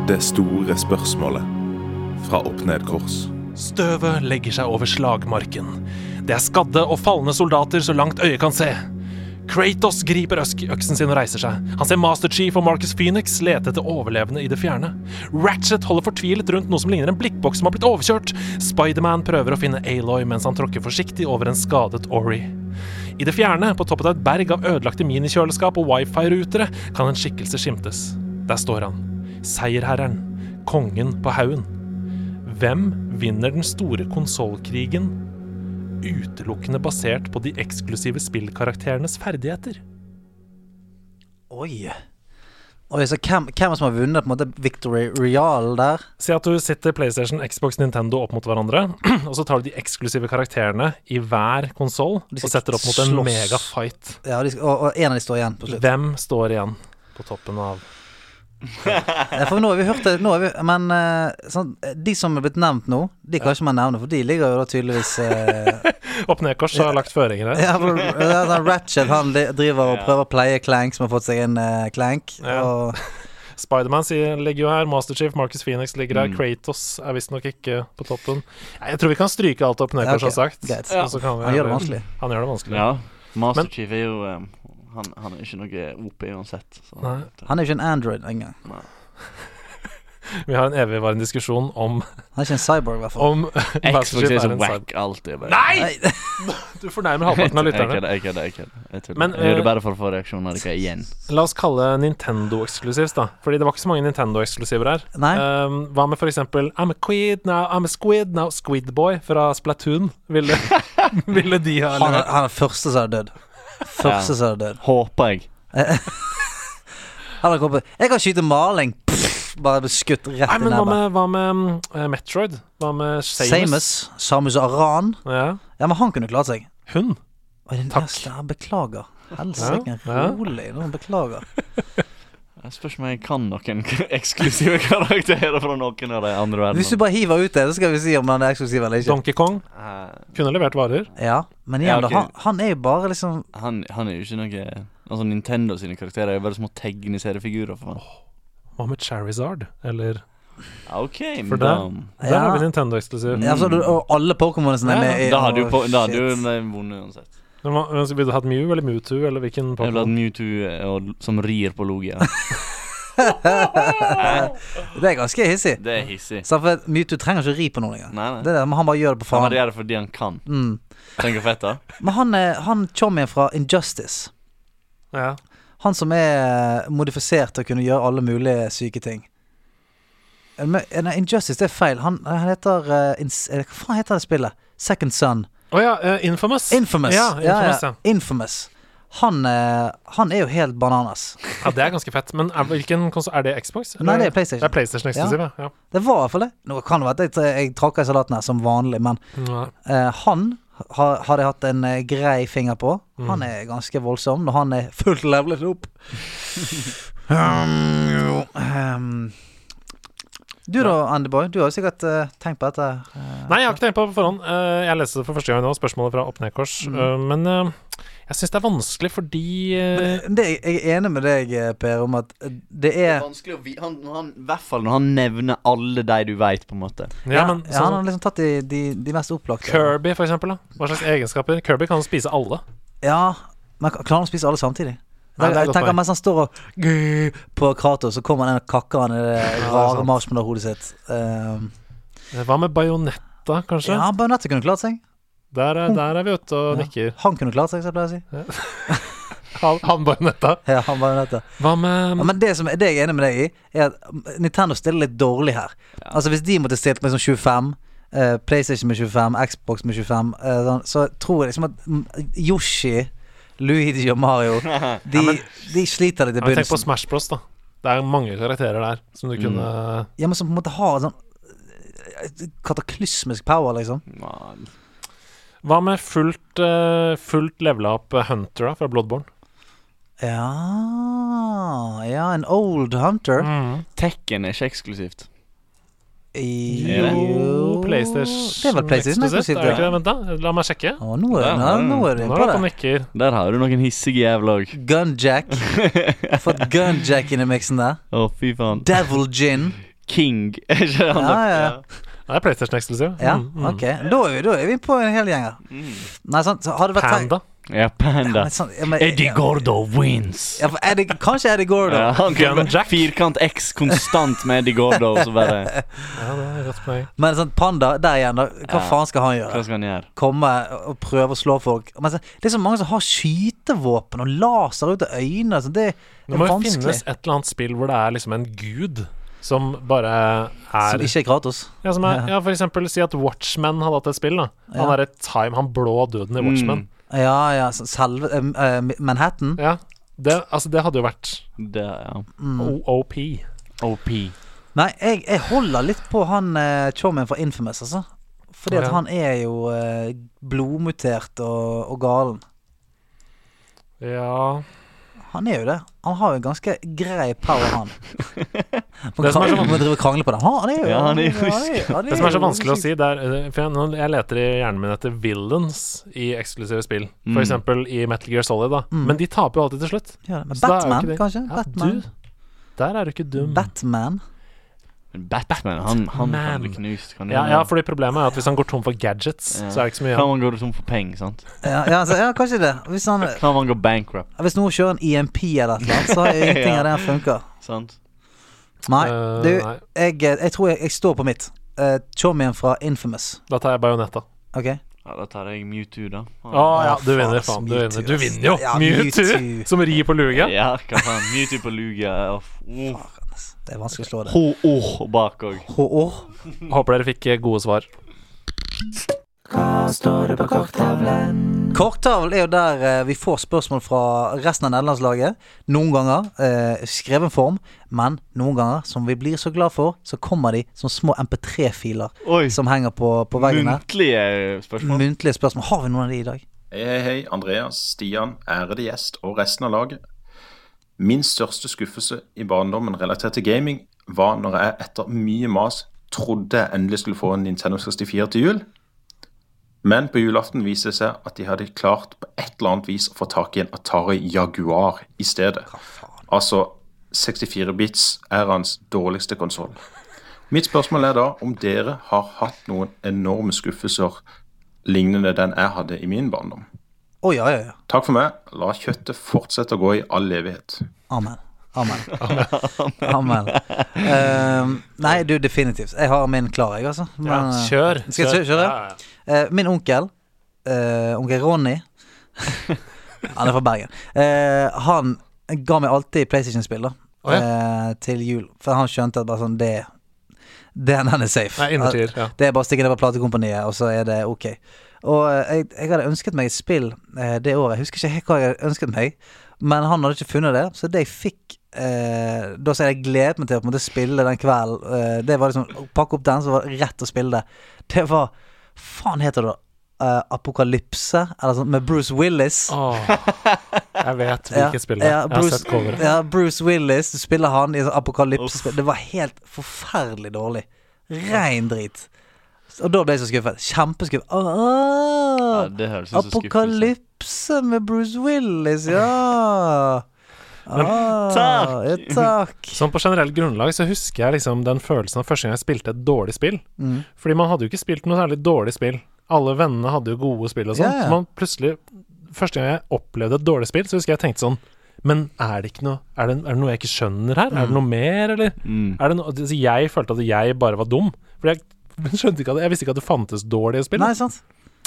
Det store spørsmålet fra opp ned kors. Støvet legger seg over slagmarken. Det er skadde og falne soldater så langt øyet kan se. Kratos griper øsk øksen sin og reiser seg. Han ser Master Chief og Marcus Phoenix lete etter overlevende i det fjerne. Ratchet holder fortvilet rundt noe som ligner en blikkboks som har blitt overkjørt. Spiderman prøver å finne Aloy mens han tråkker forsiktig over en skadet Ori. I det fjerne, på toppen av et berg av ødelagte minikjøleskap og wifi-rutere, kan en skikkelse skimtes. Der står han. Seierherren. Kongen på haugen. Hvem vinner den store konsollkrigen utelukkende basert på de eksklusive spillkarakterenes ferdigheter? Oi. Oi, så hvem, hvem er det som har vunnet på en måte Victory Real der? Si at du setter PlayStation, Xbox, Nintendo opp mot hverandre, og så tar du de eksklusive karakterene i hver konsoll og skal setter opp mot en slåss. megafight. Ja, de, og, og en av de står igjen på slutt. Hvem står igjen på toppen av Ja, For nå har vi hørt det, nå har vi, men eh, sånn, de som er blitt nevnt nå, de kan ikke man nevne, for de ligger jo da tydeligvis eh, Opp ned-kors har lagt føringer her. Ja, for ja, sånn Ratchet han li- driver og prøver å pleie Clank, som har fått seg en eh, Clank. Ja. Og Spiderman sier- ligger jo her, Masterchief, Marcus Phoenix ligger Mm. her, Kratos er visstnok ikke på toppen. Nei, Jeg tror vi kan stryke alt opp Ja, ned-kors ok, har sagt. greit. og så kan vi- han gjør det vanskelig. Han gjør det vanskelig. Ja. Master Men- Chief er jo eh, han, han er jo ikke noe OP uansett. Så. Nei. Han er jo ikke en Android engang. Vi har en evigvarende diskusjon om Han er ikke en cyborg, i hvert fall. Om Xbox Masterchef er er så en cyber- wack alltid. Bare. Nei! Nei, Du fornærmer halvparten av Jeg lytterne. kødder, jeg kødder. Jeg kødder. Jeg tuller. Men, Jeg gjør eh, det bare for å få reaksjoner ikke igjen. La oss kalle Nintendo eksklusivt, da. Fordi det var ikke så mange Nintendo-eksklusiver her. Nei. Um, hva med for eksempel I'm a quid now, I'm a squid now, Squidboy fra Splatoon? Ville, ville de ha Han er, han er første som er dødd. Første som er dødd. Håper jeg. Han har kommet på Jeg kan skyte maling! Pff, bare ble skutt Nei, rett i men hva nebbet. med, hva med um, eh, Metroid? Hva med Samus? Samus. Samus Aran. Ja. Ja, men han kunne klart seg. Hun? Oi, den Takk. neste her, beklager. Helsike, Ja, ja. rolig. Nå beklager. Jeg spørs om jeg kan noen eksklusive karakterer fra noen av de andre Hvis du verdenene. bare hiver ut det, så skal vi si om han er eksklusiv eller ikke. Donkey Kong? Eh, Kunne levert varer. Ja, men Ja, igjen, da. ok. Han, han er jo bare liksom han, han er jo ikke noe Altså Nintendo sine karakterer er jo bare små tegneseriefigurer. For faen. Hva med Charizard? Eller OK, For da Der har vi Ja. Nintendo-eksklusiv. ja, så, du- Og alle Pokémonene Ja, er med i Da hadde jo Å, på- da hadde shit. jo de vunnet uansett. Men hva- Ville du hatt Mew eller Mewtwo eller hvilken Jeg vil ha Pokémon? Mewtwo eh, og, som rir på Logia. Det er ganske hissig. Det er hissig. Så for at Mewtwo trenger ikke å ri på noen engang. Nei, nei. Det er det, men han bare gjør det på Han bare faen. gjør det fordi han kan. Mm. Tenk hvor fett, da. Men han, er- han chommien fra Injustice Ja. Han som er modifisert til å kunne gjøre alle mulige syke ting. Eh, men- eh, Nei, Injustice, det er feil. Han, han heter eh, ins, eh, Hva faen heter det spillet? Second Son. Å ja, eh, Infamous. Infamous. Ja, Infamous, ja. Infamous. Han, eh, han er jo helt bananas. ja, det er ganske fett. Men er, hvilken konsol Er det Xbox? Nei, det er Det PlayStation. er PlayStation eksklusiv, ja. ja. Det var i hvert fall det. Nå kan det være at jeg, jeg tråkker i salaten her som vanlig, men Ja. eh, han har, har jeg hatt en eh, grei finger på. Mm. Han er ganske voldsom når han er fullt levelet opp. um, jo, um, du da, Andyboy. Du har jo sikkert eh, tenkt på dette. eh, Nei, jeg har ikke tenkt på det på forhånd. Eh, jeg leste det for første gang nå, spørsmålet fra Opp-ned-kors. Mm. Eh, men eh, jeg syns det er vanskelig fordi eh, Men det, jeg er enig med deg, eh, Per, om at eh, det Det er er vanskelig å vi han, når han, I hvert fall når han nevner alle de du veit, på en måte. Ja, men ja, Han sånn har liksom tatt de, de, de mest opplagte. Kirby, for eksempel. Da. Hva slags egenskaper? Kirby kan spise alle. Ja, men klarer han å spise alle samtidig? Nei, det er jeg godt tenker poeng. Mens han står og grrr på Kratos, så kommer den og kakker han i det det er rare sant. marshmallow-hodet sitt. Um, Eh, Hva med bajonetta, kanskje? ja, Bajonetta kunne klart seg. Der, er, der er vi ute og nikker. Han kunne klart seg, som jeg pleier å si. Han, han bajonetta. Ja, han Bayonetta. Hva med Ja, men det, som, det jeg er enig med deg i, er at Nintendo stiller litt dårlig her. Altså Hvis de måtte stilt med sånn 25 eh, PlayStation med 25, Xbox med 25, eh, sånn, så tror jeg liksom at mm, Yoshi, Luigi og Mario De, de sliter litt i ja, men Tenk på begynnelsen. Smash Bros, da. Det er mange karakterer der som Mm. du kunne Ja, men som på en måte har sånn eh, Kataklysmisk power, liksom. Man. Hva med fullt, eh, fullt levela opp Hunter da, fra Bloodborne? Ja Ja, en old hunter. Mm. Tekken er ikke eksklusivt. I- Er det? PlayStation Det er vel PlayStation eksklusivt, eksklusivt, er det ikke ja. det? Vent, da. La meg sjekke. Å, nå er, Ja, nå, nå er du Nå inne er på det på det. nikker. Der har du noen hissige jævla òg. Gunjack. Fått gunjack inn i miksen der. Å, fy faen. Devil gin. King. Er ikke det han Ja, ja, der? Ja, Det er PlayStation eksklusiv. Ja, Mm, mm. ok. Da er, vi, da er vi på en hel gjeng her. Nei, sant. så Hadde det vært Panda. Ja, Panda. Men sant, ja, men- Eddie Gordo wins. Ja, for Eddie, kanskje Eddie Gordo. Ja, han kommer Gunjack. firkant X konstant med Eddie Gordo, og så bare Ja, det er godt poeng. Men sånn panda, der igjen, da. Hva Ja. faen skal han gjøre? Hva skal han gjøre? komme og prøve å slå folk. Men så- det er så mange som har skytevåpen og laser ut av øynene. Så det Det er må jo vanskelig. finnes et eller annet spill hvor det er liksom en gud som bare Som er ikke er gratis. Ja, som er, ja for eksempel si at Watchmen hadde hatt et spill, da. Han Ja. er et time, han blå døden i Watchmen. Ja, ja, så selve eh, eh, Manhattan. Ja. Det, altså, det hadde jo vært Det, ja. Mm. OOP. OP. Nei, jeg, jeg holder litt på han eh, Chomien fra Infamous, altså. Fordi Ja. at han er jo eh, blodmutert og, og galen. Ja Han er jo det. Han har jo en ganske grei power, han. Man Det som er så kan, må drive og krangle på det. Han, han er jo Ja, han er jo han Det som er så jo- vanskelig å si, det er eh, For jeg, nå, jeg leter i hjernen min etter villains i eksklusive spill. For Mm. eksempel i Metal Gear Solid, da. Men de taper jo alltid til slutt. Ja, men Så da er jo Batman, ikke det- kanskje? Ja, Batman. Du, der er du ikke dum. Batman. Men Batman, han, han Batman. kan bli knust. Kan Ja, du- ja, fordi problemet er at hvis han går tom for gadgets, Ja. så er det ikke så mye Kan igjen. man gå tom for penger, sant? Ja, ja, altså, ja kanskje det. Hvis, han, Kan man gå bankrupt, hvis noen kjører en EMP eller et eller annet, så har jo ingenting av det her funka. sant? Nei, Eh, du, nei. jeg, jeg tror jeg, jeg står på mitt. Uh, Chommien fra Infamous. Da tar jeg bajonetta. OK? Ja, da tar jeg Mewtwo, da. Å ja, du faen, vinner, ass, faen. Du Mewtwo, vinner, du ass. vinner jo! Ja, Mewtwo, Mewtwo. som rir på luga. Ja, hva faen. Mewtwo på Lugia. ja, f- Uff. Det er vanskelig å slå det. Ho-oh bak òg. H.O. Håper dere fikk eh, gode svar. Korktavlen er jo der eh, vi får spørsmål fra resten av nederlandslaget. Noen ganger eh, skreven form, men noen ganger, som vi blir så glad for, så kommer de som små MP3-filer Oi. som henger på, på veggen her. Muntlige spørsmål. Muntlige spørsmål. Har vi noen av de i dag? Hei, hei, hei. Andreas, Stian, ærede gjest og resten av laget. Min største skuffelse i barndommen relatert til gaming var når jeg etter mye mas trodde jeg endelig skulle få en Nintendo 64 til jul. Men på julaften viste det seg at de hadde klart på et eller annet vis å få tak i en Atari Jaguar i stedet. Altså 64-bits-æraens dårligste konsoll. Mitt spørsmål er da om dere har hatt noen enorme skuffelser lignende den jeg hadde i min barndom. Å ja, ja, ja. Takk for meg. La kjøttet fortsette å gå i all evighet. Amen. Amen. Amen. Ehm, nei, du, definitivt. Jeg har min klar, jeg, altså. Men, Ja, eh, kjør. Skal jeg kjøre? Ja, ja. Eh, min onkel, eh, onkel Ronny Han er fra Bergen. Eh, han ga meg alltid PlayStation-spill da Å, eh, til jul, for han skjønte at bare sånn det Den, den er safe. Nei, innertier. Ja. Det er bare å stikke ned på platekompaniet, og så er det ok. Og eh, jeg, jeg hadde ønsket meg et spill eh, det året. Jeg husker ikke helt hva jeg hadde ønsket meg, men han hadde ikke funnet det. Så det jeg fikk eh, da som jeg gledet meg til å på en måte spille den kvelden, eh, det var liksom å pakke opp den, så var det rett å spille det. Det var Faen heter det da? Eh, Apokalypse? Eller sånn, med Bruce Willis. Åh, jeg vet Ja, hvilket spill det er. Jeg ja, har Bruce- sett coveret. Ja, Bruce Willis. Du spiller han i sånn apokalypsespill. Det var helt forferdelig dårlig. Rein drit. Og da ble jeg så skuffet. Kjempeskuffet. Ja, Ah, det høres ut som skuffelse. apokalypse med Bruce Willis, ja. Ah, takk. Ja, takk. Sånn på generelt grunnlag så husker jeg liksom den følelsen av første gang jeg spilte et dårlig spill. Mm. Fordi man hadde jo ikke spilt noe særlig dårlig spill. Alle vennene hadde jo gode spill og sånn. Ja, ja. Så man plutselig Første gang jeg opplevde et dårlig spill, så husker jeg jeg tenkte sånn Men er det ikke noe Er det, er det noe jeg ikke skjønner her? Er det noe mer, eller? Mm. Er det noe altså, Jeg følte at jeg bare var dum. Fordi jeg skjønte ikke at Jeg visste ikke at det fantes dårlige spill. Nei, sant?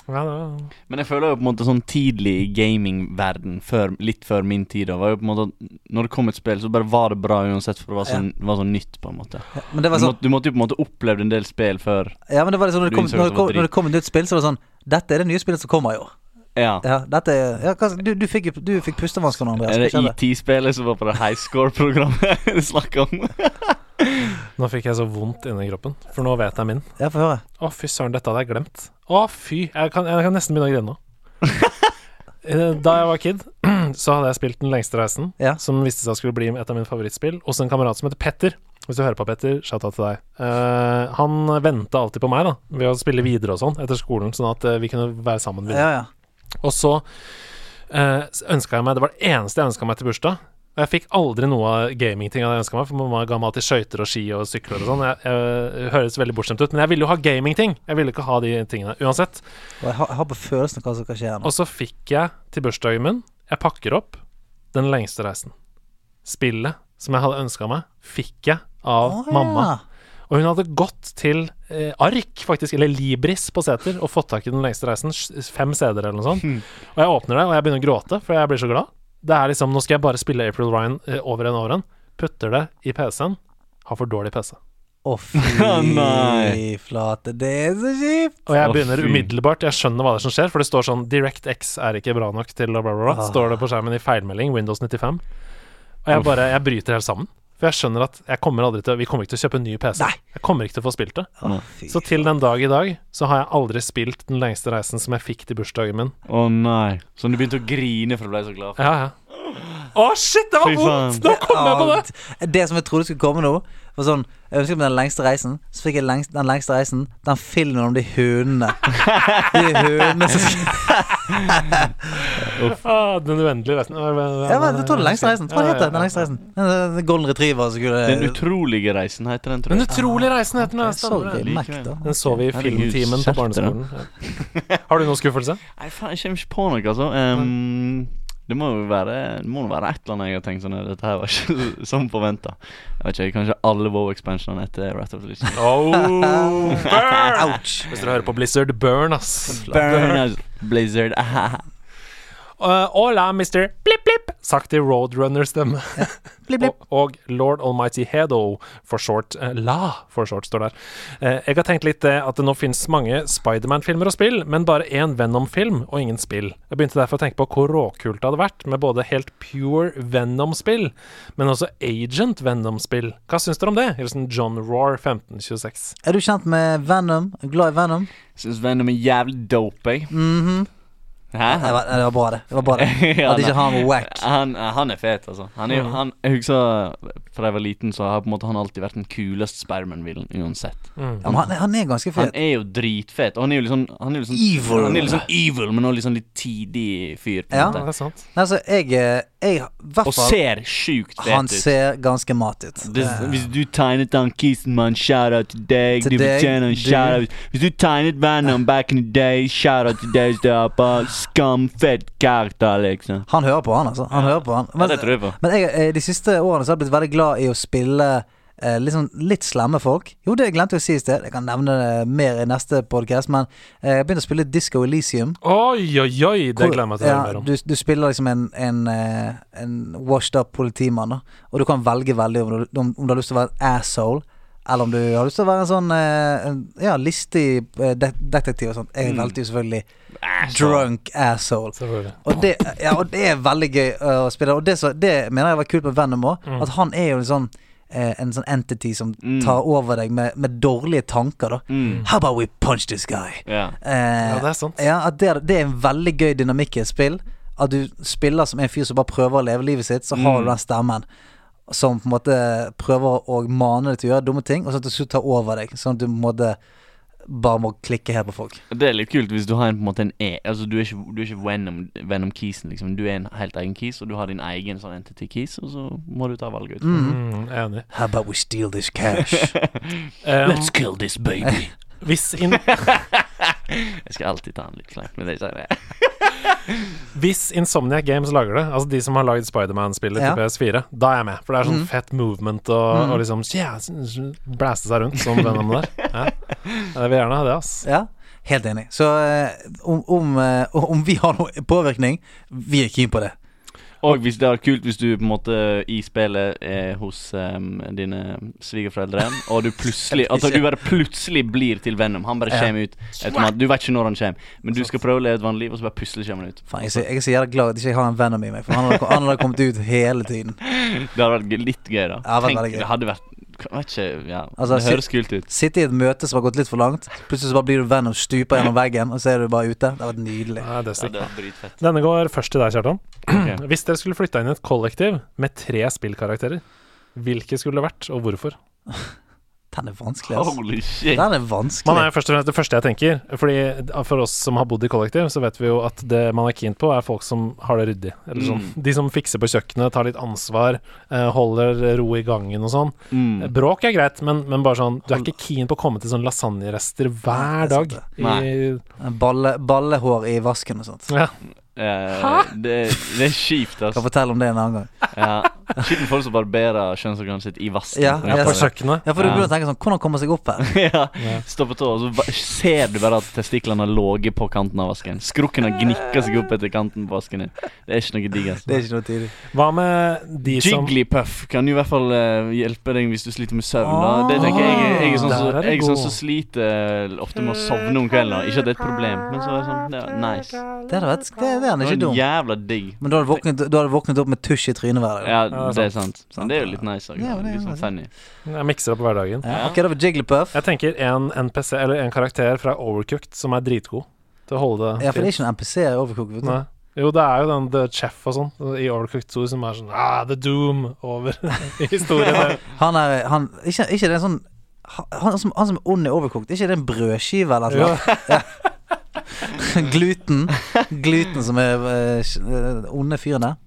Ja, det var- Men jeg føler jo på en måte sånn tidlig i gamingverden, før, litt før min tid, da, var jo på en måte at når det kom et spill, så bare var det bra uansett, for det var sånn, var sånn nytt, på en måte. Men det Du var sånn, måtte, du måtte jo på en måte opplevd en del spill før ja, men det var liksom når det Du kom, innså når det at det var kom, når det drit. kom et nytt spill, så var det sånn Dette er det nye spillet som kommer i år. Ja. Ja, dette er, ja, hva, du, du fikk, jo- du fikk pustevansker nå, Andreas. Er det Hva skjedde? ET-spelet som var på det high score-programmet du snakka om? Nå fikk jeg så vondt inni kroppen, for nå vet jeg min. Ja, få høre. Å, fy søren, dette hadde jeg glemt. Å, fy. Jeg kan, jeg kan nesten begynne å grine nå. Eh, da jeg var kid, så hadde jeg spilt Den lengste reisen, Ja. som viste seg å skulle bli et av mine favorittspill, hos en kamerat som heter Petter. Hvis du hører på, Petter, shout-out til deg. Eh, han venta alltid på meg, da, ved å spille videre og sånn etter skolen, sånn at eh, vi kunne være sammen videre. Ja, ja. Og så eh, ønska jeg meg Det var det eneste jeg ønska meg til bursdag. Og jeg fikk aldri noe av gamingtinga jeg ønska meg, for mamma ga meg alltid skøyter og ski og sykler og sånn. Jeg, jeg høres veldig bortskjemt ut, men jeg ville jo ha gamingting. Jeg ville ikke ha de tingene uansett. Og jeg har, jeg har på følelsen av hva som kan skje her nå. Og så fikk jeg til bursdagen min Jeg pakker opp Den lengste reisen. Spillet som jeg hadde ønska meg, fikk jeg av Å, ja. mamma. Og hun hadde gått til eh, Ark, faktisk, eller Libris på Seter, og fått tak i Den lengste reisen. s- Fem CD-er eller noe sånt. Og jeg åpner det, og jeg begynner å gråte, for jeg blir så glad. Det er liksom, Nå skal jeg bare spille April Ryan eh, over en over en. Putter det i PC-en. Har for dårlig PC. Å, fy Nei. flate, det er så kjipt! Og jeg Å, begynner fy. umiddelbart, jeg skjønner hva det er som skjer, for det står sånn DirectX er ikke bra nok til bla, bla, bla. Ah. Står det på skjermen i feilmelding, Windows 95. Og jeg bare, jeg bryter helt sammen. For jeg skjønner at jeg kommer aldri til, vi kommer ikke til å kjøpe en ny PC. Nei. Jeg kommer ikke til å få spilt det. Å, Mm. fy. Så til den dag i dag så har jeg aldri spilt Den lengste reisen som jeg fikk til bursdagen min. Å nei. Sånn du begynte å grine for du ble så glad. Ja, ja. Å, shit, det var Fy vondt! faen. Nå kom jeg på det! Ja, det som jeg trodde skulle komme nå, var sånn Jeg ønsket meg den lengste reisen, så fikk jeg lengst, den lengste reisen, den filmen om de hundene. De hundene som Ah, den uendelige reisen. Ja, men jeg tror den lengste reisen. Hva Ja, ja, heter den? ja. den lengste reisen? Den, den golden retriever som skulle Den utrolige reisen heter den, tror Den jeg. utrolige reisen heter den. Jeg ja, så stemmer vi det. Mac, da. Den så vi i Herregud, filmtimen på skjerp deg. barneskolen. Ja. Har du noen skuffelse? Nei, faen, jeg kommer ikke på noe, altså. Ehm, det må jo være Det må nå være et eller annet jeg har tenkt sånn Dette her var ikke som forventa. Jeg vet ikke, kanskje alle WoW-expansionene etter Wrath of the Legion. Oh, burn! Ouch! Hvis dere hører på Blizzard, burn, ass. Burn, Blizzard. ahaha. Uh, hola, mister Blipp Blipp, sakte Roadrunner-stemme. Blipp, blipp. Og, og Lord Almighty Hedo, for short eh, La, for short, står der. Eh, jeg har tenkt litt det at det nå finnes mange Spiderman-filmer og spill, men bare én Venom-film og ingen spill. Jeg begynte derfor å tenke på hvor råkult det hadde vært med både helt pure Venom-spill, men også Agent Venom-spill. Hva syns dere om det? Hilsen John Roar 1526. Er du kjent med Venom? Glad i Venom? Syns Venom er jævlig dope, jeg. Hæ? Nei, Det Mhm. var, det var bra, det. det, var bra det. Ja, At ikke nei. han var wack. Mhm. Han, han er fet, altså. Han er, jo- han, jeg husker fra jeg var liten, så har på en måte han alltid vært den kuleste Spiderman-villen uansett. Ja, men han, han er ganske Han fet. er jo dritfet, og han er jo litt sånn han er jo litt sånn- Evil. Han er litt sånn evil, men også litt sånn litt tidig fyr. på en Ja. Ja, måte. det er sant. Nei, altså, jeg, eh, jeg, i hvert Og fall, ser sjukt han fet ut. ser ganske mat ut. Eh, Det, hvis du tegnet han kisen med en shout-out til deg, Til du deg, fortjener en du- shout-out. Hvis du tegnet vennen back in the day, shout-out til deg der oppe. Skamfett karakter, liksom. Han hører på han, altså. Han hører på han. det tror jeg på. men jeg, eh, de siste årene så har jeg blitt veldig glad i å spille eh, litt sånn litt slemme folk. Jo, det glemte jeg å si i sted. Jeg kan nevne det mer i neste podkast, men eh, jeg begynte å spille Disco Elicium. Oi, oi, oi! Det gleder jeg meg til å høre mer om. du, du spiller liksom en, en, eh, en washed up politimann, da. Og du kan velge veldig om du, om, om du har lyst til å være en asshole. Eller om du har lyst til å være en sånn eh, en, ja, listig eh, de detektiv og sånt. Jeg Mm. valgte jo selvfølgelig drunk asshole. Selvfølgelig. Og det, ja, og det er veldig gøy øh, å spille. Og det, så, det mener jeg var kult med Venom òg. Mm. At han er jo en sånn, eh, en sånn entity som tar over deg med, med dårlige tanker. da How about we punch this guy? Ja. Mm. Eh, Ja, det er sant. ja, at det, er- det er en veldig gøy dynamikk i et spill. At du spiller som en fyr som bare prøver å leve livet sitt, så har du den stemmen som på en måte prøver å mane deg til å gjøre dumme ting, og så til slutt tar over deg. Sånn at du på en måte bare må klikke helt på folk. Det er litt kult hvis du har en, på en måte en e Altså Du er ikke, du er ikke Venom, Venom Kisen, liksom. Du er en helt egen kis, og du har din egen sånn entity kis, og så må du ta valget ut. Mm, jeg er enig. How about we steal this cash? Eh, Let's kill this baby. hvis, in Jeg skal alltid ta han litt kleint, men det er ikke hvis Insomniac Games lager det, altså de som har lagd Spiderman-spillet Ja. Mhm. til PS4, da er jeg med. For det er sånn fett movement og, og liksom yeah, s- s- blæste seg rundt som Venom der. Ja. Jeg vil gjerne ha det, ass. Ja, helt enig. Så eh, om, om, eh, om vi har noe påvirkning, vi er keen på det. Og hvis det er kult hvis du på en måte i spillet er hos em, dine svigerforeldre, og du plutselig At du bare plutselig blir til Venom. Han bare Ja. Sånn. kommer ut. Automat. Du vet ikke når han kommer, men du skal prøve å leve et vanlig liv, og så bare plutselig kommer han ut. Faen, jeg, er så- jeg er så jævla glad at jeg ikke har en venom i meg, for han hadde, han hadde kommet ut hele tiden. Det hadde vært g- litt gøy, da. Ja, det hadde Tenk, vært gøy. det hadde vært jeg vet ikke, ja. Altså, Det høres kult ut. Sitte i et møte som har gått litt for langt, plutselig så bare blir du venom, stuper gjennom veggen, og så er du bare ute. Det hadde vært nydelig. Ja, det er Ja, sikkert. det er dritfett. Denne går først til deg, Kjartan. Ok. Hvis dere skulle flytta inn i et kollektiv med tre spillkarakterer, hvilke skulle det vært, og hvorfor? Den er vanskelig, altså. Holy shit. Den er Man er vanskelig. jo først og fremst det første jeg tenker. Fordi For oss som har bodd i kollektiv, så vet vi jo at det man er keen på, er folk som har det ryddig. Eller sånn. Mm. De som fikser på kjøkkenet, tar litt ansvar, eh, holder ro i gangen og sånn. Mm. Bråk er greit, men, men bare sånn Du er ikke keen på å komme til sånn lasagnerester hver Nei, dag. det er sant I, Balle, ballehår i vasken og sånt. ja. Eh, det, det er kjipt, Kan altså. fortelle om det en annen gang. Ja. Kjipt med folk som barberer kjønnsorganet sitt i vasken. Ja, for ja, På eksempel. kjøkkenet. Ja, for du Ja. begynner å tenke sånn Hvordan komme seg opp her? ja. Stå på tå, og så ba- ser du bare at testiklene har ligget på kanten av vasken. Skrukken har gnikka seg opp etter kanten på vasken din. Det er ikke noe digg, Det altså. er ikke noe tidlig. Hva med de som Jigglypuff kan jo i hvert fall eh, hjelpe deg hvis du sliter med søvn. Da. Det tenker Jeg Jeg, jeg er sånn Ah, Der er det som jeg er sånn god. som sliter eh, ofte med å sovne om kvelden. Da. Ikke at det er et problem, men så er det sånn Det er nice. Det hadde vært Det, det er Det ikke var dum. jævla digg. Men da hadde du våknet, da hadde du våknet opp med tusj i trynet hver dag. Ja, Ja, det det er er sant. Men det er jo litt nice òg. Ja, det er Litt sånn sant. funny. Jeg mikser opp hverdagen. Ja. Ok, da var Jigglypuff. Jeg tenker en NPC, eller en karakter fra Overcooked som er dritgod til å holde det Ja, for det er ikke noen MPC i Overcook. Vet du. Nei. Jo, det er jo den The Chef og sånn i Overcooked 2 som er sånn ah, The Doom over i historien. Han er han, ikke, ikke det er en sånn han, han, som, han som er ond i Overcooked, ikke det er en brødskive eller Jo, noe? gluten. Gluten som er eh, eh, onde fyren der.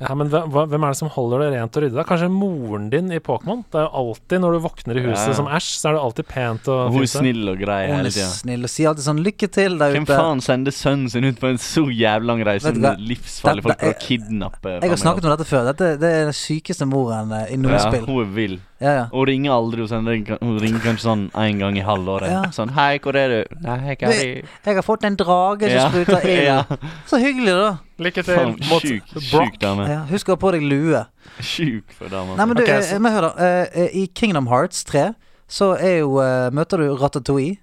ja, men hvem, hva- hvem er det som holder det rent og ryddig? da? Kanskje moren din i Pokémon? Det er jo alltid når du våkner i huset Ja. som Ash, så er det alltid pent og Hun er fint der. snill og grei Hun hele er tida. snill og sier alltid sånn 'lykke til' der Hvem ute. faen sender sønnen sin ut på en så jævlig lang reise Vet du hva? med livsfarlige folk Dette for å er- kidnappe Jeg har snakket om dette før. Dette det er den sykeste moren eh, i noe ja, spill. hun er vill. Ja, ja. Hun ringer aldri. Hun, sender, hun ringer kanskje sånn en gang i halvåret. Ja. Sånn 'Hei, hvor er du?' 'Nei, jeg er her i- Jeg har fått en drage som Ja. spruter ild. Ja. Så hyggelig, da. Lykke til Faen, mot sjuk, Brock. sjuk dame. Ja, husk å ha på deg lue. Sjuk for dame. altså. Nei, men du, Ok, så- eh, men hør da. eh, eh, I Kingdom Hearts 3 så er jo eh, Møter du Ratatouille.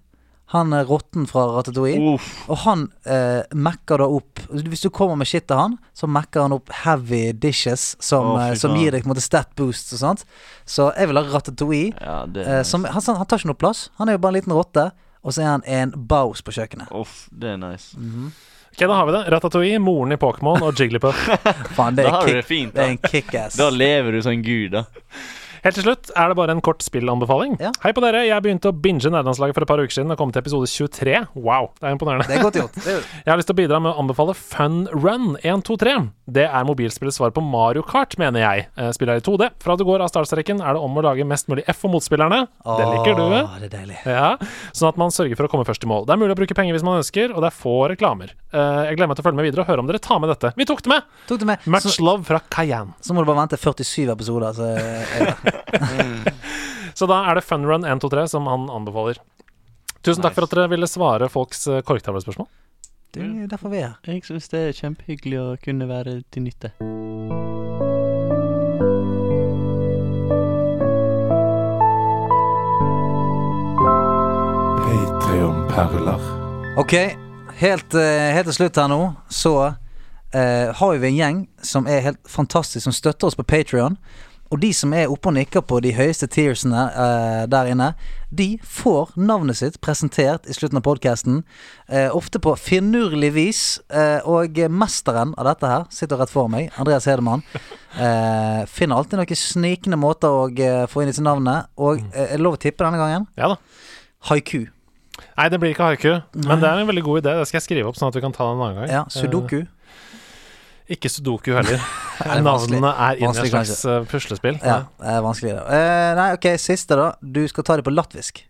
Han er rotten fra Ratatouille. Uff. Og han eh, mekker da opp Hvis du kommer med shit til han, så mekker han opp heavy dishes som, Å, fy eh, som faen. gir deg på en måte stat boost og sånt. Så jeg vil ha Ratatouille. Ja, det eh, er nice. som, han, han tar ikke noe plass. Han er jo bare en liten rotte. Og så er han en baus på kjøkkenet. Eh, Uff, det er nice. Ok, da har vi det. Ratatouille, moren i Pokémon og Jigglypuff. Faen, det Da er, har du kick, det fint, det er da. en kickass. Da lever du som en gud, da. Helt til slutt er det bare en kort spillanbefaling. Ja. Hei på dere, jeg begynte å binge nederlandslaget for et par uker siden og kom til episode 23. Wow, det er imponerende. Det er godt gjort. Det er, Jeg har lyst til å bidra med å anbefale Fun Run 123. Det er mobilspillets svar på Mario Kart, mener jeg. Eh, Spillet er i 2D. Fra du går av startstreken, er det om å lage mest mulig F for motspillerne. Ah. Det liker du. Åh, det er deilig. Ja, Sånn at man sørger for å komme først i mål. Det er mulig å bruke penger hvis man ønsker, og det er få reklamer. Eh, Jeg gleder meg til å følge med videre og høre om dere tar med dette. Vi tok det med! Tok du med? Much Så, love fra Cayenne. så må du bare vente 47 episoder. Så, er det. Så da er det Funrun 123 som han anbefaler. Tusen takk for at dere ville svare folks eh, korktavlespørsmål. det er jo derfor vi er her. Jeg syns det er kjempehyggelig å kunne være til nytte. Patreon-perler. Ok, helt, eh, helt til slutt her nå Så eh, har jo vi en gjeng som er helt fantastisk Som støtter oss på Patreon Og de som er oppe og nikker på de høyeste tiersene eh, der inne De får navnet sitt presentert i slutten av podcasten eh, Ofte på finurlig vis eh, Og mesteren av dette her sitter rett for meg Andreas Hedemann eh, Finner alltid noen snikende måter å eh, få inn disse navnene Og eh, er det lov å tippe denne gangen? Mm. Ja da. Haiku Nei, det blir ikke haiku, men det er en veldig god idé. Det skal jeg skrive opp, sånn at vi kan ta det en annen gang. Ja, sudoku Eh, ikke sudoku heller. er vanskelig. Navnene er inni et Vanskelig, slags eh, puslespill. Ja, det er vanskelig da. Eh, nei, ok, siste da. Du skal ta det på latvisk.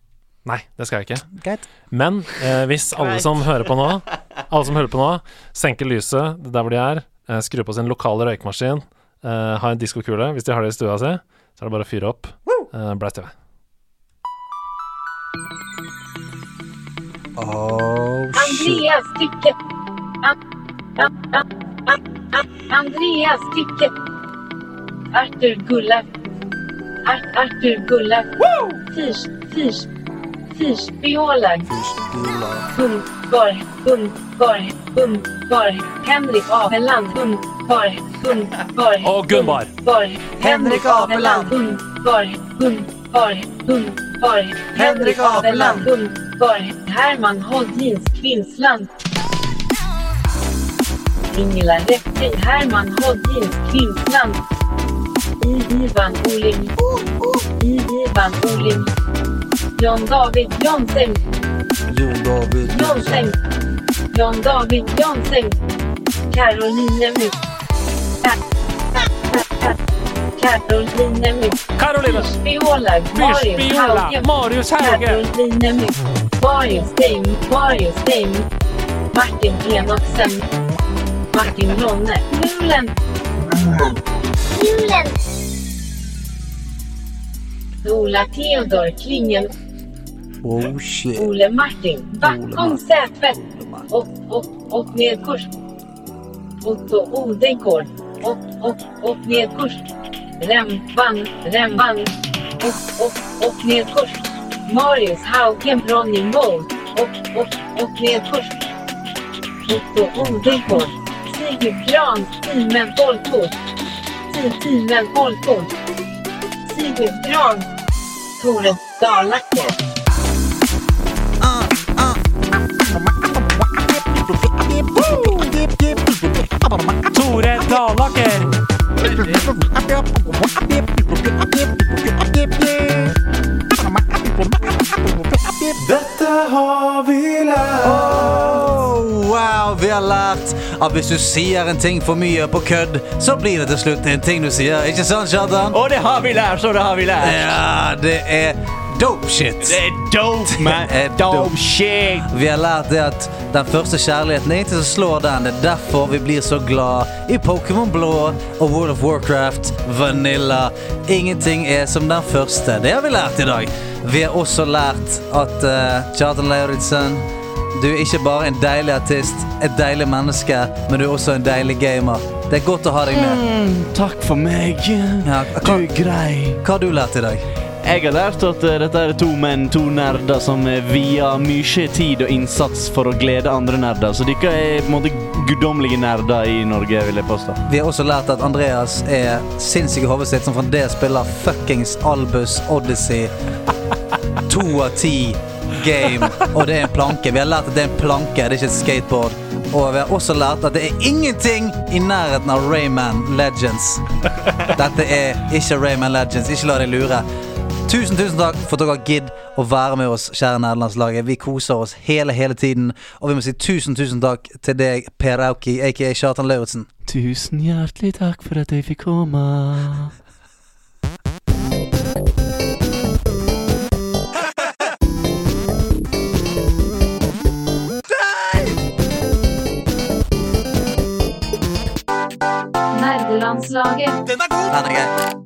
Nei, det skal jeg ikke. Greit. Men eh, hvis alle som hører på nå, alle som hører på nå, senker lyset der hvor de er, eh, skrur på sin lokale røykemaskin, eh, har en diskokule hvis de har det i stua si, så er det bare å fyre opp. Eh, Blæs TV. Oh, shit. Tycke. Andreas Tycke. Arthur Gullef. Ar- Arthur Gullef. Fish, fish, fish. Biolag. Undborg, Undborg, Undborg. Henrik Abeland. Undborg, Undborg. Og Gunborg. Undborg. Henrik Abeland. Undborg, Undborg, Undborg. Henrik Abeland. Undborg. Herman Holmlins Kvinnsland. Ingela Räckting, Herman Holmlins Kvinnsland. I Ivan Oling. I Ivan Oling. John David Johnsen. Johnsen. John David Johnsen. Caroline Myk. Ka- ka- ka- ka- Caroline Myk. Karoline! Fyrspiolag. Marius Hauge. Marius Caroline Myk. Marius Stein. Marius Stein. Martin Enoksen. Martin Ronne. Nulen. Julen! Ola Theodor Klingen. Oh, shit. Ole Martin. Backholm Sätvedt. Och, och, och nedkurs. Otto Odengård. Och, och, och nedkurs. Remban, remban. Och, och, och nedkurs. Marius Haugen Ronny Mold. Och, och, och nedkurs. Otto Odengård. Sigurd Gran. Simen Folkort. Si- Simen Folkort. Sigurd Gran. Tore Dahlacke. Tore Dalaker! Oh, wow, vi har lært at hvis du sier en ting for mye på kødd, så blir det til slutt en ting du sier. Ikke sant, Kjartan? Og det har vi lært, så det har vi lært! Ja, det er dope shit. Det er dope, man. Det er dope. Dope shit. Vi har lært det at den første kjærligheten er ikke så slår den. Det er derfor vi blir så glad i Pokémon Blå og World of Warcraft Vanilla. Ingenting er som den første. Det har vi lært i dag. Vi har også lært at uh, Charlton Lauritzen du er ikke bare en deilig artist, et deilig menneske, men du er også en deilig gamer. Det er godt å ha deg med. Takk for meg. Ja, Du hva, er grei. hva har du lært i dag? Jeg har lært at eh, dette er to menn, to nerder som eh, vier mye tid og innsats for å glede andre nerder. Så dere er på en måte guddommelige nerder i Norge, vil jeg påstå. Vi har også lært at Andreas er sinnssyk i hodet sitt, som fremdeles spiller fuckings Albus Odyssey. To av ti game. Og det er en planke. Vi har lært at det er en planke, det er ikke et skateboard. Og vi har også lært at det er ingenting i nærheten av Rayman Legends. Dette er ikke Rayman Legends. Ikke la deg lure. Tusen tusen takk for at dere gidd å være med oss, kjære nederlandslaget. Vi koser oss hele, hele tiden. Og vi må si tusen tusen takk til deg, Per Auki, aka Kjartan Lauritzen. Tusen hjertelig takk for at jeg fikk komme. Nerdelandslaget. Den er grei.